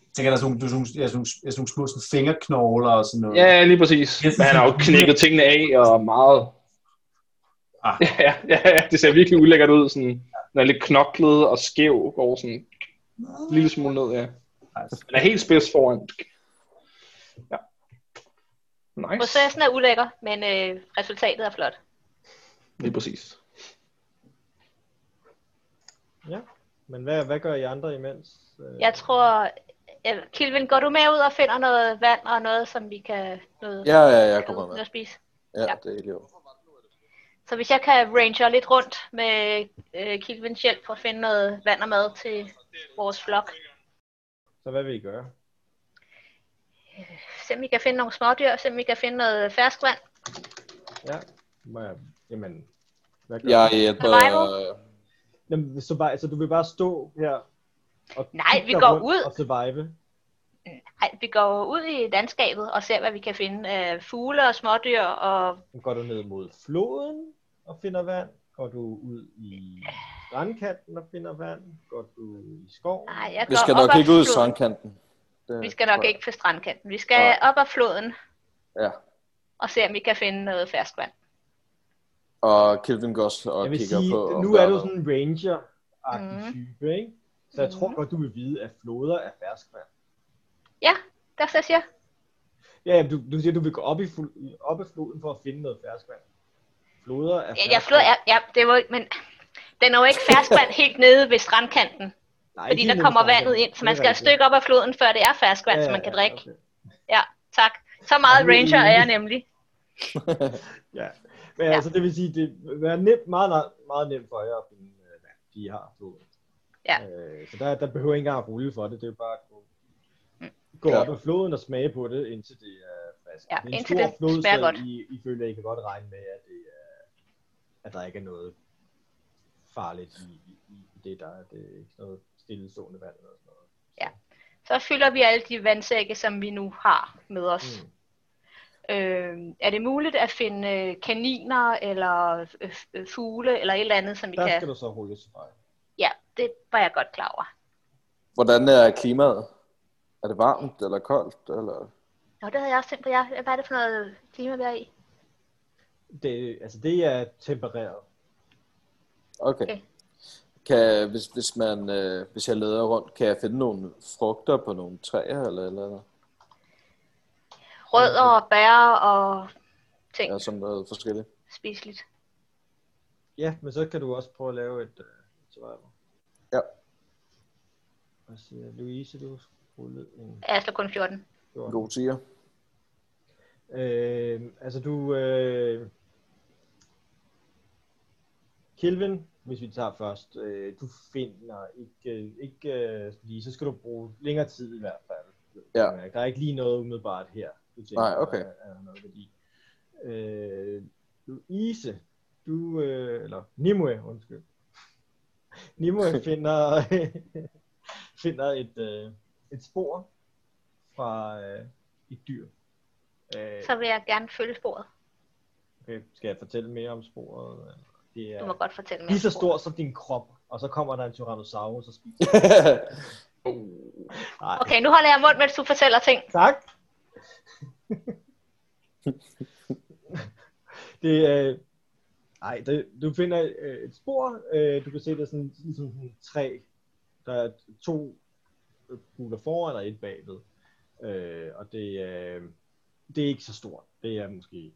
Jeg tænker, der er sådan nogle, der er sådan nogle, der er sådan nogle, der er sådan nogle små sådan fingerknogler og sådan noget. Ja, lige præcis. Men han har jo knækket tingene af, og meget... Ah. Ja, ja, ja, det ser virkelig ulækkert ud, sådan, når er lidt knoklet og skæv, går sådan en lille smule ned, ja. Nice. Den er helt spids foran. Ja. Nice. Processen er ulækker, men øh, resultatet er flot. Lige præcis. Men hvad, hvad gør I andre imens? Øh, Jeg tror... øh, Kilvin, går du med ud og finder noget vand og noget, som vi kan... Noget, Ja, ja, jeg kommer med. noget at spise? Ja, det er ikke jo. Så hvis jeg kan ranger lidt rundt med øh, Kilvins hjælp for at finde noget vand og mad til vores flok. Så hvad vil I gøre? Se om I kan finde nogle smådyr, se om I kan finde noget ferskvand. Ja. Må jeg, jamen, hvad gør Jeg du? hjælper... øh, Survival? Jamen, så, bare, altså, du vil bare stå her og Nej, kigge vi dig går rundt ud. og survive. Ej, vi går ud i landskabet og ser, hvad vi kan finde af fugle og smådyr. Og Nu Går du ned mod floden og finder vand? Går du ud i strandkanten og finder vand? Går du i skoven? nej, jeg Vi går skal op nok ad ikke ud i floden. strandkanten. Det, Øh, Vi skal nok ikke på strandkanten. Vi skal Nej. op ad floden Ja. og se, om vi kan finde noget ferskvand. Og Kelvin går også og Jeg vil kigger sige, på... om nu der er du noget. sådan en ranger-agtig Mhm. type, ikke? Så jeg tror Mhm. godt, du vil vide, at floder er ferskvand. Der så siger jeg, Ja, ja, du, du siger, du vil gå op i, fl- i- op i floden for at finde noget ferskvand. Floder er ja, jeg flod, ja, ja, det var, men den er jo ikke ferskvand helt nede ved strandkanten, Nej, fordi ikke der nede i kommer strandkanten. vandet ind, så Det er man skal et rigtigt. stykke op ad floden, før det er ferskvand, ja, så man kan drikke. okay. Tak. Så meget Ej, det er ranger er jeg enig. nemlig. Ja, men Ja. ja. altså det vil sige, det vil være nemt, meget, meget, meget nemt for jer at finde øh, vand, de har floden. Ja. Øh, så der, der behøver I ikke engang at rulle for det, det er jo bare at gå, Mm. gå Ja. op ad floden og smage på det, indtil det er frisk. Ja, det er en indtil stor det flod, smager så godt. I, I føler, at I kan godt regne med, at, det er, at der ikke er noget farligt i, i, i det, der er det er ikke noget stillestående vand eller sådan noget. Så fylder vi alle de vandsække, som vi nu har med os. Mm. Mm. Øh, er det muligt at finde øh, kaniner eller øh, øh, fugle eller et eller andet, som vi Der kan... skal du så rulle survival. Ja, det var jeg godt klar over. Hvordan er klimaet? Er det varmt eller koldt? Eller... Nå, det havde jeg også tænkt på. jer. Hvad er det for noget klima, vi er i? Det, altså det er tempereret. Okay. Okay. okay. Kan, hvis, hvis, man, øh, hvis jeg leder rundt, kan jeg finde nogle frugter på nogle træer eller eller andet? Rødder og bær og ting Ja, ja. som noget forskelligt. spiseligt. Ja, men så kan du også prøve at lave et øh, survival. Ja. Og så siger jeg, Louise, du har rullet en Ja, Jeg slår kun 14. fjort. God tiger. Øh, altså du... Øh... Kelvin, hvis vi tager først, øh, du finder ikke, øh, ikke øh, lige, så skal du bruge længere tid i hvert fald. Ja. Der er ikke lige noget umiddelbart her. Du tænker, Nej, okay. der Er, er noget værdi. Øh, Louise, du, øh, eller Nimue, undskyld. Nimue finder, finder et, øh, et spor fra øh, et dyr. Øh, Så vil jeg gerne følge sporet. okay, Øh, skal jeg fortælle mere om sporet? Det Du må er godt fortælle mig. lige så om sporet. stort som din krop, og så kommer der en Tyrannosaurus og spiser. Nej, Okay, nu holder jeg mund, mens du fortæller ting. Tak. det er... Øh, ej, det, du finder øh, et spor. Øh, du kan se, der er sådan, ligesom sådan tre. Der er to buler foran og et bagved. Øh, og det, øh, det er ikke så stort. Det er måske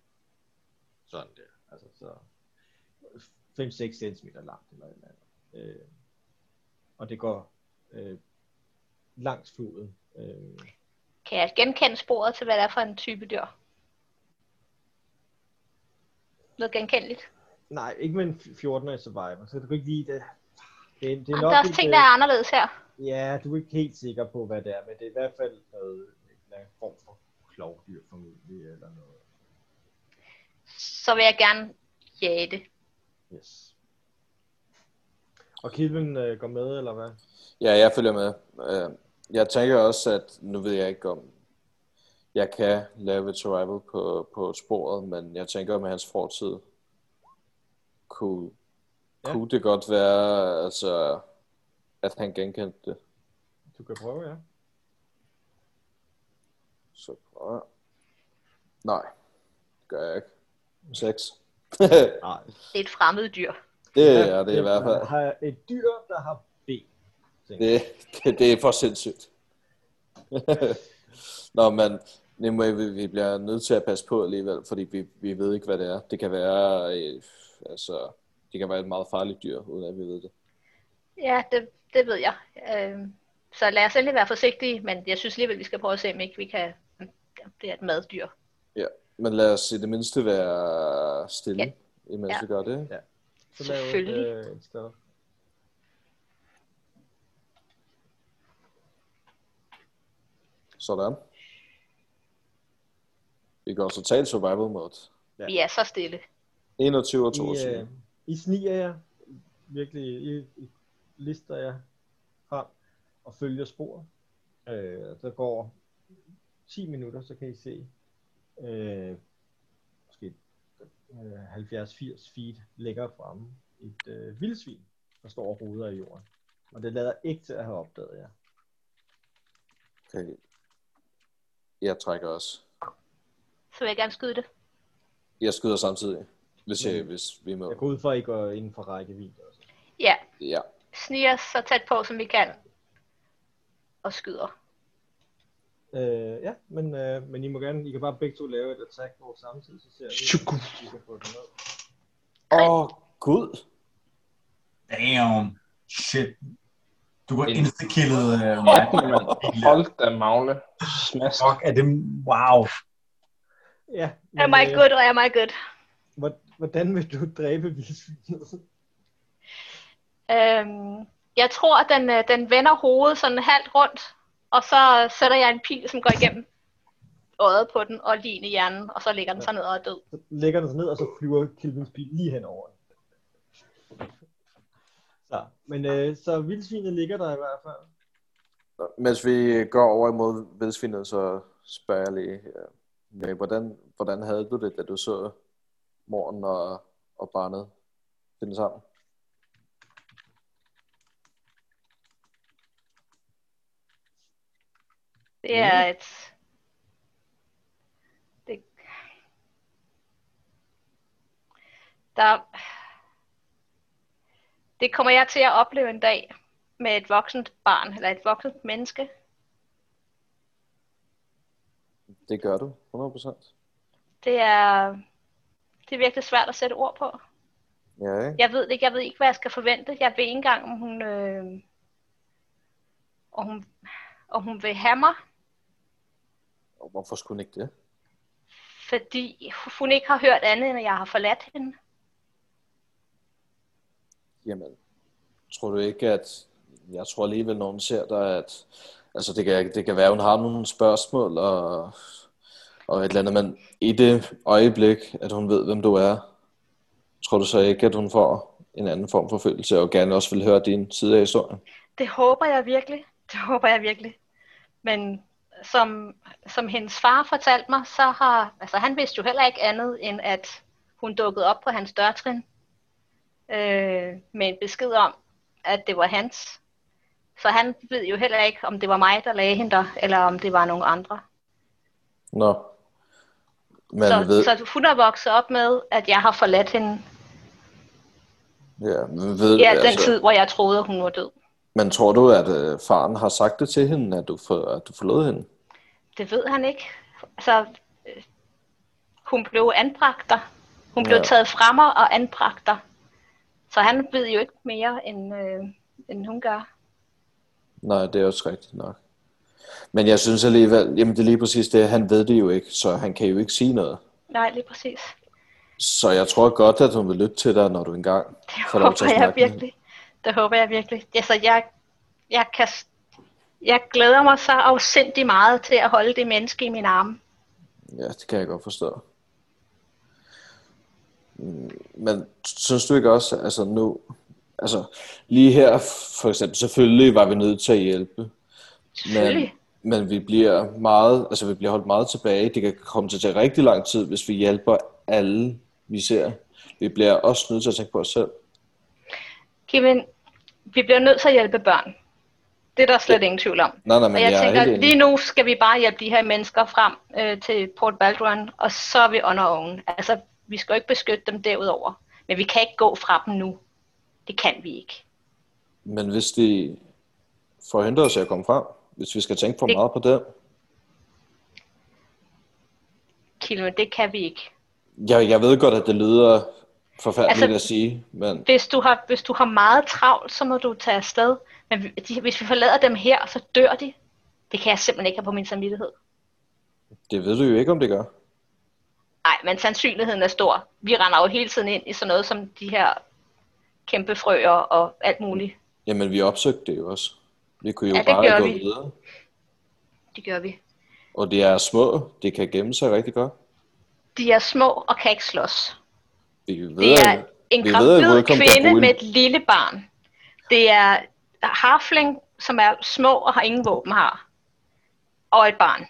sådan der. Altså så 5-6 cm langt eller et eller andet. Øh, og det går øh, langs floden. Øh, Kan jeg genkende sporet til, hvad det er for en type dyr? Noget genkendeligt. Nej, ikke med en 14'er i Survivor, så du kan ikke lige det. Det, det er Jamen, nok Ah, der er også et, ting, øh, der er anderledes her. Ja, du er ikke helt sikker på, hvad det er, men det er i hvert fald noget, en eller anden form for klovdyr formentlig, eller noget. Så vil jeg gerne jage det. Yes. Og Kilvin øh, går med, eller hvad? Ja, jeg følger med. Øh, Jeg tænker også, at nu ved jeg ikke om, jeg kan lave et survival på, på sporet, men jeg tænker med hans fortid, kunne, Ja. ja. kunne det godt være, altså, at han genkendte det. Du kan prøve, ja. Så prøver jeg. Nej, det gør jeg ikke. 6. Nej. Det er et fremmed dyr. det er det i hvert fald. Har et dyr, der har ben. Det, det, det er for sindssygt. Nå, men Nimue, vi, vi bliver nødt til at passe på alligevel, fordi vi, vi ved ikke, hvad det er. Det kan være, øh, altså, det kan være et meget farligt dyr, uden at vi ved det. Ja, det, det ved jeg. Øh, så lad os endelig være forsigtige, men jeg synes alligevel, vi skal prøve at se, om ikke vi kan... Det er et maddyr. Men lad os i det mindste være stille. Ja. imens Ja. vi gør det. Ja. Så lav et, Selvfølgelig. øh, en stealth. Sådan. Vi går totalt survival mode. Ja. Vi er så stille. 21 og I, 22. øh, I sniger jer, virkelig, I, I lister jer frem og følger spor. Øh, der går 10 minutter, så kan I se øh, måske øh, 70-80 feet længere fremme et øh, vildsvin, der står og roder i jorden. Og det lader ikke til at have opdaget jer. Okay. Jeg trækker også. Så vil jeg gerne skyde det. Jeg skyder samtidig, hvis, jeg, Mhm. hvis vi må. Jeg går ud for, at I går inden for rækkevidde. Også. Ja, Ja, sniger os så tæt på, som vi kan. Og skyder. Øh, ja, men, øh, men I må gerne, I kan bare begge to lave et attack roll samtidig, så ser vi, Tjuku. om I kan få det ned. Åh, oh, gud. Damn. Shit. Du går En- instakillet. Øh, Hold da magle. Smask. fuck, er det... Wow. Ja, men, Am I øh, good, og am I good? hvor- Hvordan vil du dræbe vildsvinet? Øhm, jeg tror, at den, øh, den vender hovedet sådan halvt rundt, og så sætter jeg en pil, som går igennem øjet på den og lige ind i hjernen, og så ligger den så ned og er død. Så lægger den sig ned, og så flyver Kelvins bil lige henover. den. Så, men øh, så vildsvinet ligger der i hvert fald. Nå, Mens vi går over imod vildsvinet, så spørger jeg lige, øh, Mary, hvordan, hvordan havde du det, da du så morgen og, og barnet finde sammen? Det er et... Det... Der... Det kommer jeg til at opleve en dag med et voksent barn, eller et voksent menneske. Det gør du, 100%. Det er, det er virkelig svært at sætte ord på. Ja, ikke? Jeg ved det ikke. Jeg ved ikke, hvad jeg skal forvente. Jeg ved ikke engang, om hun, øh, om hun, om hun vil have mig, Og hvorfor skulle hun ikke det? fordi hun ikke har hørt andet, end at jeg har forladt hende. Jamen, tror du ikke, at... Jeg tror alligevel, når hun ser dig, at... Altså, det kan, det kan være, at hun har nogle spørgsmål og, og et eller andet, men i det øjeblik, at hun ved, hvem du er, tror du så ikke, at hun får en anden form for følelse, og gerne også vil høre din side af historien? Det håber jeg virkelig. Det håber jeg virkelig. Men som, som hendes far fortalte mig, så har... Altså, han vidste jo heller ikke andet, end at hun dukkede op på hans dørtrin øh, med en besked om, at det var hans. Så han ved jo heller ikke, om det var mig, der lagde hende der, eller om det var nogen andre. Nå. Men så, ved, så hun er vokset op med, at jeg har forladt hende ja, men ved, altså. i al den tid, hvor jeg troede, at hun var død. Men tror du, at øh, faren har sagt det til hende, at du, for, at du forlod hende? Det ved han ikke. Altså, øh, hun blev anbragt der. Hun blev Ja. taget fra mig og anbragt der. Så han ved jo ikke mere, end, øh, end hun gør. Nej, det er også rigtigt nok. Men jeg synes alligevel, jamen det er lige præcis det, han ved det jo ikke, så han kan jo ikke sige noget. Nej, lige præcis. Så jeg tror godt, at hun vil lytte til dig, når du engang Det får lov til håber at jeg snakke med hende. virkelig. Det håber jeg virkelig. Altså, jeg, jeg, kan, s- jeg glæder mig så afsindig meget til at holde det menneske i mine arme. Ja, det kan jeg godt forstå. Mm, Men synes du ikke også, altså nu, altså lige her for eksempel, selvfølgelig var vi nødt til at hjælpe, Selvfølgelig. men vi bliver meget, altså vi bliver holdt meget tilbage. Det kan komme til at tage rigtig lang tid, hvis vi hjælper alle, vi ser. Vi bliver også nødt til at tænke på os selv. Kevin, vi bliver nødt til at hjælpe børn. Det er der slet ingen tvivl om. Nej, nej, men Og jeg, jeg er tænker, helt at enig. lige nu skal vi bare hjælpe de her mennesker frem øh, til Port Baldwin, og så er vi under oven. Altså, vi skal jo ikke beskytte dem derudover. Men vi kan ikke gå fra dem nu. Det kan vi ikke. Men hvis de forhindrer os i at komme frem, hvis vi skal tænke for Det- meget på det. Kilme, det kan vi ikke. Jeg, jeg ved godt, at det lyder forfærdeligt Altså- at sige, men Hvis du, har, hvis du har meget travlt, så må du tage afsted. Men vi- de, hvis vi forlader dem her, så dør de. Det kan jeg simpelthen ikke have på min samvittighed. det ved du jo ikke, om det gør. Nej, men sandsynligheden er stor. Vi render jo hele tiden ind i sådan noget som de her kæmpe frøer og alt muligt. Jamen, vi opsøgte det jo også. Vi kunne jo Ja, det bare gjorde gå vi. videre. Det gør vi. Og det er små. Det kan gemme sig rigtig godt. De er små og kan ikke slås. Vi ved, Det er at- en vi ved, at gravid Welcome kvinde Kabul- med et lille barn. Det er harfling, som er små og har ingen våben har. Og et barn.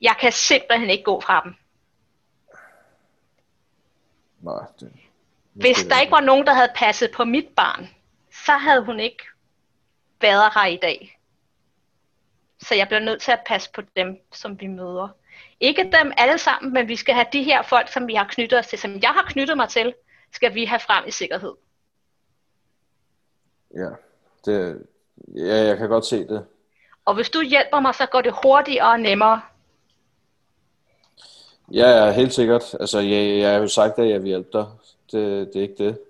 Jeg kan simpelthen ikke gå fra dem. Nej, det... Hvis det- der ikke var nogen, der havde passet på mit barn, så havde hun ikke været her i dag. Så jeg bliver nødt til at passe på dem, som vi møder. Ikke dem alle sammen, men vi skal have de her folk, som vi har knyttet os til, som jeg har knyttet mig til, skal vi have frem i sikkerhed. Ja, det... Ja, jeg kan godt se det. Og hvis du hjælper mig, så går det hurtigere og nemmere. Ja, ja, helt sikkert. Altså, jeg, jeg har jo sagt, at jeg vil hjælpe dig. Det, det er ikke det.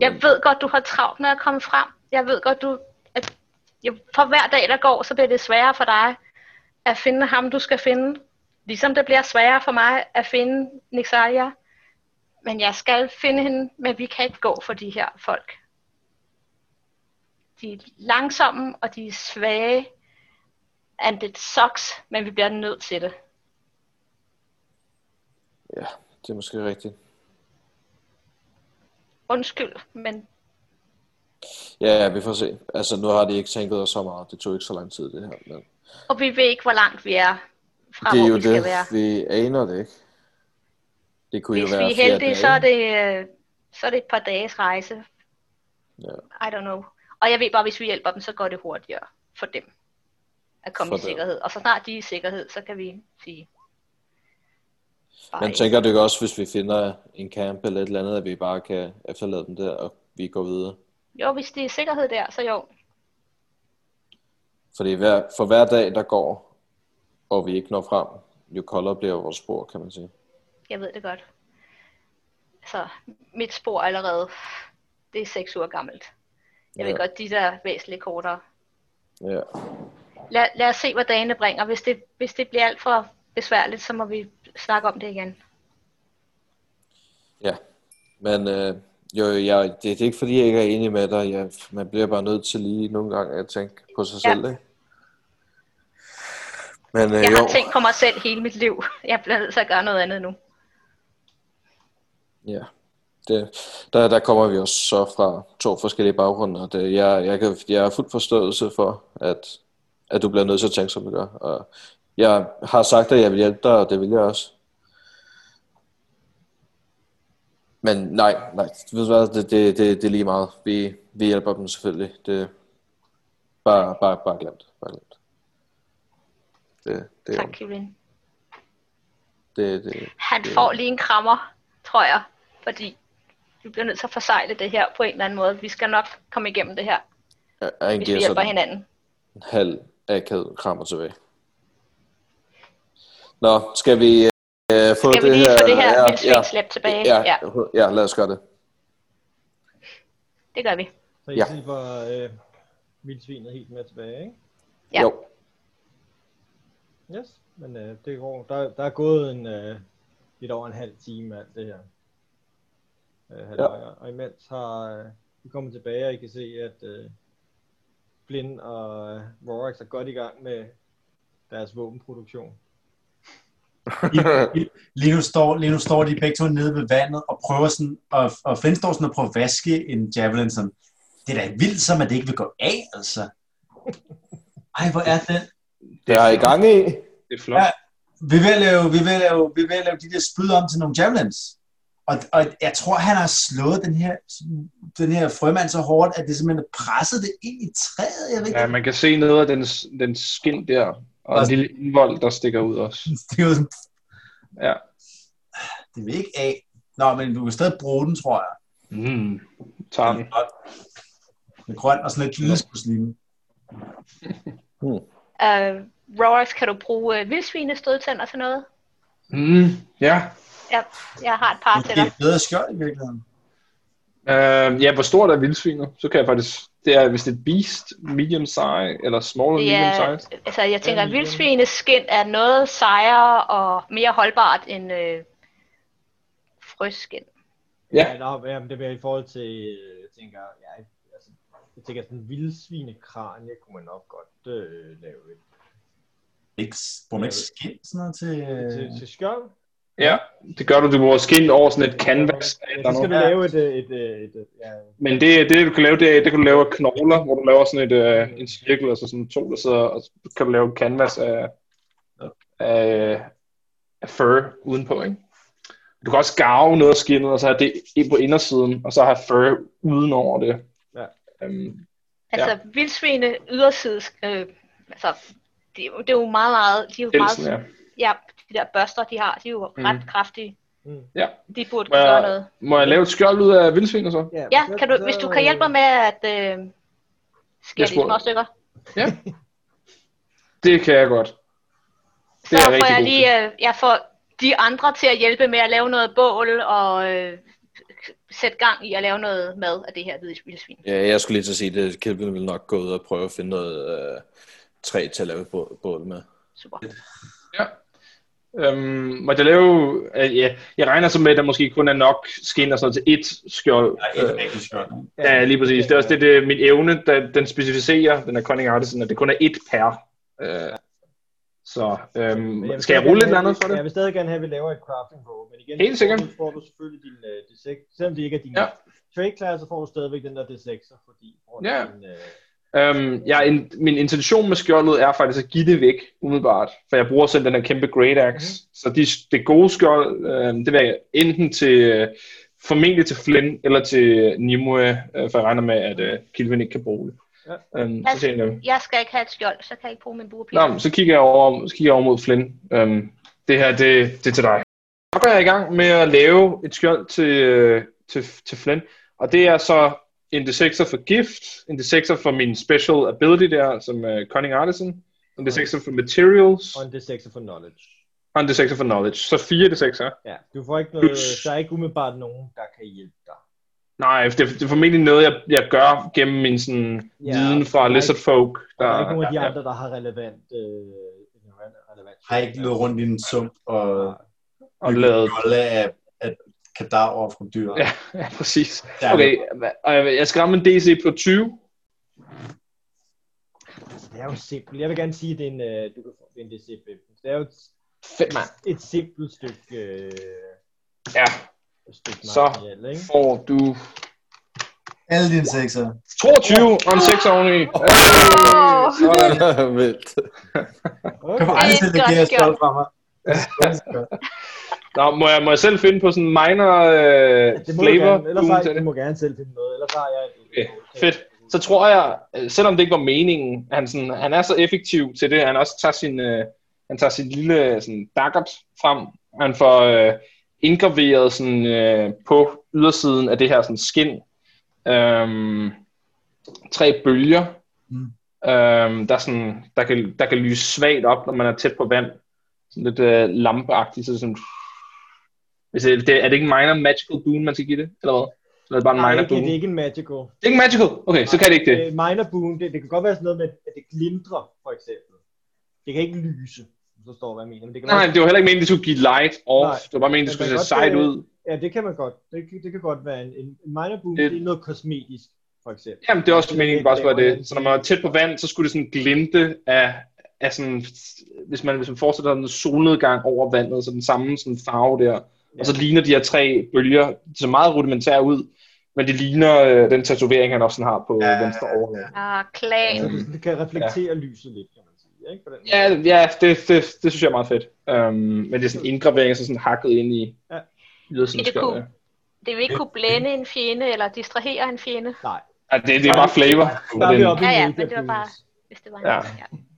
Jeg ved godt, du har travlt med at komme frem. Jeg ved godt, du, at jeg, for hver dag, der går, så bliver det sværere for dig at finde ham, du skal finde. Ligesom det bliver sværere for mig at finde Nixalia. Men jeg skal finde hende, men vi kan ikke gå for de her folk. De er langsomme, og de er svage. And it sucks, men vi bliver nødt til det. Ja, det er måske rigtigt. Undskyld, men Ja, ja, vi får se. Altså, nu har de ikke tænket os så meget. Det tog ikke så lang tid, det her. Men og vi ved ikke, hvor langt vi er fra, det er Ah, hvor jo vi skal det, være. vi aner det ikke. Det kunne Hvis jo vi være er flere heldige, dage. så er, det, øh, så er det et par dages rejse. Ja. I don't know. Og jeg ved bare, hvis vi hjælper dem, så går det hurtigere for dem at komme For i dem. sikkerhed. Og så snart de er i sikkerhed, så kan vi sige... Bye. Men tænker du ikke også, hvis vi finder en camp eller et eller andet, at vi bare kan efterlade dem der, og vi går videre? Jo, hvis det er i sikkerhed der, så jo. Fordi hver, for hver dag, der går, og vi ikke når frem, jo koldere bliver vores spor, kan man sige. Jeg ved det godt. Så mit spor allerede, det er seks uger gammelt. Jeg ved Ja. godt, de der er væsentligt kortere. Ja, Lad, lad os se, hvad dagene bringer. Hvis det, hvis det bliver alt for besværligt, så må vi snakke om det igen. ja. Men øh, jo, jeg, det, det er ikke fordi, jeg ikke er enig med dig. Jeg, man bliver bare nødt til lige nogle gange at tænke på sig Ja. selv, ikke? Men øh, Jeg jo, har tænkt på mig selv hele mit liv. Jeg bliver nødt til at gøre noget andet nu. ja. Det, der, der kommer vi også så fra to forskellige baggrunde, og det, jeg, jeg, kan, jeg har fuld forståelse for, at, at du bliver nødt til at tænke, som du gør. Og jeg har sagt, at jeg vil hjælpe dig, og det vil jeg også. Men nej, nej, ved du hvad, det, det, det, det er lige meget. Vi, vi hjælper dem selvfølgelig. Det, bare, bare, bare glemt. Bare glemt. Det, det, Tak, det, Kivin. det, det, Han får lige en krammer, tror jeg. Fordi vi bliver nødt til at forsegle det her på en eller anden måde. Vi skal nok komme igennem det her, han hvis vi giver sådan- hjælper hinanden. en halv akavet krammer tilbage. Nå, skal vi øh, få Skal vi det lige her? få det her ja, ja, vildsvinslæb tilbage? ja, ja, ja, lad os gøre det. det gør vi. Så I Ja. ja. slipper øh, vildsvinet helt med tilbage, ikke? Ja. Jo, Yes, men øh, det går. Der, der er gået en, øh, lidt over en halv time med alt det her. Øh, ja. Og imens har øh, vi kommet tilbage, og I kan se, at øh, Blind og øh, Rorax er godt i gang med deres våbenproduktion. Lige nu, står, lige nu står de begge to nede ved vandet og prøver sådan, og, og Flint står sådan og prøver at vaske en javelin sådan. Det er da vildt, som at det ikke vil gå af, altså. Ej, hvor er det. det er i gang i. Det er flot. Ja. Vi vil lave, vi vil lave, vi vil lave de der spyd om til nogle javelins. Og, og jeg tror, han har slået den her, den her frømand så hårdt, at det simpelthen har presset det ind i træet. Jeg ved ikke, Ja, man kan se noget af den, den skin der, og en Altså- Også- lille indvold, der stikker ud også. det er jo sådan, Ja. det vil ikke af. Nå, men du kan stadig bruge den, tror jeg. Mm. Tager den. Med grøn og sådan lidt lille Øh, Rorax, kan du bruge øh, vildsvine stødtænder til noget? Mm. Ja. Ja, jeg har et par til Måske dig. et bedre skjold i virkeligheden. Øh, ja, hvor stort er vildsvinet? Så kan jeg faktisk... Det er, hvis det er et beast, medium size, eller small and Det medium er, size. altså, jeg tænker, at Medium. vildsvineskind er noget sejere og mere holdbart end øh, frøskin. Ja. ja der, jamen, det bliver i forhold til, øh, tænker jeg, altså, jeg tænker sådan en vildsvinekranie kunne man nok godt øh, lave et. Ikke, bruger man ikke skin sådan noget til... Øh. Til, til skjold? Ja, det gør du. Du bruger skin over sådan et canvas. Ja, eller så skal noget. du lave et, øh, et, øh, et, et ja, Men det, det, du kan lave, det, er- det kan du lave af knogler, hvor du laver sådan et, øh, en cirkel, altså sådan to, der sidder, og så kan du lave et canvas af, af, af fur udenpå, ikke? Du kan også garve noget af skinnet, og så have det ind på indersiden, og så have fur udenover det. Ja. Øhm, Altså ja. vildsvine yderside, øh, altså det, er jo- det er jo meget, meget, de er jo pelsen, meget, ja. ja, de der børster, de har, de er jo Mm. ret kraftige. Mm. Ja. De burde Må jeg- gøre noget. Må jeg lave et skjold ud af vildsvin og så? Ja, kan du, hvis du kan hjælpe mig med at øh, skære Jeg de spurgte. små stykker, Det kan jeg godt. så er jeg får rigtig jeg god lige, øh, jeg får de andre til at hjælpe med at lave noget bål og øh, sætte gang i at lave noget mad af det her hvide vildsvin. Ja, jeg skulle lige til at sige, at Kelvin vil nok gå ud og prøve at finde noget øh, træ til at lave et bål- bål med. Super. Øhm, må jeg lave... Øh, ja, jeg regner så med, at der måske kun er nok skin og sådan noget til ét skjold. Nej, et rigtigt skjold. ikke? Ja, lige præcis. Det er også det, det min evne, der, den specificerer, den er Conning Artisan, at det kun er ét per. Øh, så Men øhm, skal vil jeg stadig rulle et gerne eller have- andet for Jeg det? vil stadig gerne have, at vi laver et crafting roll, men igen, Helt så får sikkert. du- får du selvfølgelig din uh, D6, selvom det ikke er din Ja. ja. trade class, så får du stadigvæk den der D6, så fordi får du Ja. din, uh, Øhm, jeg, er en, min intention med skjoldet er faktisk at give det væk, umiddelbart. For jeg bruger selv den her kæmpe Great Axe. Så de, det gode skjold, øhm, det vil jeg enten til... Øh, formentlig til Flynn eller til Nimue, øh, for jeg regner med, at øh, Kilvin ikke kan bruge det. Ja. Øhm, så tænker jeg, Jeg skal ikke have et skjold, så kan jeg ikke bruge min buepil. Nå, men så kigger jeg over, så kigger jeg over mod Flynn. Øhm, det her, det, det er til dig. Så går jeg i gang med at lave et skjold til, øh, til, til Flynn. Og det er så en D6'er for gift, en D6'er for min special ability der, som uh, Cunning Artisan, en D6'er for materials, og en D6 for knowledge. og en D6'er for knowledge. Så fire D6'er. Ja, du får ikke noget, Plus- der er ikke umiddelbart nogen, der kan hjælpe dig. Nej, det, det er formentlig noget, jeg, jeg gør gennem min sådan, Ja, ja, viden der fra er ikke- Lizard Folk. Og der er ikke nogen af de Ah, ja, ja. andre, der har relevant, øh, relevant- relevant. Ah, Har ikke løbet rundt i en sump og Og lavet jolle af, af kadaver fra dyr. Ja. Ja, præcis. Ja, Okay, og jeg jeg skal ramme en DC på 20. Det er jo simpelt. Jeg vil gerne sige, at det er en, øh, du kan få det er en DC15. Det er jo et, Fedt, mand. et simpelt stykke, øh, Ja, stykke Så. materiale, ikke? får du Alle dine sekser. 22 og en 6 oveni. Åh! Sådan. Vildt. Kom Okay. aldrig til Det er at et give godt skjold fra mig. Nå, må jeg, må jeg selv finde på sådan en minor øh, Det må du flavor? gerne, ellers tune har, til du det? må gerne selv finde noget, ellers har jeg... Et, Okay, fedt. Så tror jeg, øh, selvom det ikke var meningen, han, sådan, han er så effektiv til det, at han også tager sin, øh, han tager sin lille øh, sådan, daggert frem. Han får øh, indgraveret sådan, øh, på ydersiden af det her sådan, skin. Øhm, tre bølger, Mm. øhm, der, sådan, der, kan, der kan lyse svagt op, når man er tæt på vand. Sådan lidt øh, lampeagtigt. Så sådan, hvis det, det, er det ikke en minor magical boon, man skal give det? Eller hvad? Eller er det bare en Nej, minor det, boon? det er ikke en magical. Det er ikke magical? Okay, så kan det ikke det. Øh, minor boon, det, det kan godt være sådan noget med, at det glintrer, for eksempel. Det kan ikke lyse, så står hvad jeg mener. Men det kan Nej, godt, det var heller ikke meningen, det skulle give light off. Nej. Nej. Det var bare meningen, det Men skulle man se kan sejt godt, øh, ud. ja, det kan man godt. Det, kan- det kan godt være en, en en minor boon, det, Det- det er noget kosmetisk, for eksempel. Jamen, det er også meningen, det bare skulle være Ja. det. Så når man var tæt på vand, så skulle det sådan glimte af, af sådan, hvis man, hvis man fortsætter sådan en solnedgang over vandet, så den samme sådan farve der. Og så ligner de her tre bølger, de ser meget rudimentære ud, men det ligner øh, den tatovering, han også sådan har på Ja, ja, venstre overlov. Ja. Ah, Så klan. det, det kan reflektere ja. lyset lidt, kan man sige. Ikke? På den måde. Ja, ja det, det, det, synes jeg er meget fedt. Um, men det er sådan en indgravering, så sådan hakket ind i Mm. Ja. ydersiden. Det Det, er cool. Det vil ikke kunne blænde en fjende eller distrahere en fjende, Nej, ja, det, det er bare flavor. der er vi oppe i Ja, ja, mega men det var bare- bonus. hvis det var en Ja. ja.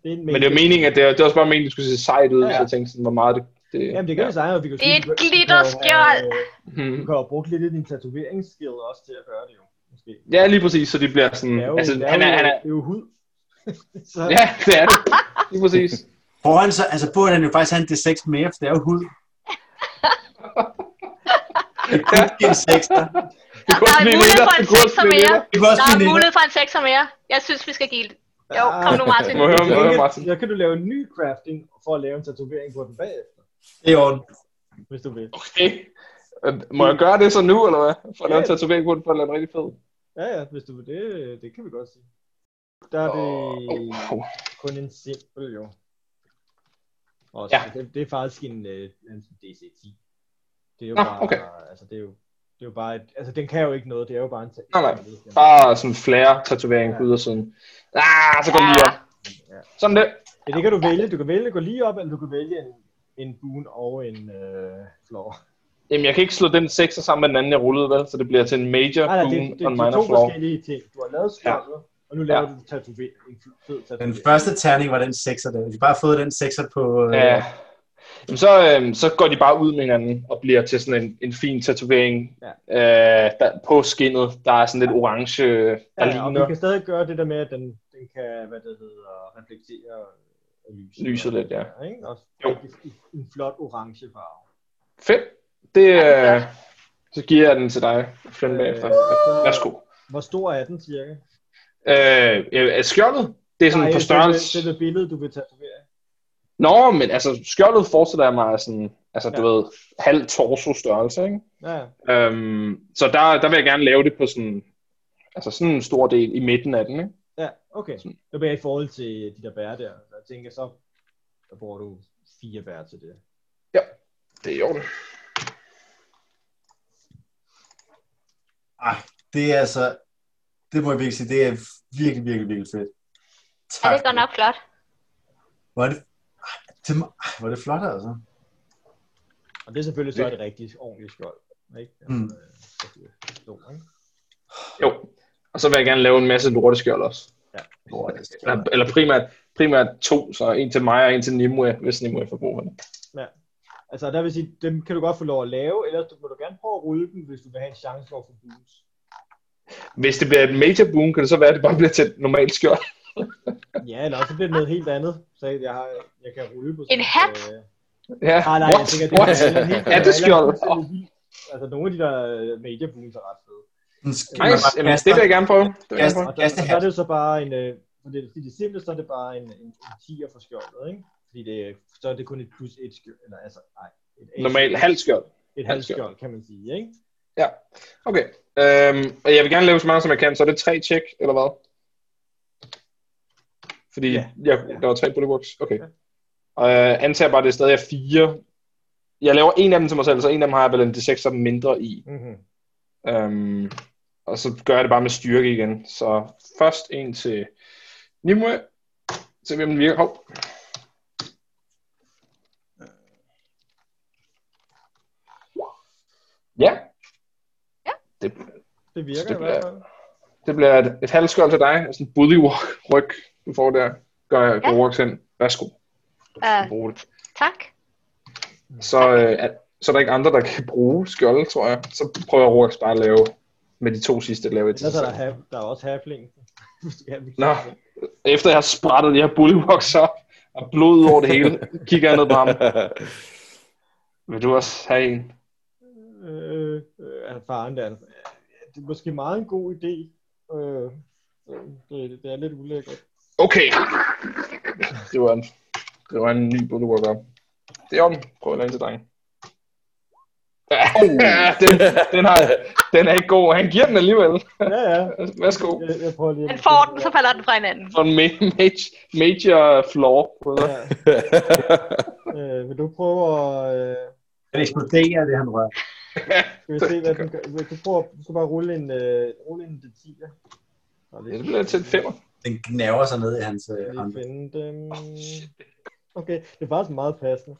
Det er en Men det er mega- meningen, at det, er- det er også bare meningen, at det skulle se sejt ud, ja, ja. så jeg tænkte sådan, hvor meget det... det Jamen, det kan ja. jo sejre, at vi kan Det er sige, et du kan- glitterskjold. du kan jo, øh, Du Mhm. kan jo bruge lidt af din tatoveringsskill også til at gøre det jo. Måske. ja, lige præcis, så det bliver sådan... Det er jo, altså, det er han jo, er, han er, det er jo hud. så, ja, det er det. Lige præcis. Burde han så, altså burde han jo faktisk have en D6 mere, for det er jo hud. Det er kun en sekser. Det kunne Der også er blive mulighed lidt- for en det kunne også sekser blive mere. lidt- Det kunne også Der er blive en etter. mulighed for en sekser mere. Jeg synes, vi skal give det. Jo, Ah. kom nu, Martin. Må jeg høre, må jeg høre, så, Martin. så kan du lave en ny crafting for at lave en tatovering på den bagefter, Det er i orden. hvis du vil. Okay. Øh, Må jeg gøre det så nu, eller hvad? For at lave en tatovering på den, for at lave den rigtig fed. Ja, ja, hvis du vil det, det kan vi godt sige. Der er det Åh, åh. kun en simpel, jo. Og Ja. ja. det, det er faktisk en, øh, en DC-10. Det er jo Nå, bare, okay. altså det er jo, det er jo bare, et, altså den kan jo ikke noget, det er jo bare en... Nej, nej. Bare sådan en flere-tatovering på ydersiden. Ah, så går den lige op. Sådan det. Ja, det kan du vælge, du kan vælge at gå lige op, eller du kan vælge en, en boon og en øh, floor. Jamen, jeg kan ikke slå den 6 sammen med den anden, jeg rullede, vel? Så det bliver til en major Nej, nej, det, boon det, det, og en det er minor to flaw. forskellige ting. Du har lavet Ja. skjoldet, ja. og nu laver Ja. ja. du tatovering, en fed tatovering. Den første terning var den 6'er der. Hvis vi bare har fået den 6'er på... Øh, Ja. Jamen, så, øhm, så går de bare ud med hinanden og bliver til sådan en, en fin tatovering Ja. øh, der, på skinnet. Der er sådan lidt orange, øh, der Ja, ja, og ligner vi kan stadig gøre det der med, at den, den kan, hvad det hedder, reflektere øh, lyset. Lyset lidt, ja. Ikke? Og Jo. i- i en flot orange farve. fedt. Det, Ja, øh, så giver jeg den til dig, Flynn, Øh, bagefter. så- Værsgo. Hvor stor er den cirka? Øh, ja, er skjoldet, det er sådan på størrelse... Det er det billede, du vil tatovere. Nå, men altså, skjoldet forestiller jeg mig er sådan, altså, du Ja. ved, halv torso størrelse, ikke? Ja, ja. Øhm, så der, der vil jeg gerne lave det på sådan, altså sådan en stor del i midten af den, ikke? ja, okay. Det bliver i forhold til de der bær der. Jeg tænker så, der bruger du fire bær til det. Det er i orden. Ej, det er altså... Det må jeg virkelig sige, det er virkelig, virkelig, virkelig fedt. Ja, Tak. det er godt nok flot. Hvor er det, ej, det, må- ej, hvor er det flot, altså. Og det er selvfølgelig så et rigtigt ordentligt skjold. Ikke? Mm. øh, så det er stor, ikke? Jo. Og så vil jeg gerne lave en masse lorteskjold også. Hvor er det stort. Eller, eller primært, primært to, så en til mig og en til Nimue, hvis Nimue får brug for det. Altså, der vil sige, dem kan du godt få lov at lave, ellers du- må du gerne prøve at rulle dem, hvis du vil have en chance for at få bonus. Hvis det bliver et major boom, kan det så være, at det bare bliver til et normalt skjold. Ja, eller også så bliver det noget helt andet. Så jeg, jeg, har, jeg kan rulle på sådan En hat? Øh... Ja, Ah, nej, jeg what? tænker, det what? er en helt Er det skjold? Oh, Altså, nogle af de der øh, media boons er ret fede. Skal man nice. bare Jamen, kaste det vil den? jeg gerne prøve. Det vil jeg gerne prøve. Og der, og der er det jo så bare en... Øh, for det, fordi det er simpelt, så er det bare en, en, en 10'er for skjoldet, ikke? Fordi det, så er det kun et plus et skjold, eller altså, nej. Et, et, Normalt halvt skjold. Et halvt skjold, kan man sige, ikke? Okay. Øhm, og jeg vil gerne lave så meget, som jeg kan, så er det tre tjek, eller hvad? Fordi Ja. jeg, Ja. der var tre bullet works. Okay. Og jeg antager bare, at det er stadig er fire. Jeg laver en af dem til mig selv, så en af dem har jeg vel en D6 som mindre i. Mm-hmm. Øhm, og så gør jeg det bare med styrke igen. Så først en til Nimue. Se hvem den virker. Hov. Ja. Ja. Det, Det virker Det det i hvert fald. det bliver et, et halvskjold til dig, og sådan en bully walk ryg, du får der. Gør jeg Ja. ja. walks hen. Værsgo. Uh, Brug det. tak. Så, øh, er- så er der ikke andre, der kan bruge skjold, tror jeg. Så prøver Roax bare at lave med de to sidste, lave et til Ellers sig er der, selv. half, der er også halfling. Hvis du gerne vil- Nå. Efter jeg har sprættet de her bully walks op, og blod ud over det hele, kigger jeg ned på ham. Vil du også have en? øh, øh, faren der. Det er måske meget en god idé. Øh, øh, det, det er lidt ulækkert. Okay. Det var en, det var en ny bully walk op. Det er om. Prøv at lade en til drengen. Ja, den, den, har, den er ikke god. Han giver den alligevel. Ja, ja. Værsgo. Jeg, jeg prøver lige at- Han får den, så falder den fra hinanden. For en ma- major, major flaw. Ja. Øh, vil du prøve at... Øh, Den eksploderer, det han rører. skal vi se, hvad den gør? Vil du, prøve, du skal bare rulle en, øh, rulle en D10'er. Og Ja, det bliver til et femmer. Den gnaver sig ned i hans øh, Lige hånd. finde dem. Okay, det er faktisk meget passende.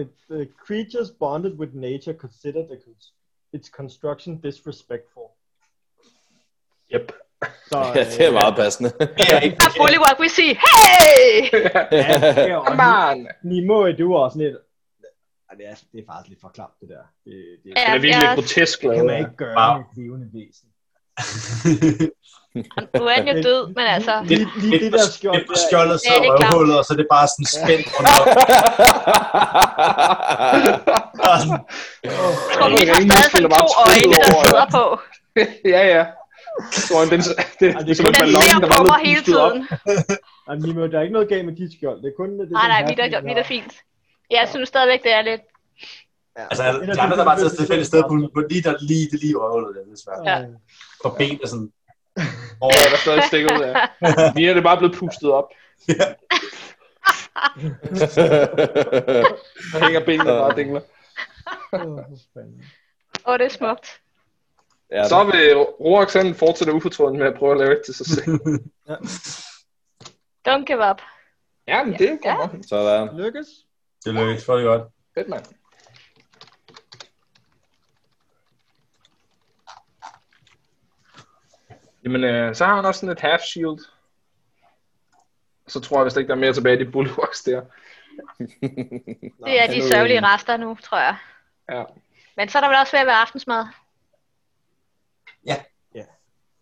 It, uh, creatures bonded with nature consider the cons- its construction disrespectful. Yep. Så, øh, ja, det er meget passende. Og Bullywalk vil sige, hey! Ja, Come og on! Nimo, du er også lidt... Ej, Det er, det er faktisk lidt for klamt, det der. Det, det Den Ja, er virkelig ja. grotesk det kan lavet. man ikke gøre Wow. med et levende væsen. Nu er han jo død, men altså... Lige, lige det der skjold, på skjoldet Ja, sidder det er klart. røvhullet, og så er det bare sådan spændt rundt om. Bare sådan, Jeg tror, vi har stadig sådan to øjne, der sidder på. ja, ja. Tror jeg, den, det, det, Ej, det er som en Den ballon, ser der på var mig blevet hele pustet op. tiden. der, Ej, Nimo, der er ikke noget galt med dit skjold. Det er kun det, Ah, Nej, nej, den mit er, her- mit er fint. Jeg synes stadigvæk, det er lidt... Ja. Altså, de andre, der bare tager et fælles sted på, på lige, der, lige, det lige i røvhullet, der, det er svært. Ja. På ben og sådan. Og oh, der stadig stikker ud af. Mia, det er bare blevet pustet op. Der hænger benene bare og dingler. Åh, det er smukt. ja, Så vil Roax han fortsætte ufortrødent med at prøve at lave et til sig selv. Don't give up. Ja, men det går Ja. nok. sådan. Lykkes. Det lykkes, for det godt. Fedt, mand. Jamen, øh, så har han også sådan et half shield. Så tror jeg vist ikke, der er mere tilbage i de bulwarks der. Det er de sørgelige rester nu, tror jeg. Ja. Men så er der vel også ved at være aftensmad.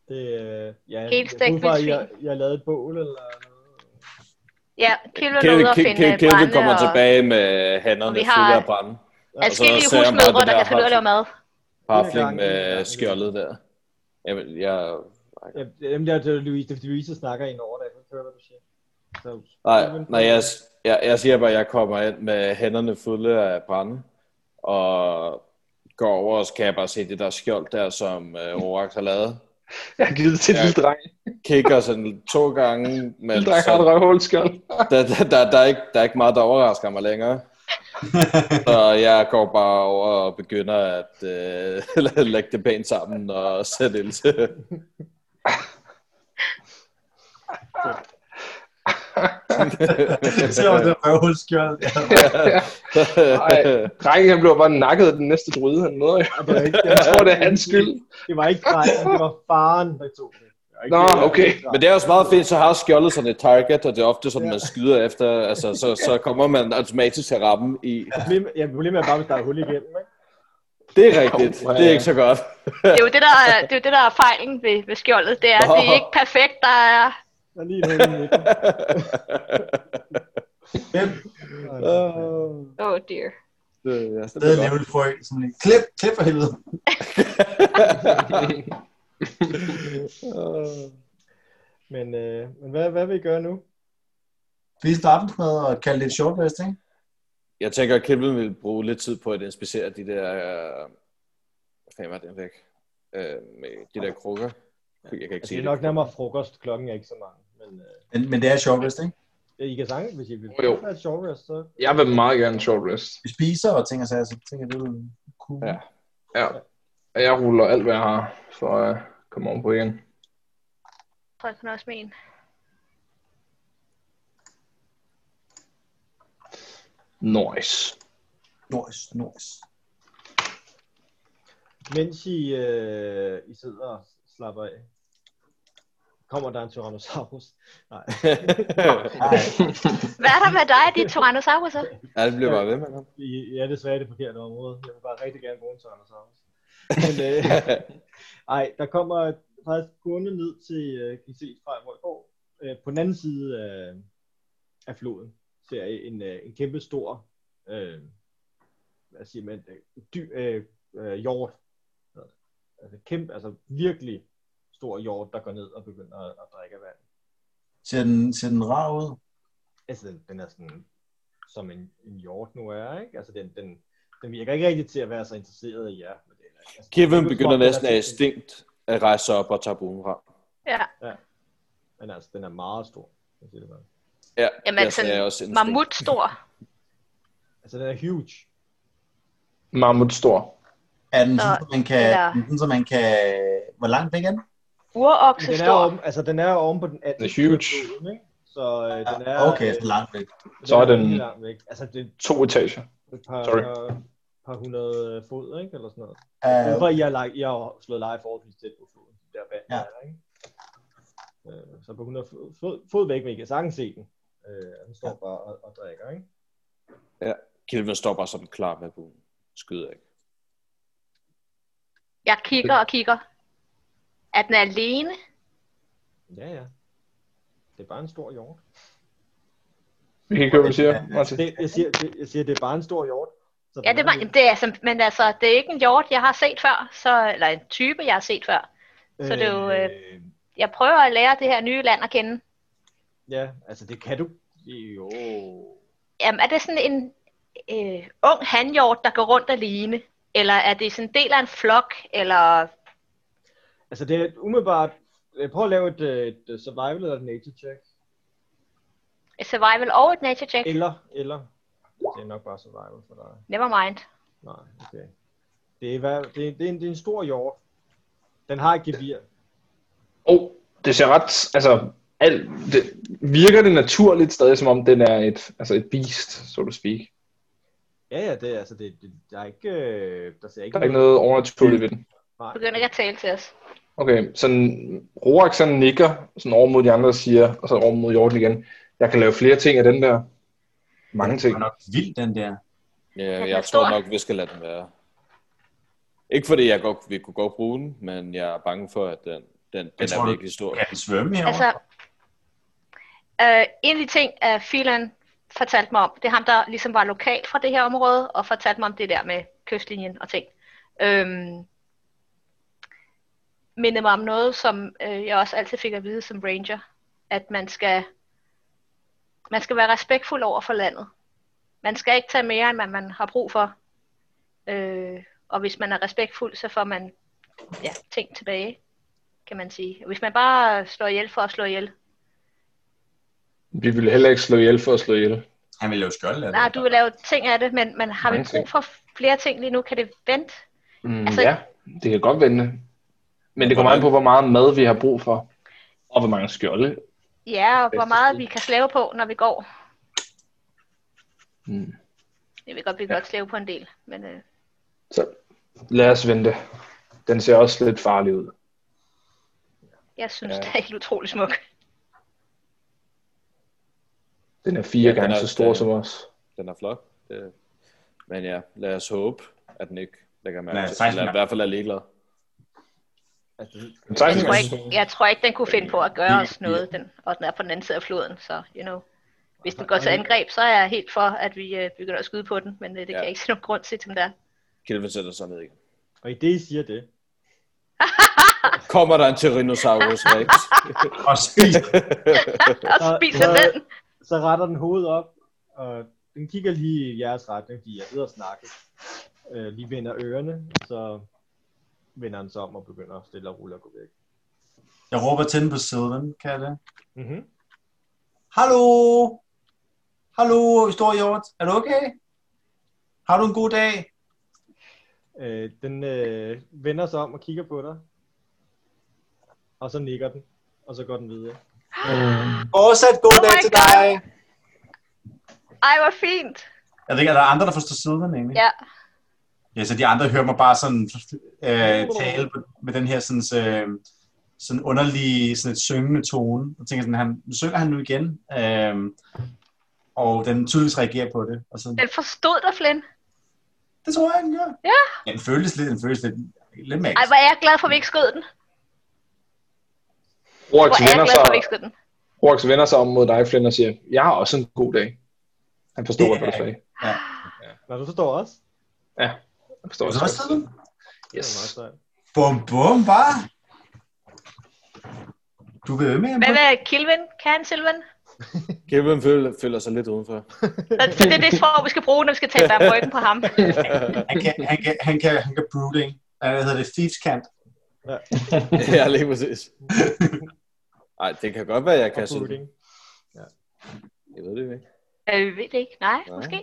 Det, øh, ja, Helt jeg stegt ud fra, at vildsvin. jeg, jeg lavede et bål eller noget. Ja, Kilvin er Kelvin ude og finde Kelvin- øh, Kelvin brænde kommer og tilbage med og hænderne vi fulde har- af brænde. adskillige og så ser jeg bare husmødre, det der der kan finde ud af at lave mad. Parfling Ja. med skjoldet der. Jamen, jeg... Ja, dem der, det er Louise, det er fordi Louise snakker ind over det, jeg kan ikke høre, hvad du siger. Så, Nej, nej jeg, jeg, jeg siger bare, at jeg kommer ind med hænderne fulde af brænde, og går over, og så kan jeg bare se det der skjold der, som øh, Rorax har lavet. Jeg har givet det til en Ja. lille dreng. Kigger sådan to gange, men Lille dreng har et så, røvhulskjold. der, der, der, der, er ikke, der er ikke meget, der overrasker mig længere. Så jeg går bare over og begynder at øh, lægge det pænt sammen og sætte ild til. Så var det røvhulskjold. Ja. Ej. Drengen han blev bare nakket af den næste druide, han møder. jo. det var ikke, det, Jeg tror, det er hans skyld. det var ikke drengen, det var faren, der tog det. Det var ikke Nå, det, der- okay. Men det er også meget fint, så har skjoldet sådan et target, og det er ofte sådan, man skyder efter, altså så, så kommer man automatisk til at ramme i. Problemet, ja, problemet er bare, hvis der er hul igennem, ikke? Det er rigtigt, det er ikke så godt. Det er jo det, der er, det er, jo det, der er fejlen ved, ved skjoldet. Det er, at det er ikke perfekt. Der er, Der er lige et hul i midten. Hvem oh dear. Det, ja, stadig nævne et frø? Sådan en klip, klip for helvede. Men, øh, men hvad, hvad vil I gøre nu? Spise noget aftensmad og kalde det et short rest, ikke? Jeg tænker, at Kilvin vil bruge lidt tid på at inspicere de der... Øh, hvad fanden var den væk? Øh, med de der krukker. Jeg kan ikke Altså, se det det. er nok nærmere frokost, klokken er ikke så mange. Men øh, Men, men det er et short rest, ikke? I kan sange, hvis I vil. Jo, jo. Det er et sjovt, rest, så Jeg vil meget gerne short rest. Vi spiser og ting og sager, så tænker jeg, det er cool. Ja. Ja. Og Jeg ruller alt, hvad jeg har, for at komme ovenpå igen. Jeg tror, jeg kan også mene. Nice. Nice, nice. Mens I, øh, I sidder og slapper af, kommer der en Tyrannosaurus. Nej. Ej, Hvad er der med dig, de tyrannosauruser? ja, det bliver bare ved med ham. I, I er desværre i det forkerte område. Jeg vil bare rigtig gerne bruge en Tyrannosaurus. Men, øh, ej, der kommer faktisk gående ned til, øh, kan I se fra, hvor I går. Øh, på den anden side af, af floden ser I en, øh, en kæmpe stor, øh, hvad siger man, øh, dy, øh, øh, hjort. Altså, kæmpe, altså virkelig stor hjort, der går ned og begynder at, at drikke vand. ser den, ser den rar ud? altså den, den er sådan, som en, en hjort nu er, ikke? Altså den, den, den virker ikke rigtig til at være så interesseret i jer. Men det er, altså, det er Kilvin jo begynder som om, den næsten er af sådan- stinkt at rejse sig op og tage buen frem. Ja, Men altså, den er meget stor. hvis jeg siger det bare. Ja, Jamen, jeg sagde sådan også instinkt. mammut stor. Altså den er huge. Mammut stor. Er den Så- sådan, så man kan, eller- den sådan, så man kan... Hvor langt væk er den? Men Urokse den er, stor. om, altså, den er oven på den anden. Den er huge. side af floden, ikke? Så øh, den er... Okay, så langt væk. Så er den- rigtig langt væk. Altså det er To etager. et par, Sorry. par, par hundrede fod, ikke? Eller sådan noget. Uh, Ud fra, I har, lagt, I har slået leje forholdsvis tæt på floden. Der vand, Ja. ja. der, ikke? Øh, så på 100 fod, fod, fod væk, men I kan sagtens se den. Øh, den står Ja. bare og, og drikker, ikke? Kilvin står bare sådan klar med buen. Skyder ikke. Jeg kigger og kigger. Er den alene? Ja, ja. Det er bare en stor hjort. Vi kan ikke høre, hvad du siger, Martin. Det, jeg, siger, det, jeg siger, det er bare en stor hjort. Så Ja, den det var, er- jamen, det er, som- men altså, det er ikke en hjort, jeg har set før, så, eller en type, jeg har set før. så det er jo, Øh, Jeg prøver at lære det her nye land at kende. ja, altså det kan du. Jo. Jamen, er det sådan en, øh, ung handjord, der går rundt alene? Eller er det sådan en del af en flok? Eller Altså det er et umiddelbart... øh, Prøv at lave et, øh, et øh, survival eller et nature check. et survival og et nature check? Eller, eller... Det er nok bare survival for dig. Never mind. Nej, okay. Det er, hvad, det, er, det, er en, det er en stor hjort. Den har et gevir. Oh, det ser ret, altså, alt, det, virker det naturligt stadig, som om den er et, altså et beast, så so to speak. Ja, ja, det er altså... Det, det, der er ikke... øh, Der ser ikke, Der er ikke noget overnaturligt ved den. Nej. Begynder ikke at tale til os. Okay, sådan, Rorak sådan nikker sådan over mod de andre og siger, og så over mod Jordan igen, jeg kan lave flere ting af den der. Mange Det ting. var nok vild, den der. Ja, Den er jeg tror stor. nok, vi skal lade den være. Ikke fordi jeg godt, vi kunne godt bruge den, men jeg er bange for, at den, den, den tror, er du- virkelig stor. Kan den svømme herovre? Altså, øh, en af de ting, at Filan fortalte mig om, det er ham, der ligesom var lokal fra det her område, og fortalte mig om det der med kystlinjen og ting. Øhm, mindede mig om noget, som øh, jeg også altid fik at vide som ranger, at man skal, man skal være respektfuld over for landet. Man skal ikke tage mere, end man, man har brug for. Øh, og hvis man er respektfuld, så får man ja, ting tilbage, kan man sige. Hvis man bare slår ihjel for at slå ihjel, Vi ville heller ikke slå ihjel for at slå ihjel. Han vil lave skjold af Nej, det. du vil lave ting af det, men, men har vi Mange brug for flere ting lige nu? Kan det vente? Mm, Altså- altså, ja, det kan godt vende. Men det kommer an på, hvor meget mad vi har brug for. Og hvor mange skjolde. Ja, og hvor Bedste meget sted. vi kan slæve på, når vi går. Mm. Jeg ved godt, vi kan godt slæve på en del, men øh, Så lad os vente. Den ser også lidt farlig ud. jeg synes, Ja. ja. det er helt utrolig smuk. Den er fire Ja, ja, den gange er- så stor den- som os. Den er flot. Det. Men ja, lad os håbe, at den ikke lægger Lad os mærke til. faktisk Eller i mærke- hvert fald er ligeglad. Altså, Tak, Jeg tror, Mads. ikke, jeg tror ikke, den kunne finde på at gøre os noget, den, og den er på den anden side af floden, så you know. Hvis den går til angreb, så er jeg helt for, at vi øh, begynder at skyde på den, men øh, det kan Ja. jeg ikke se nogen grund til, som der. Kelvin sætter sig ned igen. og i det, I siger det, Kommer der en Tyrannosaurus Rex? Og spis. Og spiser så- den! så retter den hovedet op, og den kigger lige i jeres retning, fordi jeg sidder og snakker. Øh, lige vender ørerne, så vender den sig om og begynder stille og roligt at gå væk. Jeg råber til den på siden, kan jeg det? Mm-hmm. Hallo! Hallo, stor hjort. Er du okay? Har du en god dag? Øh, den øh, vender sig om og kigger på dig, og så nikker den, og så går den videre. Fortsat god Oh dag my til God. dig. Ej, hvor fint! Jeg ved ikke, er der andre, der forstår siden egentlig? Ja, Ja, så de andre hører mig bare sådan øh, tale på- med den her sådan, øh, sådan underlige, sådan et syngende tone. Og tænker sådan, han, nu synger han nu igen. Øh, og den tydeligvis reagerer på det. Og så, den forstod dig, Flynn. det tror jeg, den gør. Ja. ja den føles lidt, den føles lidt, lidt magisk. Ej, hvor er jeg glad for, at vi ikke skød den. Rorax Hvor er jeg vender, glad for, at vi ikke sig, skød den. Rorax vender sig om mod dig, Flynn, og siger, jeg har også en god dag. Han forstår Det godt, hvad du er- sagde. Nå, du forstår også? Han forstår Var det også, også hvad du siden? sagde. Yes. Det er meget sejt. Bum, bum, bare. Du vil med ham Hvad på med Kilvin? Kan han, Silvan? Kelvin føler, føler sig lidt udenfor. Så det er det sprog, vi skal bruge, når vi skal tale dig om ryggen på ham. han kan, han kan, han kan, han kan brooding. Eller Hvad hedder det? Thieves Cant. ja, lige præcis. Ej, det kan godt være, jeg kan Og sige brooding. Jeg ved det ikke. Øh, vi ved det ikke. Nej, Nej. måske.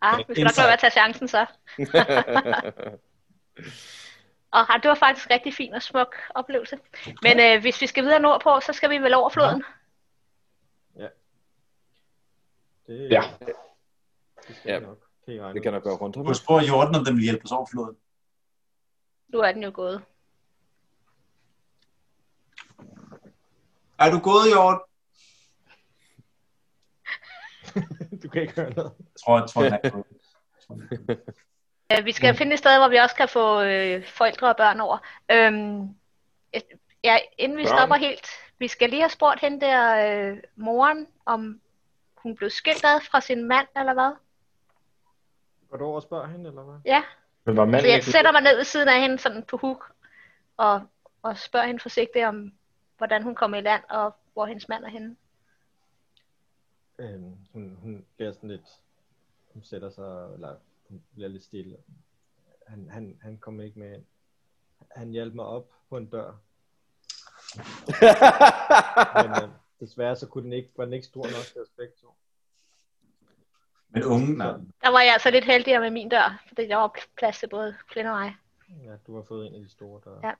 Ah, vi skal nok Insight. lade være at tage chancen så. Og ah, det var faktisk rigtig fin og smuk oplevelse. Men øh, hvis vi skal videre nordpå, så skal vi vel over floden. Det, Ja. Det, skal Ja. ja. nok. Kan I regne det kan ud. nok gøre rundt om. Husk på Jordan, om den vil hjælpe os over floden. Nu er den jo gået. Er du gået, Jordan? Du kan ikke høre noget. Jeg tror, jeg tror, den er gået. Øh, vi skal finde et sted, hvor vi også kan få øh, forældre og børn over. Øhm, øh, ja, inden vi Børn? stopper helt, vi skal lige have spurgt hende der øh, moren, om hun blev skilt ad fra sin mand, eller hvad? Går du over og spørger hende, eller hvad? Ja, Men var så manden jeg ikke... sætter mig ned ved siden af hende sådan på huk, og, og spørger hende forsigtigt om, hvordan hun kom i land, og hvor hendes mand er henne. Øhm, hun, hun bliver sådan lidt... som sætter sig, eller hun bliver lidt stille. Han, han, han kom ikke med ind. Han hjalp mig op på en dør, men øh, desværre så kunne den ikke, var den ikke stor nok til os begge to. Men ungen, nej. Der var jeg altså lidt heldigere med min dør, fordi der var plads til både Flynn og mig. Ja, du har fået en af de store døre. Ja.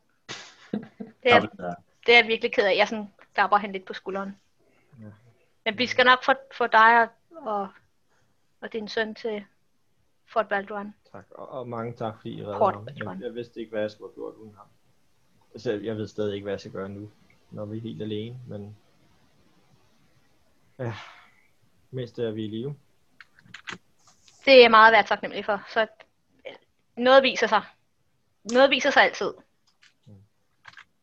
Ja. Det er, det er jeg virkelig ked af. Jeg sådan klapper han lidt på skulderen. Ja. Men vi skal nok få, få dig og, og, og din søn til Fort Balduan. Tak, og, og, mange tak fordi I reddede Kort, ham. Johan. Jeg, jeg, vidste ikke, hvad jeg skulle have gjort uden ham. Så jeg, jeg ved stadig ikke, hvad jeg skal gøre nu, når vi er helt alene, men... Ja, mest er vi i live. Det er jeg meget værd taknemmelig for. Så øh, noget viser sig. Noget viser sig altid.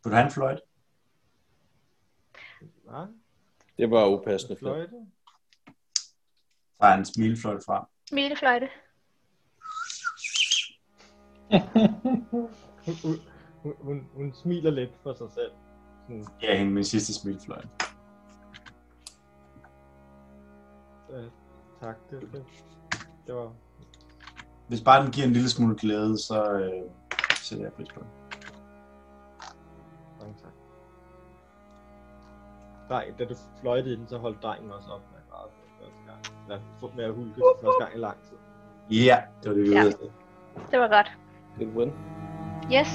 Vil du have en fløjt? Hva? Det var upassende. Flip. Ah, Fløjte? Tager en smilefløjt frem. Smilefløjte. Hun, hun, hun, hun, hun smiler lidt for sig selv. Sådan, Ja, hende min sidste smilefløjt. øh, tak, det, det, det var... Hvis bare den giver en lille smule glæde, så øh, sætter jeg pris på det. Mange tak. Drej, da du fløjtede i den, så holdt drengen også op med at græde for første gang. Eller for- med at hulke for første gang i lang tid. Ja, det var det, vi Ja. ja. ved. Det var godt. Good win. Yes.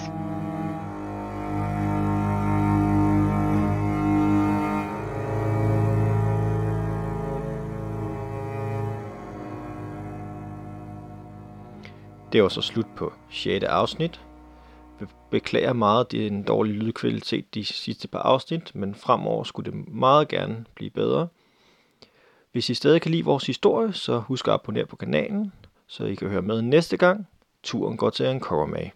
Det var så slut på 6. afsnit. Vi beklager meget den dårlige lydkvalitet de sidste par afsnit, men fremover skulle det meget gerne blive bedre. Hvis I stadig kan lide vores historie, så husk at abonnere på kanalen, så I kan høre med næste gang. Turen går til Ankorma.